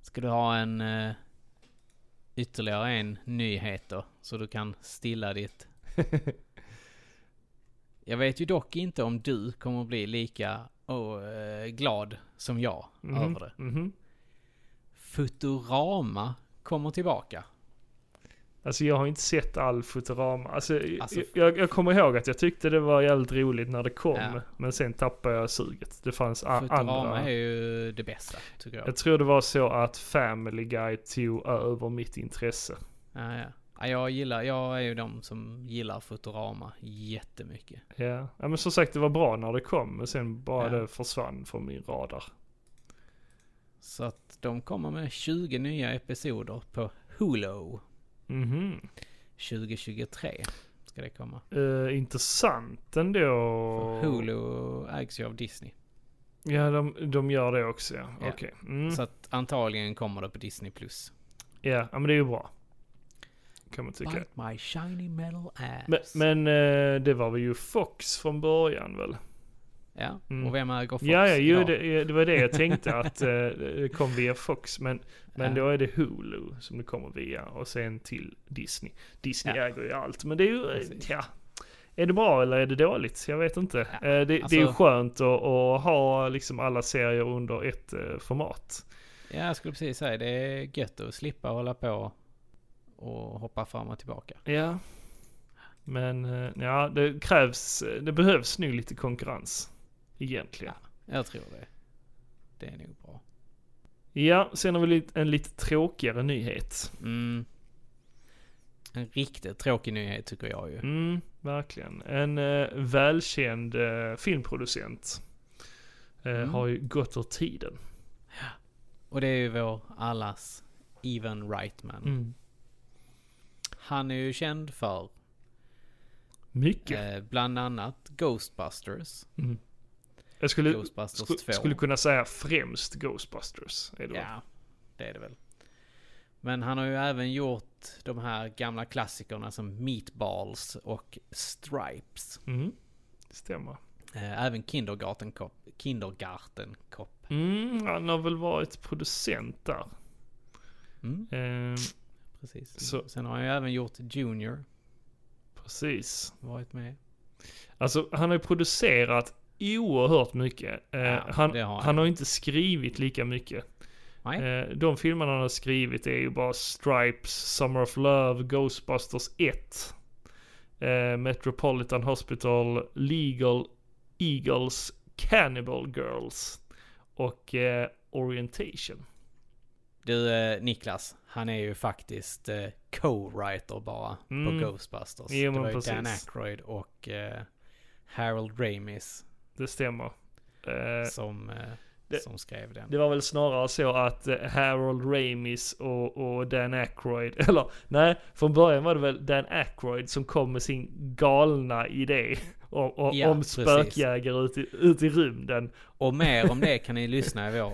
[SPEAKER 3] Ska du ha en eh, ytterligare en nyhet då? Så du kan stilla ditt... jag vet ju dock inte om du kommer bli lika oh, eh, glad som jag
[SPEAKER 1] Mhm,
[SPEAKER 3] över det.
[SPEAKER 1] mhm.
[SPEAKER 3] Futurama kommer tillbaka.
[SPEAKER 1] Alltså jag har inte sett all Futurama. Alltså,
[SPEAKER 3] Alltså-
[SPEAKER 1] jag, jag kommer ihåg att jag tyckte det var jävligt roligt när det kom.
[SPEAKER 3] Ja.
[SPEAKER 1] Men sen tappade jag suget. Det fanns a-
[SPEAKER 3] Futurama
[SPEAKER 1] andra.
[SPEAKER 3] är ju det bästa, tycker jag.
[SPEAKER 1] Jag tror det var så att Family Guy tog över mitt intresse.
[SPEAKER 3] Ja, ja. Ja, jag gillar, jag är ju de som gillar Futurama jättemycket.
[SPEAKER 1] Ja. ja men som sagt det var bra när det kom. Men sen bara
[SPEAKER 3] Ja.
[SPEAKER 1] det försvann från min radar.
[SPEAKER 3] Så att de kommer med 20 nya episoder på Hulu
[SPEAKER 1] Mhm.
[SPEAKER 3] 2023. Ska det komma.
[SPEAKER 1] Eh, intressant ändå.
[SPEAKER 3] För Hulu ägs ju av Disney.
[SPEAKER 1] Ja de, de gör det också ja.
[SPEAKER 3] Ja.
[SPEAKER 1] Okej. Mm.
[SPEAKER 3] Så att antagligen kommer det på Disney+. Plus.
[SPEAKER 1] Ja ja, men det är ju bra. Kan man tycka.
[SPEAKER 3] Bite my shiny metal ass.
[SPEAKER 1] Men, men eh, det var väl ju Fox från början väl?
[SPEAKER 3] Ja.
[SPEAKER 1] Mm.
[SPEAKER 3] Och vem äger Fox?
[SPEAKER 1] Ja, ja, ju,
[SPEAKER 3] idag?
[SPEAKER 1] det, det var det jag tänkte att eh, det kom via Fox. Men, men
[SPEAKER 3] Ja.
[SPEAKER 1] då är det Hulu som det kommer via och sen till Disney. Disney
[SPEAKER 3] Ja.
[SPEAKER 1] äger ju allt, men det är ju, eh,
[SPEAKER 3] Precis.
[SPEAKER 1] ja. Är det bra eller är det dåligt? Jag vet inte.
[SPEAKER 3] Ja,
[SPEAKER 1] Eh, det,
[SPEAKER 3] alltså-
[SPEAKER 1] det är ju skönt att, att ha liksom alla serier under ett eh, format.
[SPEAKER 3] Ja, jag skulle precis säga det är gött att slippa hålla på och hoppa fram och tillbaka.
[SPEAKER 1] Ja. Men eh, ja, det krävs, det behövs nu lite konkurrens. Egentligen.
[SPEAKER 3] Jag tror det. Det är nog bra.
[SPEAKER 1] Ja, sen har vi lite- en lite tråkigare nyhet.
[SPEAKER 3] Mm. En riktigt tråkig nyhet tycker jag ju.
[SPEAKER 1] Mm, verkligen. En eh, välkänd eh, filmproducent eh,
[SPEAKER 3] Mm.
[SPEAKER 1] har ju gått ur tiden.
[SPEAKER 3] Och det är ju vår allas Evan Reitman.
[SPEAKER 1] Mm.
[SPEAKER 3] Han är ju känd för
[SPEAKER 1] Mycket. Mm.
[SPEAKER 3] eh, bland annat Ghostbusters.
[SPEAKER 1] Jag skulle,
[SPEAKER 3] Ghostbusters
[SPEAKER 1] sku,
[SPEAKER 3] 2.
[SPEAKER 1] skulle kunna säga främst Ghostbusters. Är det väl?
[SPEAKER 3] Ja, det är det väl. Men han har ju även gjort de här gamla klassikerna som Meatballs och Stripes.
[SPEAKER 1] Mm. Stämmer.
[SPEAKER 3] Eh, Även Kindergarten Cop. Kindergarten Cop.
[SPEAKER 1] Mm, han har väl varit producent där.
[SPEAKER 3] Mm,
[SPEAKER 1] Eh,
[SPEAKER 3] precis.
[SPEAKER 1] Så-
[SPEAKER 3] Sen har han ju även gjort Junior.
[SPEAKER 1] precis.
[SPEAKER 3] Varit med.
[SPEAKER 1] Alltså han har ju producerat oerhört mycket. Eh,
[SPEAKER 3] Ja,
[SPEAKER 1] han,
[SPEAKER 3] det har han.
[SPEAKER 1] han har ju inte skrivit lika mycket.
[SPEAKER 3] Nej.
[SPEAKER 1] Eh, de filmerna han har skrivit är ju bara Stripes, Summer of Love, Ghostbusters 1, eh, Metropolitan Hospital, Legal, Eagles, Cannibal Girls och eh, Orientation.
[SPEAKER 3] Du eh, Niklas, han är ju faktiskt eh, co-writer bara
[SPEAKER 1] Mm.
[SPEAKER 3] på Ghostbusters.
[SPEAKER 1] Jo,
[SPEAKER 3] det
[SPEAKER 1] men
[SPEAKER 3] var ju Dan
[SPEAKER 1] precis.
[SPEAKER 3] Aykroyd och eh, Harold Ramis
[SPEAKER 1] Det stämmer. Eh,
[SPEAKER 3] som, eh,
[SPEAKER 1] det-
[SPEAKER 3] som skrev den.
[SPEAKER 1] det var väl snarare så att eh, Harold Ramis och, och Dan Aykroyd, eller nej, från början var det väl Dan Aykroyd som kom med sin galna idé om, om,
[SPEAKER 3] Ja,
[SPEAKER 1] om
[SPEAKER 3] precis.
[SPEAKER 1] spökjägare ut i, ut i rymden.
[SPEAKER 3] Och mer om det kan ni lyssna i vår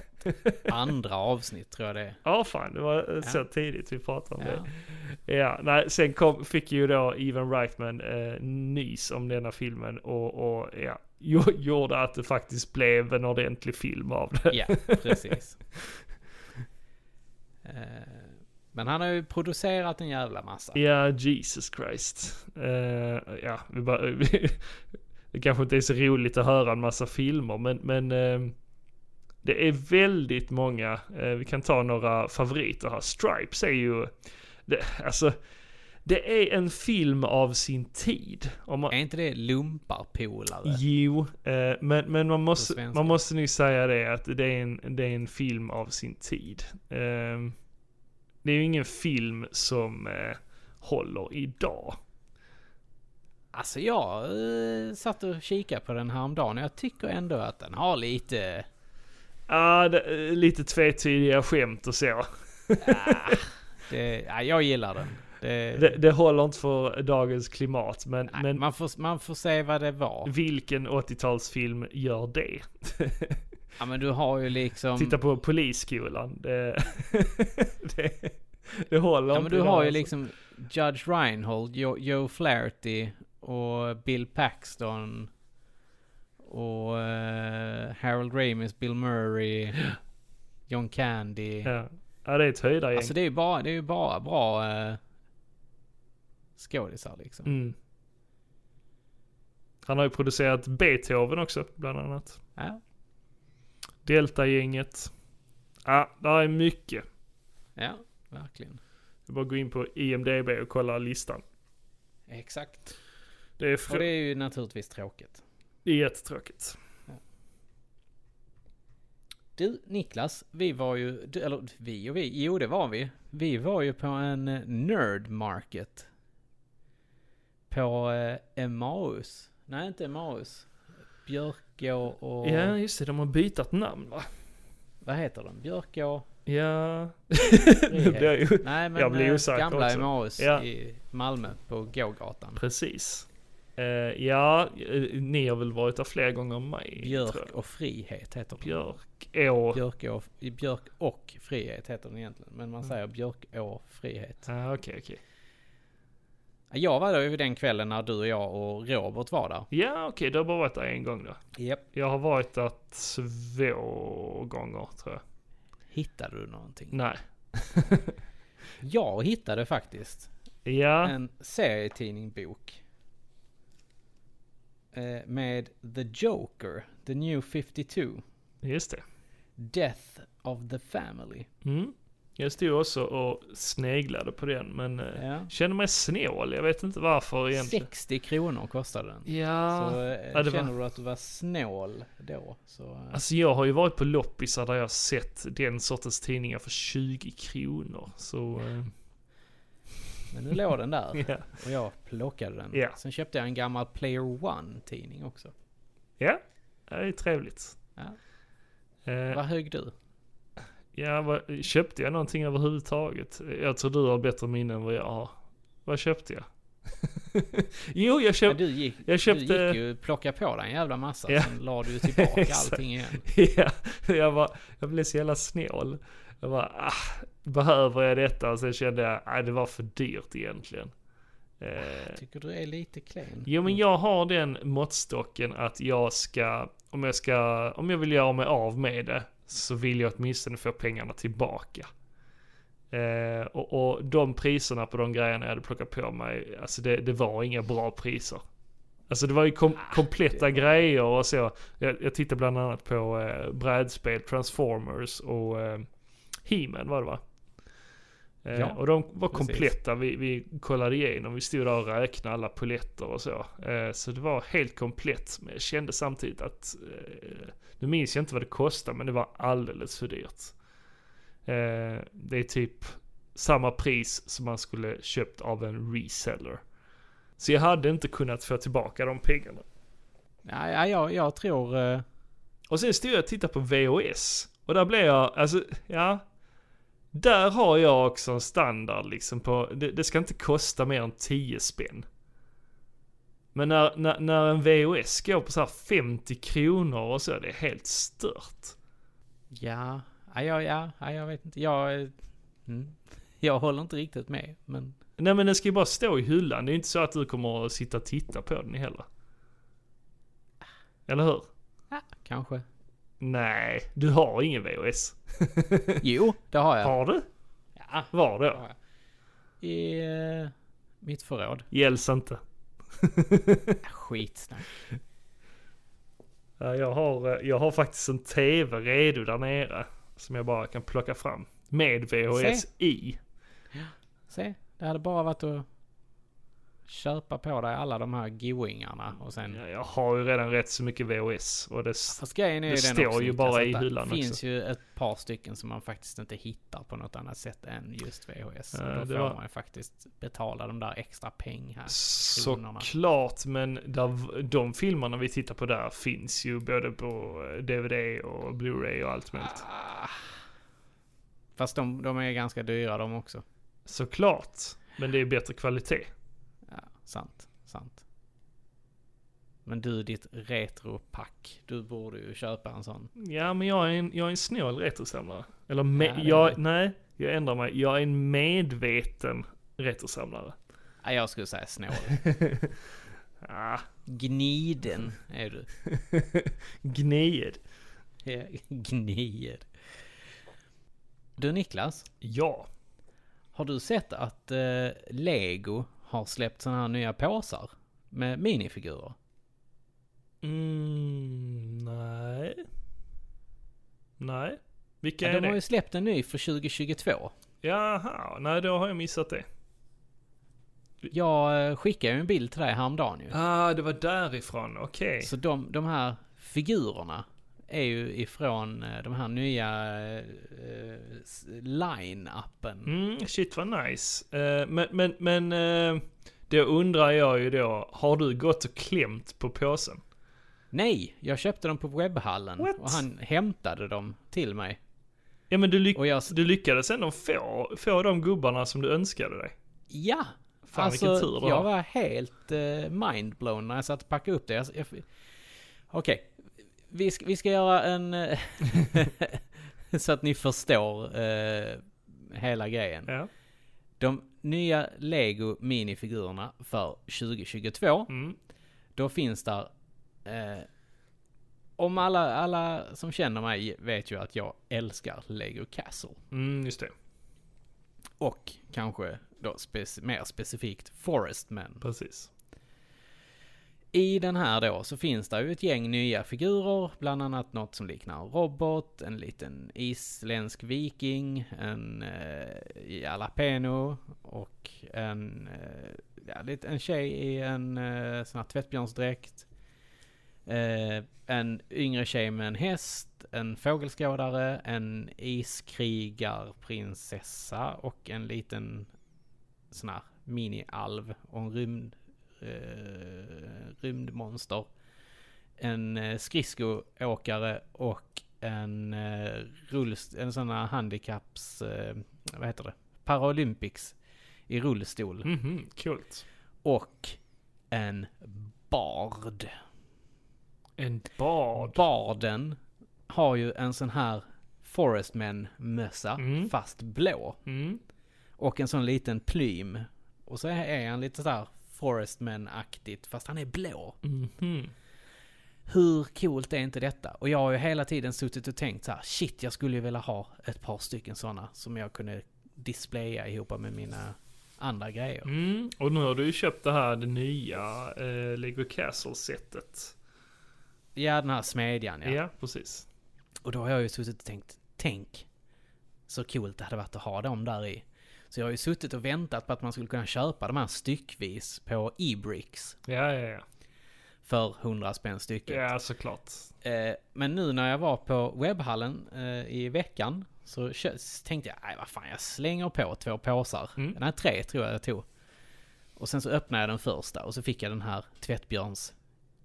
[SPEAKER 3] andra avsnitt tror jag det är.
[SPEAKER 1] Ja fan, det var eh, så
[SPEAKER 3] Ja.
[SPEAKER 1] tidigt vi pratade om
[SPEAKER 3] Ja.
[SPEAKER 1] det. Ja, nej, sen kom, fick ju då Evan Reitman eh, nys om denna filmen och, och ja, gjo- gjorde att det faktiskt blev en ordentlig film av det.
[SPEAKER 3] Ja, precis. Eh, Men han har ju producerat en jävla massa.
[SPEAKER 1] Ja, Jesus Christ. Eh, ja, vi bara, vi, det kanske inte är så roligt att höra en massa filmer, men, men eh, det är väldigt många. Eh, vi kan ta några favoriter här. Stripes är ju, det, alltså, det är en film av sin tid. Om man,
[SPEAKER 3] Är inte det lumparpolare?
[SPEAKER 1] Jo, eh, men, men man,
[SPEAKER 3] På
[SPEAKER 1] måste,
[SPEAKER 3] svenska.
[SPEAKER 1] man måste nu säga det att det är en, det är en film av sin tid. Ehm, det är ju ingen film som eh, håller idag.
[SPEAKER 3] Alltså jag eh, satt och kikade på den häromdagen och jag tycker ändå att den har lite...
[SPEAKER 1] Ah, det, eh, lite tvetydiga skämt och så.
[SPEAKER 3] Ah, det, ja, jag gillar den. Det,
[SPEAKER 1] Det, det håller inte för dagens klimat, men,
[SPEAKER 3] nej,
[SPEAKER 1] men
[SPEAKER 3] man, får, man får se vad det var.
[SPEAKER 1] vilken 80-talsfilm gör det?
[SPEAKER 3] Mm. Ja, men du har ju liksom...
[SPEAKER 1] Titta på Polisskolan. Det, det, det håller
[SPEAKER 3] ja,
[SPEAKER 1] inte
[SPEAKER 3] men du
[SPEAKER 1] idag,
[SPEAKER 3] har ju
[SPEAKER 1] alltså.
[SPEAKER 3] liksom Judge Reinhold, Joe, Joe Flaherty och Bill Paxton och eh, Harold Ramis, Bill Murray, John Candy.
[SPEAKER 1] Ja. ja, det är ett höjdargäng.
[SPEAKER 3] Alltså det är ju bara, det är ju bara bra uh, skådisar liksom.
[SPEAKER 1] Mm. Han har ju producerat Beethoven också, bland annat.
[SPEAKER 3] Ja,
[SPEAKER 1] Delta-gänget. Ja, där är mycket.
[SPEAKER 3] ja, verkligen.
[SPEAKER 1] Det är bara att gå in på IMDB och kolla listan.
[SPEAKER 3] Exakt.
[SPEAKER 1] Det är,
[SPEAKER 3] Och
[SPEAKER 1] fr-
[SPEAKER 3] det
[SPEAKER 1] det...
[SPEAKER 3] är ju naturligtvis tråkigt.
[SPEAKER 1] är jättetråkigt.
[SPEAKER 3] Du Niklas, vi var ju, du, eller vi och vi, jo det var vi. Vi var ju på en eh, nerd market. På eh, Emmaus. Nej inte Emmaus. Björkå och...
[SPEAKER 1] Ja, just det. De har bytt namn, va?
[SPEAKER 3] Vad heter den? Björkå?
[SPEAKER 1] Ja... det
[SPEAKER 3] Frihet.
[SPEAKER 1] blir ju...
[SPEAKER 3] Nej men
[SPEAKER 1] Jag blir
[SPEAKER 3] eh,
[SPEAKER 1] osäker
[SPEAKER 3] gamla
[SPEAKER 1] också.
[SPEAKER 3] Emmaus
[SPEAKER 1] Ja.
[SPEAKER 3] i Malmö på gågatan.
[SPEAKER 1] Precis. Eh, ja, eh, ni har väl varit där fler gånger än mig? tror
[SPEAKER 3] Björk
[SPEAKER 1] jag.
[SPEAKER 3] och frihet heter den.
[SPEAKER 1] Björk. Å.
[SPEAKER 3] Björk och, i Björk och
[SPEAKER 1] Mm.
[SPEAKER 3] frihet heter den egentligen. Men man säger Björk och frihet.
[SPEAKER 1] Ah, Okej, okej.
[SPEAKER 3] Jag var där ju den kvällen när du och jag och Robert var där.
[SPEAKER 1] Ja, okej, du har bara varit där en gång då.
[SPEAKER 3] Yep.
[SPEAKER 1] Jag har varit där två gånger tror jag.
[SPEAKER 3] Hittade du någonting?
[SPEAKER 1] Nej.
[SPEAKER 3] Jag hittade faktiskt
[SPEAKER 1] Ja,
[SPEAKER 3] en serietidningbok. Eh, Med The Joker, The New 52,
[SPEAKER 1] just det.
[SPEAKER 3] Death of the Family.
[SPEAKER 1] Mm. Jag stod också och sneglade på den, men eh,
[SPEAKER 3] Ja.
[SPEAKER 1] känner mig snål. Jag vet inte varför egentligen.
[SPEAKER 3] 60 kronor kostade den.
[SPEAKER 1] Ja.
[SPEAKER 3] Så eh,
[SPEAKER 1] Ja, det var-
[SPEAKER 3] känner du att du var snål då så... eh,
[SPEAKER 1] Alltså jag har ju varit på loppisar där jag har sett den sortens tidningar för 20 kronor. Så, eh,
[SPEAKER 3] Men nu låg den där
[SPEAKER 1] ja.
[SPEAKER 3] och jag plockade den.
[SPEAKER 1] Ja.
[SPEAKER 3] Sen köpte jag en gammal Player One tidning också.
[SPEAKER 1] Ja, det är trevligt.
[SPEAKER 3] Ja.
[SPEAKER 1] Eh,
[SPEAKER 3] Vad hög du?
[SPEAKER 1] ja, vad, köpte jag någonting överhuvudtaget? Jag tror du har bättre minne än vad jag har. Vad köpte jag? jo, jag
[SPEAKER 3] Ja,
[SPEAKER 1] köpte...
[SPEAKER 3] du gick,
[SPEAKER 1] jag köpte-
[SPEAKER 3] du gick ju plocka på dig en jävla massa.
[SPEAKER 1] Ja.
[SPEAKER 3] Sen la du ju tillbaka
[SPEAKER 1] Exakt.
[SPEAKER 3] allting igen.
[SPEAKER 1] ja, jag, bara, jag blev så jävla snål. Jag bara, ah, behöver jag detta? Och sen kände jag, nej det var för dyrt egentligen. Eh,
[SPEAKER 3] Tycker du är lite klen?
[SPEAKER 1] Jo men jag har den måttstocken att jag ska, om jag ska, om jag vill göra mig av med det så vill jag åtminstone få pengarna tillbaka. Eh, och, och de priserna på de grejerna jag hade plockat på mig, alltså det, det var inga bra priser. Alltså det var ju kom, kompletta grejer och så. Jag, jag tittade bland annat på eh, brädspel, Transformers och eh, He-Man var det va? Eh,
[SPEAKER 3] Ja,
[SPEAKER 1] och de var
[SPEAKER 3] precis.
[SPEAKER 1] kompletta. Vi, vi kollade igenom, vi stod där och räknade alla poletter och så. Eh, så det var helt komplett. Men jag kände samtidigt att, eh, nu minns jag inte vad det kostade, men det var alldeles för dyrt. Eh, det är typ samma pris som man skulle köpt av en reseller. Så jag hade inte kunnat få tillbaka de pengarna.
[SPEAKER 3] Ja, ja, jag, jag tror... eh,
[SPEAKER 1] Och sen stod jag och tittade på VHS. Och där blev jag, alltså, ja. Där har jag också en standard liksom på, det, det ska inte kosta mer än 10 spänn. Men när, när, när en VHS går på så här 50 kronor och så, det är helt stört.
[SPEAKER 3] Ja, ja, ja, ja, ja jag vet inte. Jag, eh, mm, jag håller inte riktigt med. Men
[SPEAKER 1] Nej men den ska ju bara stå i hyllan, det är inte så att du kommer att sitta och titta på den heller. Eller hur?
[SPEAKER 3] ja, kanske.
[SPEAKER 1] Nej, du har ingen VHS.
[SPEAKER 3] Jo, det har jag.
[SPEAKER 1] Har du?
[SPEAKER 3] Ja,
[SPEAKER 1] Var
[SPEAKER 3] har
[SPEAKER 1] då?
[SPEAKER 3] jag. I eh, mitt förråd.
[SPEAKER 1] Gälls inte.
[SPEAKER 3] Ja, Skitsnack.
[SPEAKER 1] Ja, Jag har, eh, jag har faktiskt en TV redo där nere. Som jag bara kan plocka fram. Med VHS i.
[SPEAKER 3] Se, det hade bara varit att köpa på dig alla de här goingarna och sen...
[SPEAKER 1] Ja, Jag har ju redan rätt så mycket VHS. Och det s-
[SPEAKER 3] Fast grejen är ju
[SPEAKER 1] Det
[SPEAKER 3] den
[SPEAKER 1] står
[SPEAKER 3] också,
[SPEAKER 1] ju
[SPEAKER 3] Niklas,
[SPEAKER 1] bara
[SPEAKER 3] att
[SPEAKER 1] i
[SPEAKER 3] det
[SPEAKER 1] hyllan
[SPEAKER 3] finns
[SPEAKER 1] också.
[SPEAKER 3] ju ett par stycken som man faktiskt inte hittar på något annat sätt än just VHS.
[SPEAKER 1] Ja,
[SPEAKER 3] och då
[SPEAKER 1] Eh, det
[SPEAKER 3] får
[SPEAKER 1] var-
[SPEAKER 3] man ju faktiskt betala de där extra peng här. kronorna.
[SPEAKER 1] såklart. Men där, de filmerna vi tittar på där finns ju både på eh, DVD och Blu-ray och allt möjligt.
[SPEAKER 3] Ah. Fast de, de är ganska dyra de också.
[SPEAKER 1] Såklart. Men det är bättre kvalitet.
[SPEAKER 3] Ja, sant, sant. Men du, ditt retropack. Du borde ju köpa en sån.
[SPEAKER 1] Ja, men jag är en, jag är en snål retrosamlare. Eller me-
[SPEAKER 3] Ja, det är
[SPEAKER 1] jag,
[SPEAKER 3] det.
[SPEAKER 1] nej, jag ändrar mig. Jag är en medveten retrosamlare.
[SPEAKER 3] Ja, jag skulle säga snål.
[SPEAKER 1] Ah,
[SPEAKER 3] Gniden är du.
[SPEAKER 1] gnid.
[SPEAKER 3] Ja, Gnid. Du Niklas,
[SPEAKER 1] Ja.
[SPEAKER 3] har du sett att eh, Lego har släppt sådana här nya påsar med minifigurer?
[SPEAKER 1] Mm, nej. Nej. Vilka
[SPEAKER 3] Ja,
[SPEAKER 1] är
[SPEAKER 3] de har
[SPEAKER 1] det?
[SPEAKER 3] ju släppt en ny för 2022.
[SPEAKER 1] Jaha, nej då har jag missat det.
[SPEAKER 3] Jag eh, skickade ju en bild till dig häromdagen ju.
[SPEAKER 1] Ah, det var därifrån, okej.
[SPEAKER 3] Så de, de här figurerna är ju ifrån eh, de här nya eh, s- line-appen.
[SPEAKER 1] Mm, shit vad nice. Eh, men, men, men eh, då undrar jag ju då, har du gått och klämt på påsen?
[SPEAKER 3] Nej, jag köpte dem på webbhallen
[SPEAKER 1] What?
[SPEAKER 3] och han hämtade dem till mig.
[SPEAKER 1] Ja men du, lyck
[SPEAKER 3] Och jag,
[SPEAKER 1] du lyckades ändå få, få de gubbarna som du önskade dig.
[SPEAKER 3] Ja!
[SPEAKER 1] Fan,
[SPEAKER 3] alltså,
[SPEAKER 1] vilken tur du har.
[SPEAKER 3] jag var helt eh, mindblown när jag satt och packade upp det. Jag, jag, Okej, vi, ska, vi ska göra en... eh, så att ni förstår eh, hela grejen.
[SPEAKER 1] Ja.
[SPEAKER 3] De, nya Lego minifigurerna för 2022.
[SPEAKER 1] Mm.
[SPEAKER 3] Då finns där... Eh, om alla, alla som känner mig vet ju att jag älskar Lego Castle.
[SPEAKER 1] Mm, just det.
[SPEAKER 3] Och kanske då spec- mer specifikt Forest Men.
[SPEAKER 1] Precis.
[SPEAKER 3] I den här då så finns det ju ett gäng nya figurer, bland annat något som liknar en robot, en liten isländsk viking, en eh, jalapeno och en, eh, ja, lite- en tjej i en eh, sån här tvättbjörnsdräkt. Eh, en yngre tjej med en häst, en fågelskådare, en iskrigarprinsessa och en liten sån här mini-alv och en rymd, eh, rymdmonster. En eh, skridskoåkare och en eh, rullst- en sån här handikapps, eh, vad heter det, Paralympics i rullstol.
[SPEAKER 1] Mhm, coolt.
[SPEAKER 3] Och en bard.
[SPEAKER 1] En bad.
[SPEAKER 3] Barden har ju en sån här Forestman-mössa,
[SPEAKER 1] Mm.
[SPEAKER 3] fast blå.
[SPEAKER 1] Mm.
[SPEAKER 3] Och en sån liten plym. Och så är han lite sådär Forestman-aktigt, fast han är blå.
[SPEAKER 1] Mhm.
[SPEAKER 3] Hur coolt är inte detta? Och jag har ju hela tiden suttit och tänkt så här, shit, jag skulle ju vilja ha ett par stycken sådana som jag kunde displaya ihop med mina andra grejer.
[SPEAKER 1] Mm. Och nu har du ju köpt det här det nya eh, Lego Castle-setet.
[SPEAKER 3] Ja, den här smedjan
[SPEAKER 1] Ja.
[SPEAKER 3] ja.
[SPEAKER 1] precis.
[SPEAKER 3] Och då har jag ju suttit och tänkt, tänk så coolt det hade varit att ha dem där i. Så jag har ju suttit och väntat på att man skulle kunna köpa de här styckvis på e-bricks
[SPEAKER 1] Ja, ja, ja.
[SPEAKER 3] för 100 spänn stycket.
[SPEAKER 1] Ja, såklart.
[SPEAKER 3] Eh, men nu när jag var på webbhallen eh, i veckan så kö- s- tänkte jag, nej vad fan jag slänger på två påsar.
[SPEAKER 1] Mm.
[SPEAKER 3] Den här tre tror jag jag tog. Och sen så öppnade jag den första och så fick jag den här tvättbjörns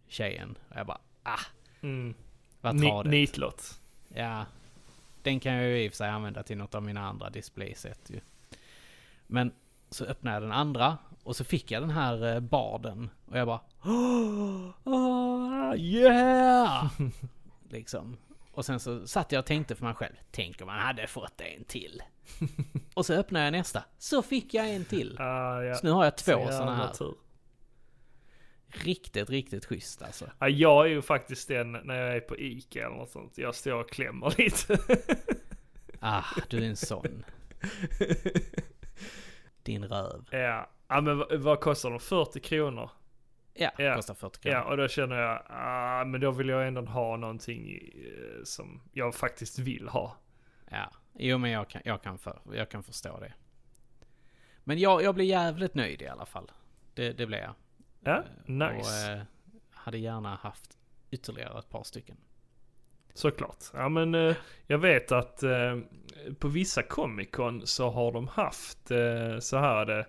[SPEAKER 3] tjejen. Och jag bara, ah,
[SPEAKER 1] Mm.
[SPEAKER 3] vad
[SPEAKER 1] Ni-
[SPEAKER 3] tar det?
[SPEAKER 1] Nitlott.
[SPEAKER 3] Ja, den kan jag ju i och för sig använda till något av mina andra displayset ju. Men så öppnade jag den andra och så fick jag den här eh, barden och jag bara "Åh, ah, Yeah! liksom. Och sen så satt jag och tänkte för mig själv, tänk om man hade fått en till. och så öppnade jag nästa, så fick jag en till.
[SPEAKER 1] Ah, ja.
[SPEAKER 3] Så nu har jag
[SPEAKER 1] Så
[SPEAKER 3] två
[SPEAKER 1] jävla
[SPEAKER 3] sådana här.
[SPEAKER 1] tur.
[SPEAKER 3] Riktigt, riktigt schysst alltså.
[SPEAKER 1] Ja, jag är ju faktiskt den när jag är på Ica eller något sånt. Jag står och klämmer lite.
[SPEAKER 3] Ah, du är en sån. Din röv.
[SPEAKER 1] ja. ja, men vad- vad kostar de? 40 kronor?
[SPEAKER 3] Ja,
[SPEAKER 1] Ja.
[SPEAKER 3] kostar 40 kronor.
[SPEAKER 1] Ja, och då känner jag, ah, men då vill jag ändå ha någonting eh, som jag faktiskt vill ha.
[SPEAKER 3] Ja, jo men jag kan, jag kan, för, jag kan förstå det. Men jag, jag blir jävligt nöjd i alla fall. Det, det blev jag.
[SPEAKER 1] Ja,
[SPEAKER 3] Och
[SPEAKER 1] nice.
[SPEAKER 3] eh, hade gärna haft ytterligare ett par stycken.
[SPEAKER 1] Såklart. Ja, men eh, jag vet att eh, på vissa Comic Con så har de haft eh, så här är det,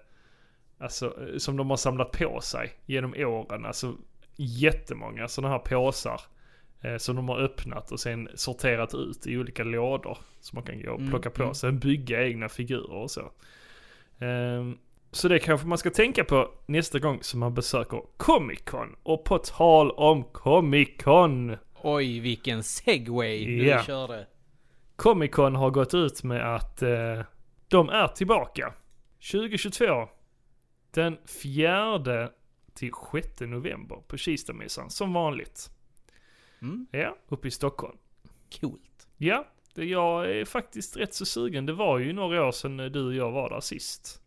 [SPEAKER 1] alltså eh, som de har samlat på sig genom åren, alltså jättemånga sådana här påsar eh, som de har öppnat och sen sorterat ut i olika lådor som man kan gå och
[SPEAKER 3] Mm,
[SPEAKER 1] plocka på
[SPEAKER 3] mm.
[SPEAKER 1] sig, bygga egna figurer och så. Ehm, så det kanske man ska tänka på nästa gång som man besöker Comic Con. Och på tal om Comic Con!
[SPEAKER 3] Oj, vilken segway
[SPEAKER 1] Ja.
[SPEAKER 3] du körde.
[SPEAKER 1] Comic Con har gått ut med att eh, de är tillbaka 2022 den 4 till 6 november på Kistamässan som vanligt.
[SPEAKER 3] Mm,
[SPEAKER 1] Ja, uppe i Stockholm.
[SPEAKER 3] coolt.
[SPEAKER 1] Ja, det, jag är faktiskt rätt så sugen. Det var ju några år sedan eh, du och jag var där sist.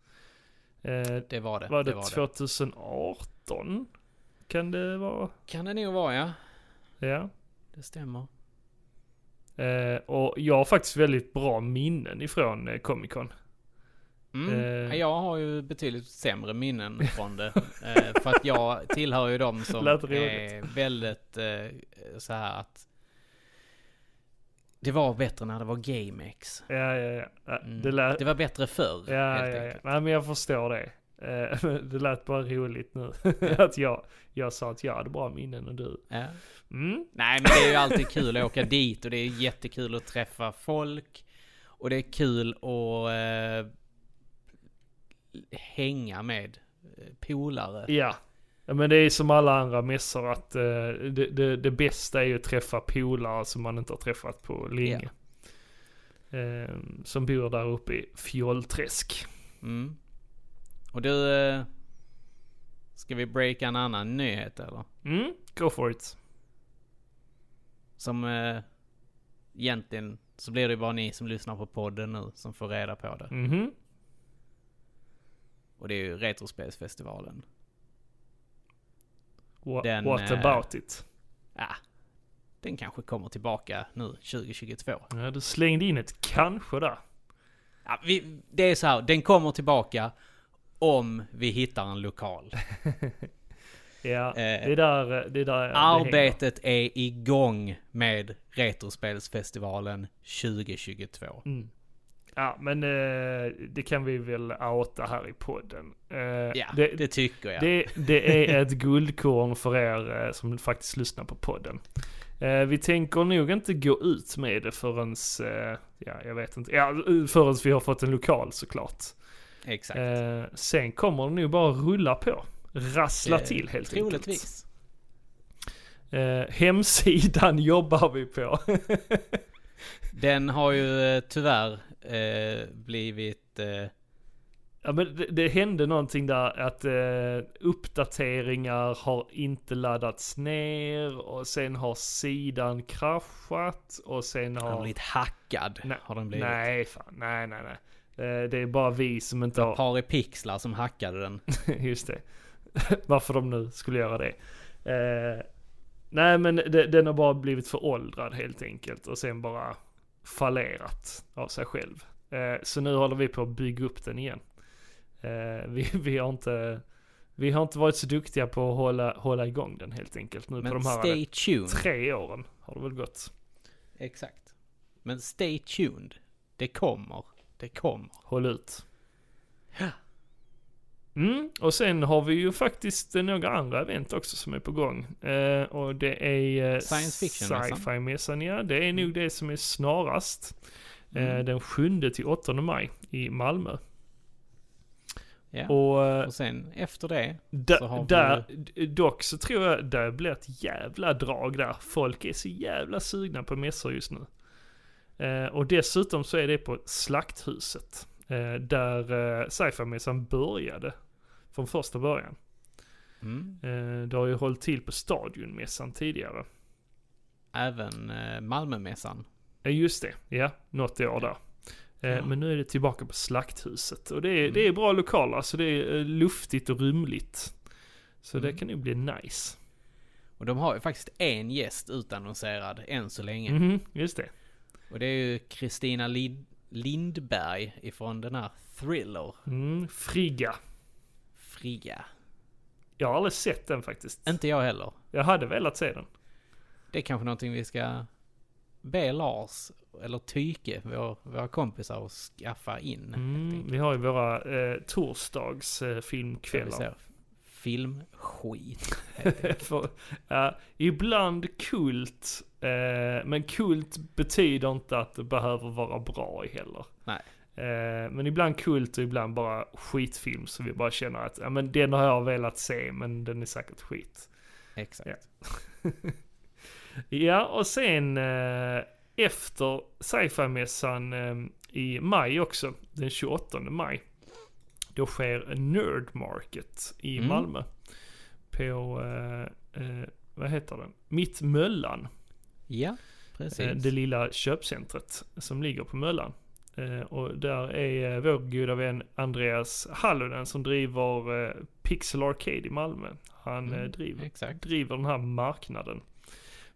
[SPEAKER 1] Eh,
[SPEAKER 3] Det var det.
[SPEAKER 1] var
[SPEAKER 3] det,
[SPEAKER 1] det,
[SPEAKER 3] var det.
[SPEAKER 1] 2018? Kan det vara?
[SPEAKER 3] Kan det nog vara ja.
[SPEAKER 1] Ja.
[SPEAKER 3] Det stämmer.
[SPEAKER 1] Eh, och jag har faktiskt väldigt bra minnen ifrån eh, Comic Con.
[SPEAKER 3] Mm.
[SPEAKER 1] Eh.
[SPEAKER 3] Jag har ju betydligt sämre minnen från det. eh, för att jag tillhör ju dem som
[SPEAKER 1] Lät roligt.
[SPEAKER 3] är väldigt eh, så här att det var bättre när det var GameX.
[SPEAKER 1] Ja, ja, ja. ja. Eh,
[SPEAKER 3] Mm.
[SPEAKER 1] Det lät,
[SPEAKER 3] Det var bättre förr
[SPEAKER 1] Ja,
[SPEAKER 3] helt
[SPEAKER 1] ja, ja.
[SPEAKER 3] enkelt.
[SPEAKER 1] Nej, men jag förstår det. Eh, Det lät bara roligt nu. Att jag, jag sa att jag hade bra minnen och du.
[SPEAKER 3] Ja.
[SPEAKER 1] Mm.
[SPEAKER 3] Nej men det är ju alltid kul att åka dit och det är jättekul att träffa folk. Och det är kul att eh, hänga med eh, polare.
[SPEAKER 1] Ja. Ja, Men det är som alla andra mässor att eh, det, det, det bästa är ju att träffa polare som man inte har träffat på länge. Ehm, Eh, som bor där uppe i Fjollträsk.
[SPEAKER 3] Mm. Och du... eh, Ska vi breaka en annan nyhet eller?
[SPEAKER 1] Mm, go for it.
[SPEAKER 3] Som eh, egentligen så blir det ju bara ni som lyssnar på podden nu som får reda på det.
[SPEAKER 1] Mhm.
[SPEAKER 3] Och det är ju Retrospelsfestivalen.
[SPEAKER 1] Wha-
[SPEAKER 3] Den,
[SPEAKER 1] What
[SPEAKER 3] eh,
[SPEAKER 1] about it?
[SPEAKER 3] Ah, den kanske kommer tillbaka nu 2022.
[SPEAKER 1] Ja, du slängde in ett kanske där.
[SPEAKER 3] Ja, vi, det är så här, den kommer tillbaka om vi hittar en lokal.
[SPEAKER 1] Ja,
[SPEAKER 3] Eh,
[SPEAKER 1] det är där eh, det är där det hänger.
[SPEAKER 3] Arbetet är igång med Retrospelsfestivalen 2022.
[SPEAKER 1] Mm. Ja, men eh, det kan vi väl outa här i podden. Eh,
[SPEAKER 3] Ja, det,
[SPEAKER 1] det,
[SPEAKER 3] tycker jag.
[SPEAKER 1] Det, det är ett guldkorn för er eh, som faktiskt lyssnar på podden. Eh, Vi tänker nog inte gå ut med det förrän, eh, ja jag vet inte, ja, förrän vi har fått en lokal såklart.
[SPEAKER 3] Exakt.
[SPEAKER 1] Eh, sen kommer det nog bara rulla på. Rassla
[SPEAKER 3] Eh,
[SPEAKER 1] till helt enkelt.
[SPEAKER 3] Troligtvis.
[SPEAKER 1] Eh, hemsidan jobbar vi på.
[SPEAKER 3] Den har ju eh, tyvärr eh, blivit... Eh,
[SPEAKER 1] Ja, men det, det hände någonting där att eh, uppdateringar har inte laddats ner och sen har sidan kraschat och sen
[SPEAKER 3] den har
[SPEAKER 1] har...
[SPEAKER 3] blivit hackad.
[SPEAKER 1] Nej,
[SPEAKER 3] har den blivit.
[SPEAKER 1] nej, fan, nej, nej, nej. Eh, det är bara vi som inte har...
[SPEAKER 3] Par i pixlar som hackade den.
[SPEAKER 1] Just det. Varför de nu skulle göra det. Eh, nej men de, den har bara blivit föråldrad helt enkelt och sen bara fallerat av sig själv. Eh, så nu håller vi på att bygga upp den igen. Eh, vi, vi, har inte, vi har inte varit så duktiga på att hålla, hålla igång den helt enkelt. Nu på
[SPEAKER 3] Men
[SPEAKER 1] de här
[SPEAKER 3] stay tuned.
[SPEAKER 1] tre åren har det väl gått.
[SPEAKER 3] Exakt. Men stay tuned. Det kommer. Det kommer.
[SPEAKER 1] Håll ut. Mm, och sen har vi ju faktiskt eh, några andra event också som är på gång. Eh, och det är eh,
[SPEAKER 3] Science fiction-mässan.
[SPEAKER 1] sci-fi-mässan. Ja, det är nog det som är snarast. Eh,
[SPEAKER 3] Mm.
[SPEAKER 1] den 7 till 8 maj i Malmö.
[SPEAKER 3] Ja. Och,
[SPEAKER 1] Och eh,
[SPEAKER 3] sen efter det.
[SPEAKER 1] da-
[SPEAKER 3] så har vi-
[SPEAKER 1] där, d- dock så tror jag det blir ett jävla drag där. Folk är så jävla sugna på mässor just nu. Eh, och dessutom så är det på Slakthuset. Eh, där eh, sci-fi-mässan började. Från första början.
[SPEAKER 3] Mm,
[SPEAKER 1] Eh, det har ju hållit till på Stadionmässan tidigare.
[SPEAKER 3] även eh, Malmömässan.
[SPEAKER 1] Ja Eh, just det, ja. Något år där. Eh,
[SPEAKER 3] Ja. Mm.
[SPEAKER 1] Men nu är det tillbaka på Slakthuset. Och det är, det är bra lokaler, alltså det är eh, luftigt och rymligt. Så det
[SPEAKER 3] Mm.
[SPEAKER 1] kan nog bli nice.
[SPEAKER 3] Och de har ju faktiskt en gäst utannonserad än så länge.
[SPEAKER 1] Mhm, just det.
[SPEAKER 3] Och det är ju Kristina Lid- Lindberg ifrån den här Thriller.
[SPEAKER 1] Mm, Frigga.
[SPEAKER 3] Frigga.
[SPEAKER 1] Jag har aldrig sett den faktiskt.
[SPEAKER 3] Inte jag heller.
[SPEAKER 1] Jag hade velat se den.
[SPEAKER 3] Det är kanske någonting vi ska be Lars eller Tyke, vår, våra kompisar, att skaffa in. helt
[SPEAKER 1] Mm,
[SPEAKER 3] enkelt.
[SPEAKER 1] vi har ju våra eh,
[SPEAKER 3] Ska vi
[SPEAKER 1] torsdagsfilmkvällar.
[SPEAKER 3] se. Filmskit.
[SPEAKER 1] För, ja, ibland kult, eh, men kult betyder inte att det behöver vara bra i heller.
[SPEAKER 3] Nej.
[SPEAKER 1] Eh, men ibland kult och ibland bara skitfilm så vi bara känner att ja, men den har jag velat se men den är säkert skit.
[SPEAKER 3] Exakt.
[SPEAKER 1] Ja. Ja och sen eh, efter sci-fi-mässan eh, i maj också, den 28 maj, då sker Nerd Market i
[SPEAKER 3] Mm.
[SPEAKER 1] Malmö. På, eh, eh, vad heter den? Mitt Möllan.
[SPEAKER 3] Ja,
[SPEAKER 1] Eh,
[SPEAKER 3] precis.
[SPEAKER 1] det lilla köpcentret som ligger på Möllan. Eh, Och där är eh, vår goda vän Andreas Hallonen som driver eh, Pixel Arcade i Malmö. Han
[SPEAKER 3] Mm,
[SPEAKER 1] eh, driver,
[SPEAKER 3] Exakt.
[SPEAKER 1] driver den här marknaden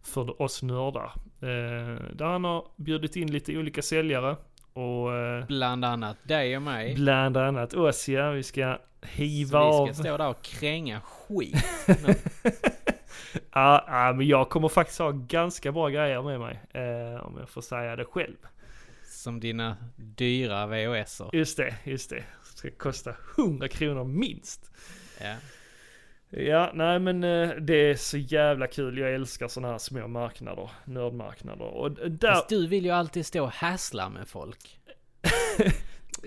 [SPEAKER 1] för oss nördar. Eh, Där han har bjudit in lite olika säljare och eh,
[SPEAKER 3] Bland annat dig och mig.
[SPEAKER 1] bland annat oss ja, vi ska hiva
[SPEAKER 3] Så
[SPEAKER 1] av.
[SPEAKER 3] vi ska stå där och kränga skit.
[SPEAKER 1] Ja, ja, men jag kommer faktiskt ha ganska bra grejer med mig. eh, Om jag får säga det själv.
[SPEAKER 3] som dina dyra VHSer.
[SPEAKER 1] Just det, just det. Ska kosta 100 kronor minst.
[SPEAKER 3] Ja.
[SPEAKER 1] Ja, nej men eh, det är så jävla kul. Jag älskar sådana här små marknader, nördmarknader. Och d- där...
[SPEAKER 3] Fast du vill ju alltid stå och hassla med folk.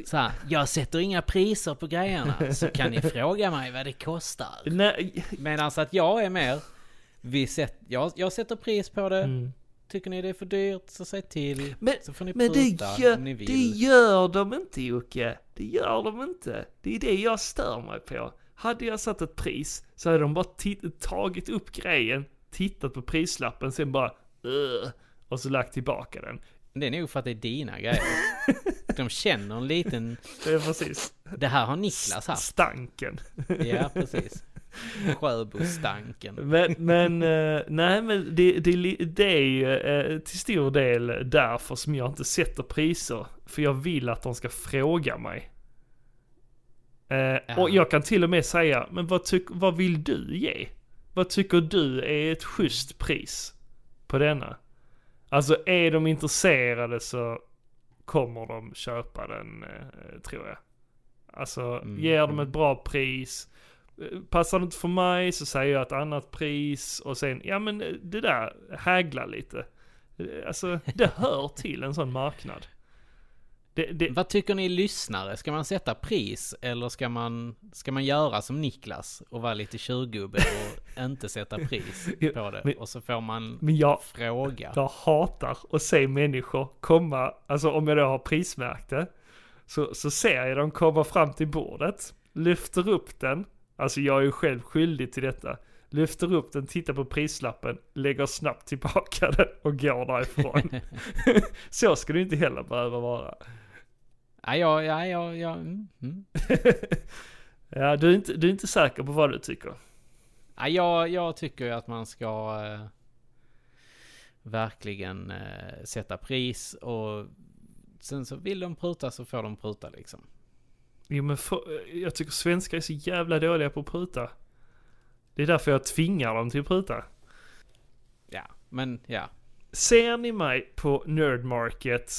[SPEAKER 3] Så här, jag sätter inga priser på grejerna så kan ni fråga mig vad det kostar.
[SPEAKER 1] Nej,
[SPEAKER 3] Medan att jag är mer, vi sätt, jag, jag sätter pris på det,
[SPEAKER 1] Mm.
[SPEAKER 3] tycker ni det är för dyrt så säg till.
[SPEAKER 1] men,
[SPEAKER 3] så får ni
[SPEAKER 1] men det,
[SPEAKER 3] pruta
[SPEAKER 1] gör,
[SPEAKER 3] om ni
[SPEAKER 1] det
[SPEAKER 3] vill.
[SPEAKER 1] gör de inte Jocke. Det gör de inte. Det är det jag stör mig på. Hade jag satt ett pris så hade de bara ti- tagit upp grejen, tittat på prislappen, sen bara "Ugh", och så lagt tillbaka den.
[SPEAKER 3] Det är nog för att det är dina grejer. De känner en liten...
[SPEAKER 1] Det är precis
[SPEAKER 3] Det här har Niklas haft.
[SPEAKER 1] stanken.
[SPEAKER 3] Ja, precis. Sjöbostanken.
[SPEAKER 1] Men, men eh, nej men det, det, är li- det är ju eh, till stor del därför som jag inte sätter priser. För jag vill att de ska fråga mig. Eh, Och jag kan till och med säga, men vad, tyck, vad vill du ge? Vad tycker du är ett schysst pris på denna? Alltså är de intresserade så kommer de köpa den, eh, tror jag. Alltså, ger de ett bra pris, eh, passar det inte för mig så säger jag ett annat pris och sen, ja men eh, det där, hägla lite. Eh, Alltså, det hör till en sån marknad. Det, det,
[SPEAKER 3] Vad tycker ni lyssnare? Ska man sätta pris eller ska man, ska man göra som Niklas och vara lite tjurgubbe och inte sätta pris på det? Och så får man
[SPEAKER 1] men jag,
[SPEAKER 3] fråga.
[SPEAKER 1] Jag hatar att se människor komma, alltså om jag då har prismärkt det, så, så ser jag dem komma fram till bordet, lyfter upp den, alltså jag är ju själv skyldig till detta, lyfter upp den, tittar på prislappen, lägger snabbt tillbaka den och går därifrån. så ska det inte heller behöva vara.
[SPEAKER 3] Ja, ja, ja, ja, ja. Mm. mm.
[SPEAKER 1] Ja, du är inte, du är inte säker på vad du tycker.
[SPEAKER 3] Ja, jag, jag tycker ju att man ska eh, verkligen eh, sätta pris och sen så vill de pruta så får de pruta liksom.
[SPEAKER 1] Jo men för, jag tycker svenskar är så jävla dåliga på att pruta. Det är därför jag tvingar dem till att pruta.
[SPEAKER 3] Ja, men ja.
[SPEAKER 1] Ser ni mig på Nerdmarket,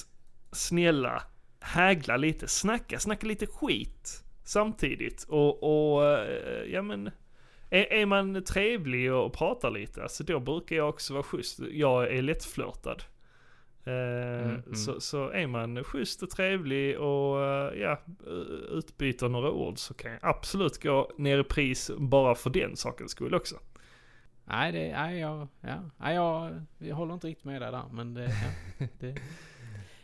[SPEAKER 1] snälla, hägla lite, snacka, snacka lite skit samtidigt. Och, och eh, ja men, är, är man trevlig och pratar lite, alltså då brukar jag också vara schysst. Jag är lättflörtad. Eh, Så, så är man schysst och trevlig och eh, ja, utbyter några ord så kan jag absolut gå ner i pris bara för den sakens skull också.
[SPEAKER 3] Nej, det, nej, jag, ja, nej jag, jag håller inte riktigt med dig där, men det, ja, det.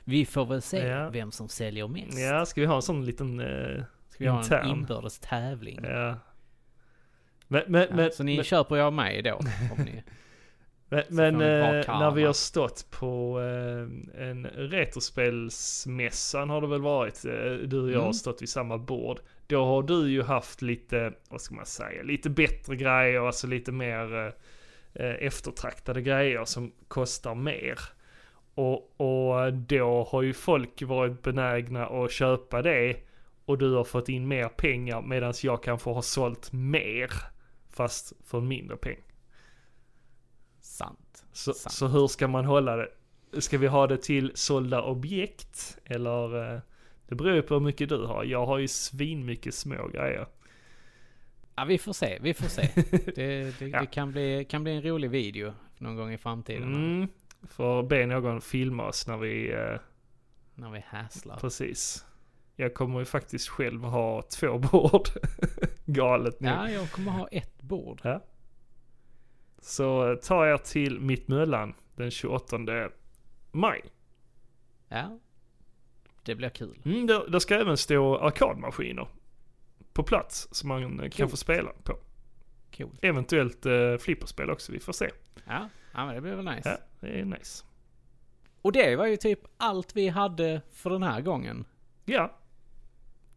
[SPEAKER 3] Vi får väl se
[SPEAKER 1] Ja.
[SPEAKER 3] vem som säljer mest.
[SPEAKER 1] Ja, ska vi ha en sån liten eh,
[SPEAKER 3] Ska vi ha en
[SPEAKER 1] intern?
[SPEAKER 3] inbördes tävling?
[SPEAKER 1] Ja. Men, men,
[SPEAKER 3] Ja,
[SPEAKER 1] men,
[SPEAKER 3] så ni
[SPEAKER 1] men,
[SPEAKER 3] köper ju av mig då? Om ni,
[SPEAKER 1] men,
[SPEAKER 3] får ni
[SPEAKER 1] eh,
[SPEAKER 3] bra
[SPEAKER 1] när vi
[SPEAKER 3] karma.
[SPEAKER 1] har stått på eh, en retrospelsmässan har det väl varit, eh, du och jag har
[SPEAKER 3] Mm.
[SPEAKER 1] stått vid samma bord. Då har du ju haft lite, vad ska man säga, lite bättre grejer, alltså lite mer eh, eh, eftertraktade grejer som kostar mer. Och, och då har ju folk varit benägna att köpa det och du har fått in mer pengar medan jag kanske har sålt mer fast för mindre peng.
[SPEAKER 3] sant.
[SPEAKER 1] Så,
[SPEAKER 3] Sant.
[SPEAKER 1] så hur ska man hålla det? Ska vi ha det till sålda objekt eller? eh, Det beror ju på hur mycket du har. Jag har ju svinmycket små grejer.
[SPEAKER 3] Ja, vi får se, vi får se. Det, det,
[SPEAKER 1] Ja.
[SPEAKER 3] det kan, bli, kan bli en rolig video någon gång i framtiden.
[SPEAKER 1] Mm. Får be någon filma oss när vi, eh,
[SPEAKER 3] När vi häslar.
[SPEAKER 1] precis. Jag kommer ju faktiskt själv ha två bord. Galet nu.
[SPEAKER 3] Ja, jag kommer ha ett bord.
[SPEAKER 1] Så eh, ta er till Mittmöllan den 28 maj.
[SPEAKER 3] Ja. Det blir kul.
[SPEAKER 1] Mm, där, där ska även stå arkadmaskiner på plats som man eh, kan
[SPEAKER 3] Coolt.
[SPEAKER 1] få spela på.
[SPEAKER 3] Coolt.
[SPEAKER 1] Eventuellt eh, flipperspel också, vi får se.
[SPEAKER 3] Ja, ja men det blir väl nice.
[SPEAKER 1] Ja, det är nice.
[SPEAKER 3] Och det var ju typ allt vi hade för den här gången.
[SPEAKER 1] Ja.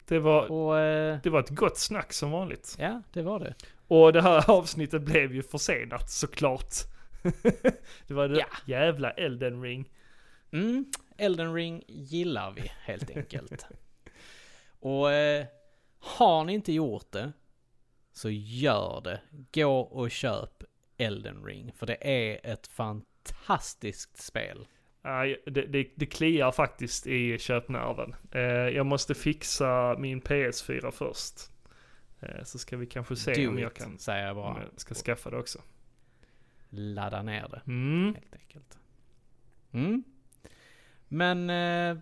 [SPEAKER 1] Det var,
[SPEAKER 3] Och eh,
[SPEAKER 1] det var ett gott snack som vanligt.
[SPEAKER 3] ja, det var det.
[SPEAKER 1] Och det här avsnittet blev ju försenat såklart. det var det
[SPEAKER 3] Ja.
[SPEAKER 1] jävla Elden Ring.
[SPEAKER 3] Mm, Elden Ring gillar vi helt enkelt. och eh, har ni inte gjort det så gör det. Gå och köp Elden Ring. För det är ett fantastiskt spel.
[SPEAKER 1] Nej, det, det, det kliar faktiskt i köpnerven. Eh, jag måste fixa min PS4 först. Eh, så ska vi kanske se
[SPEAKER 3] Do
[SPEAKER 1] om
[SPEAKER 3] it,
[SPEAKER 1] jag kan
[SPEAKER 3] säger jag
[SPEAKER 1] om
[SPEAKER 3] bara.
[SPEAKER 1] jag ska skaffa det också.
[SPEAKER 3] Ladda ner det.
[SPEAKER 1] Mm.
[SPEAKER 3] helt enkelt. Mm. Men eh,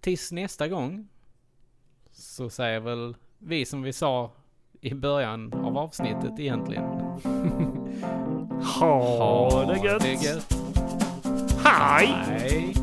[SPEAKER 3] tills nästa gång så säger väl vi som vi sa i början av avsnittet egentligen.
[SPEAKER 1] Ha det gött!
[SPEAKER 3] gött.
[SPEAKER 1] Hej!
[SPEAKER 3] Hej.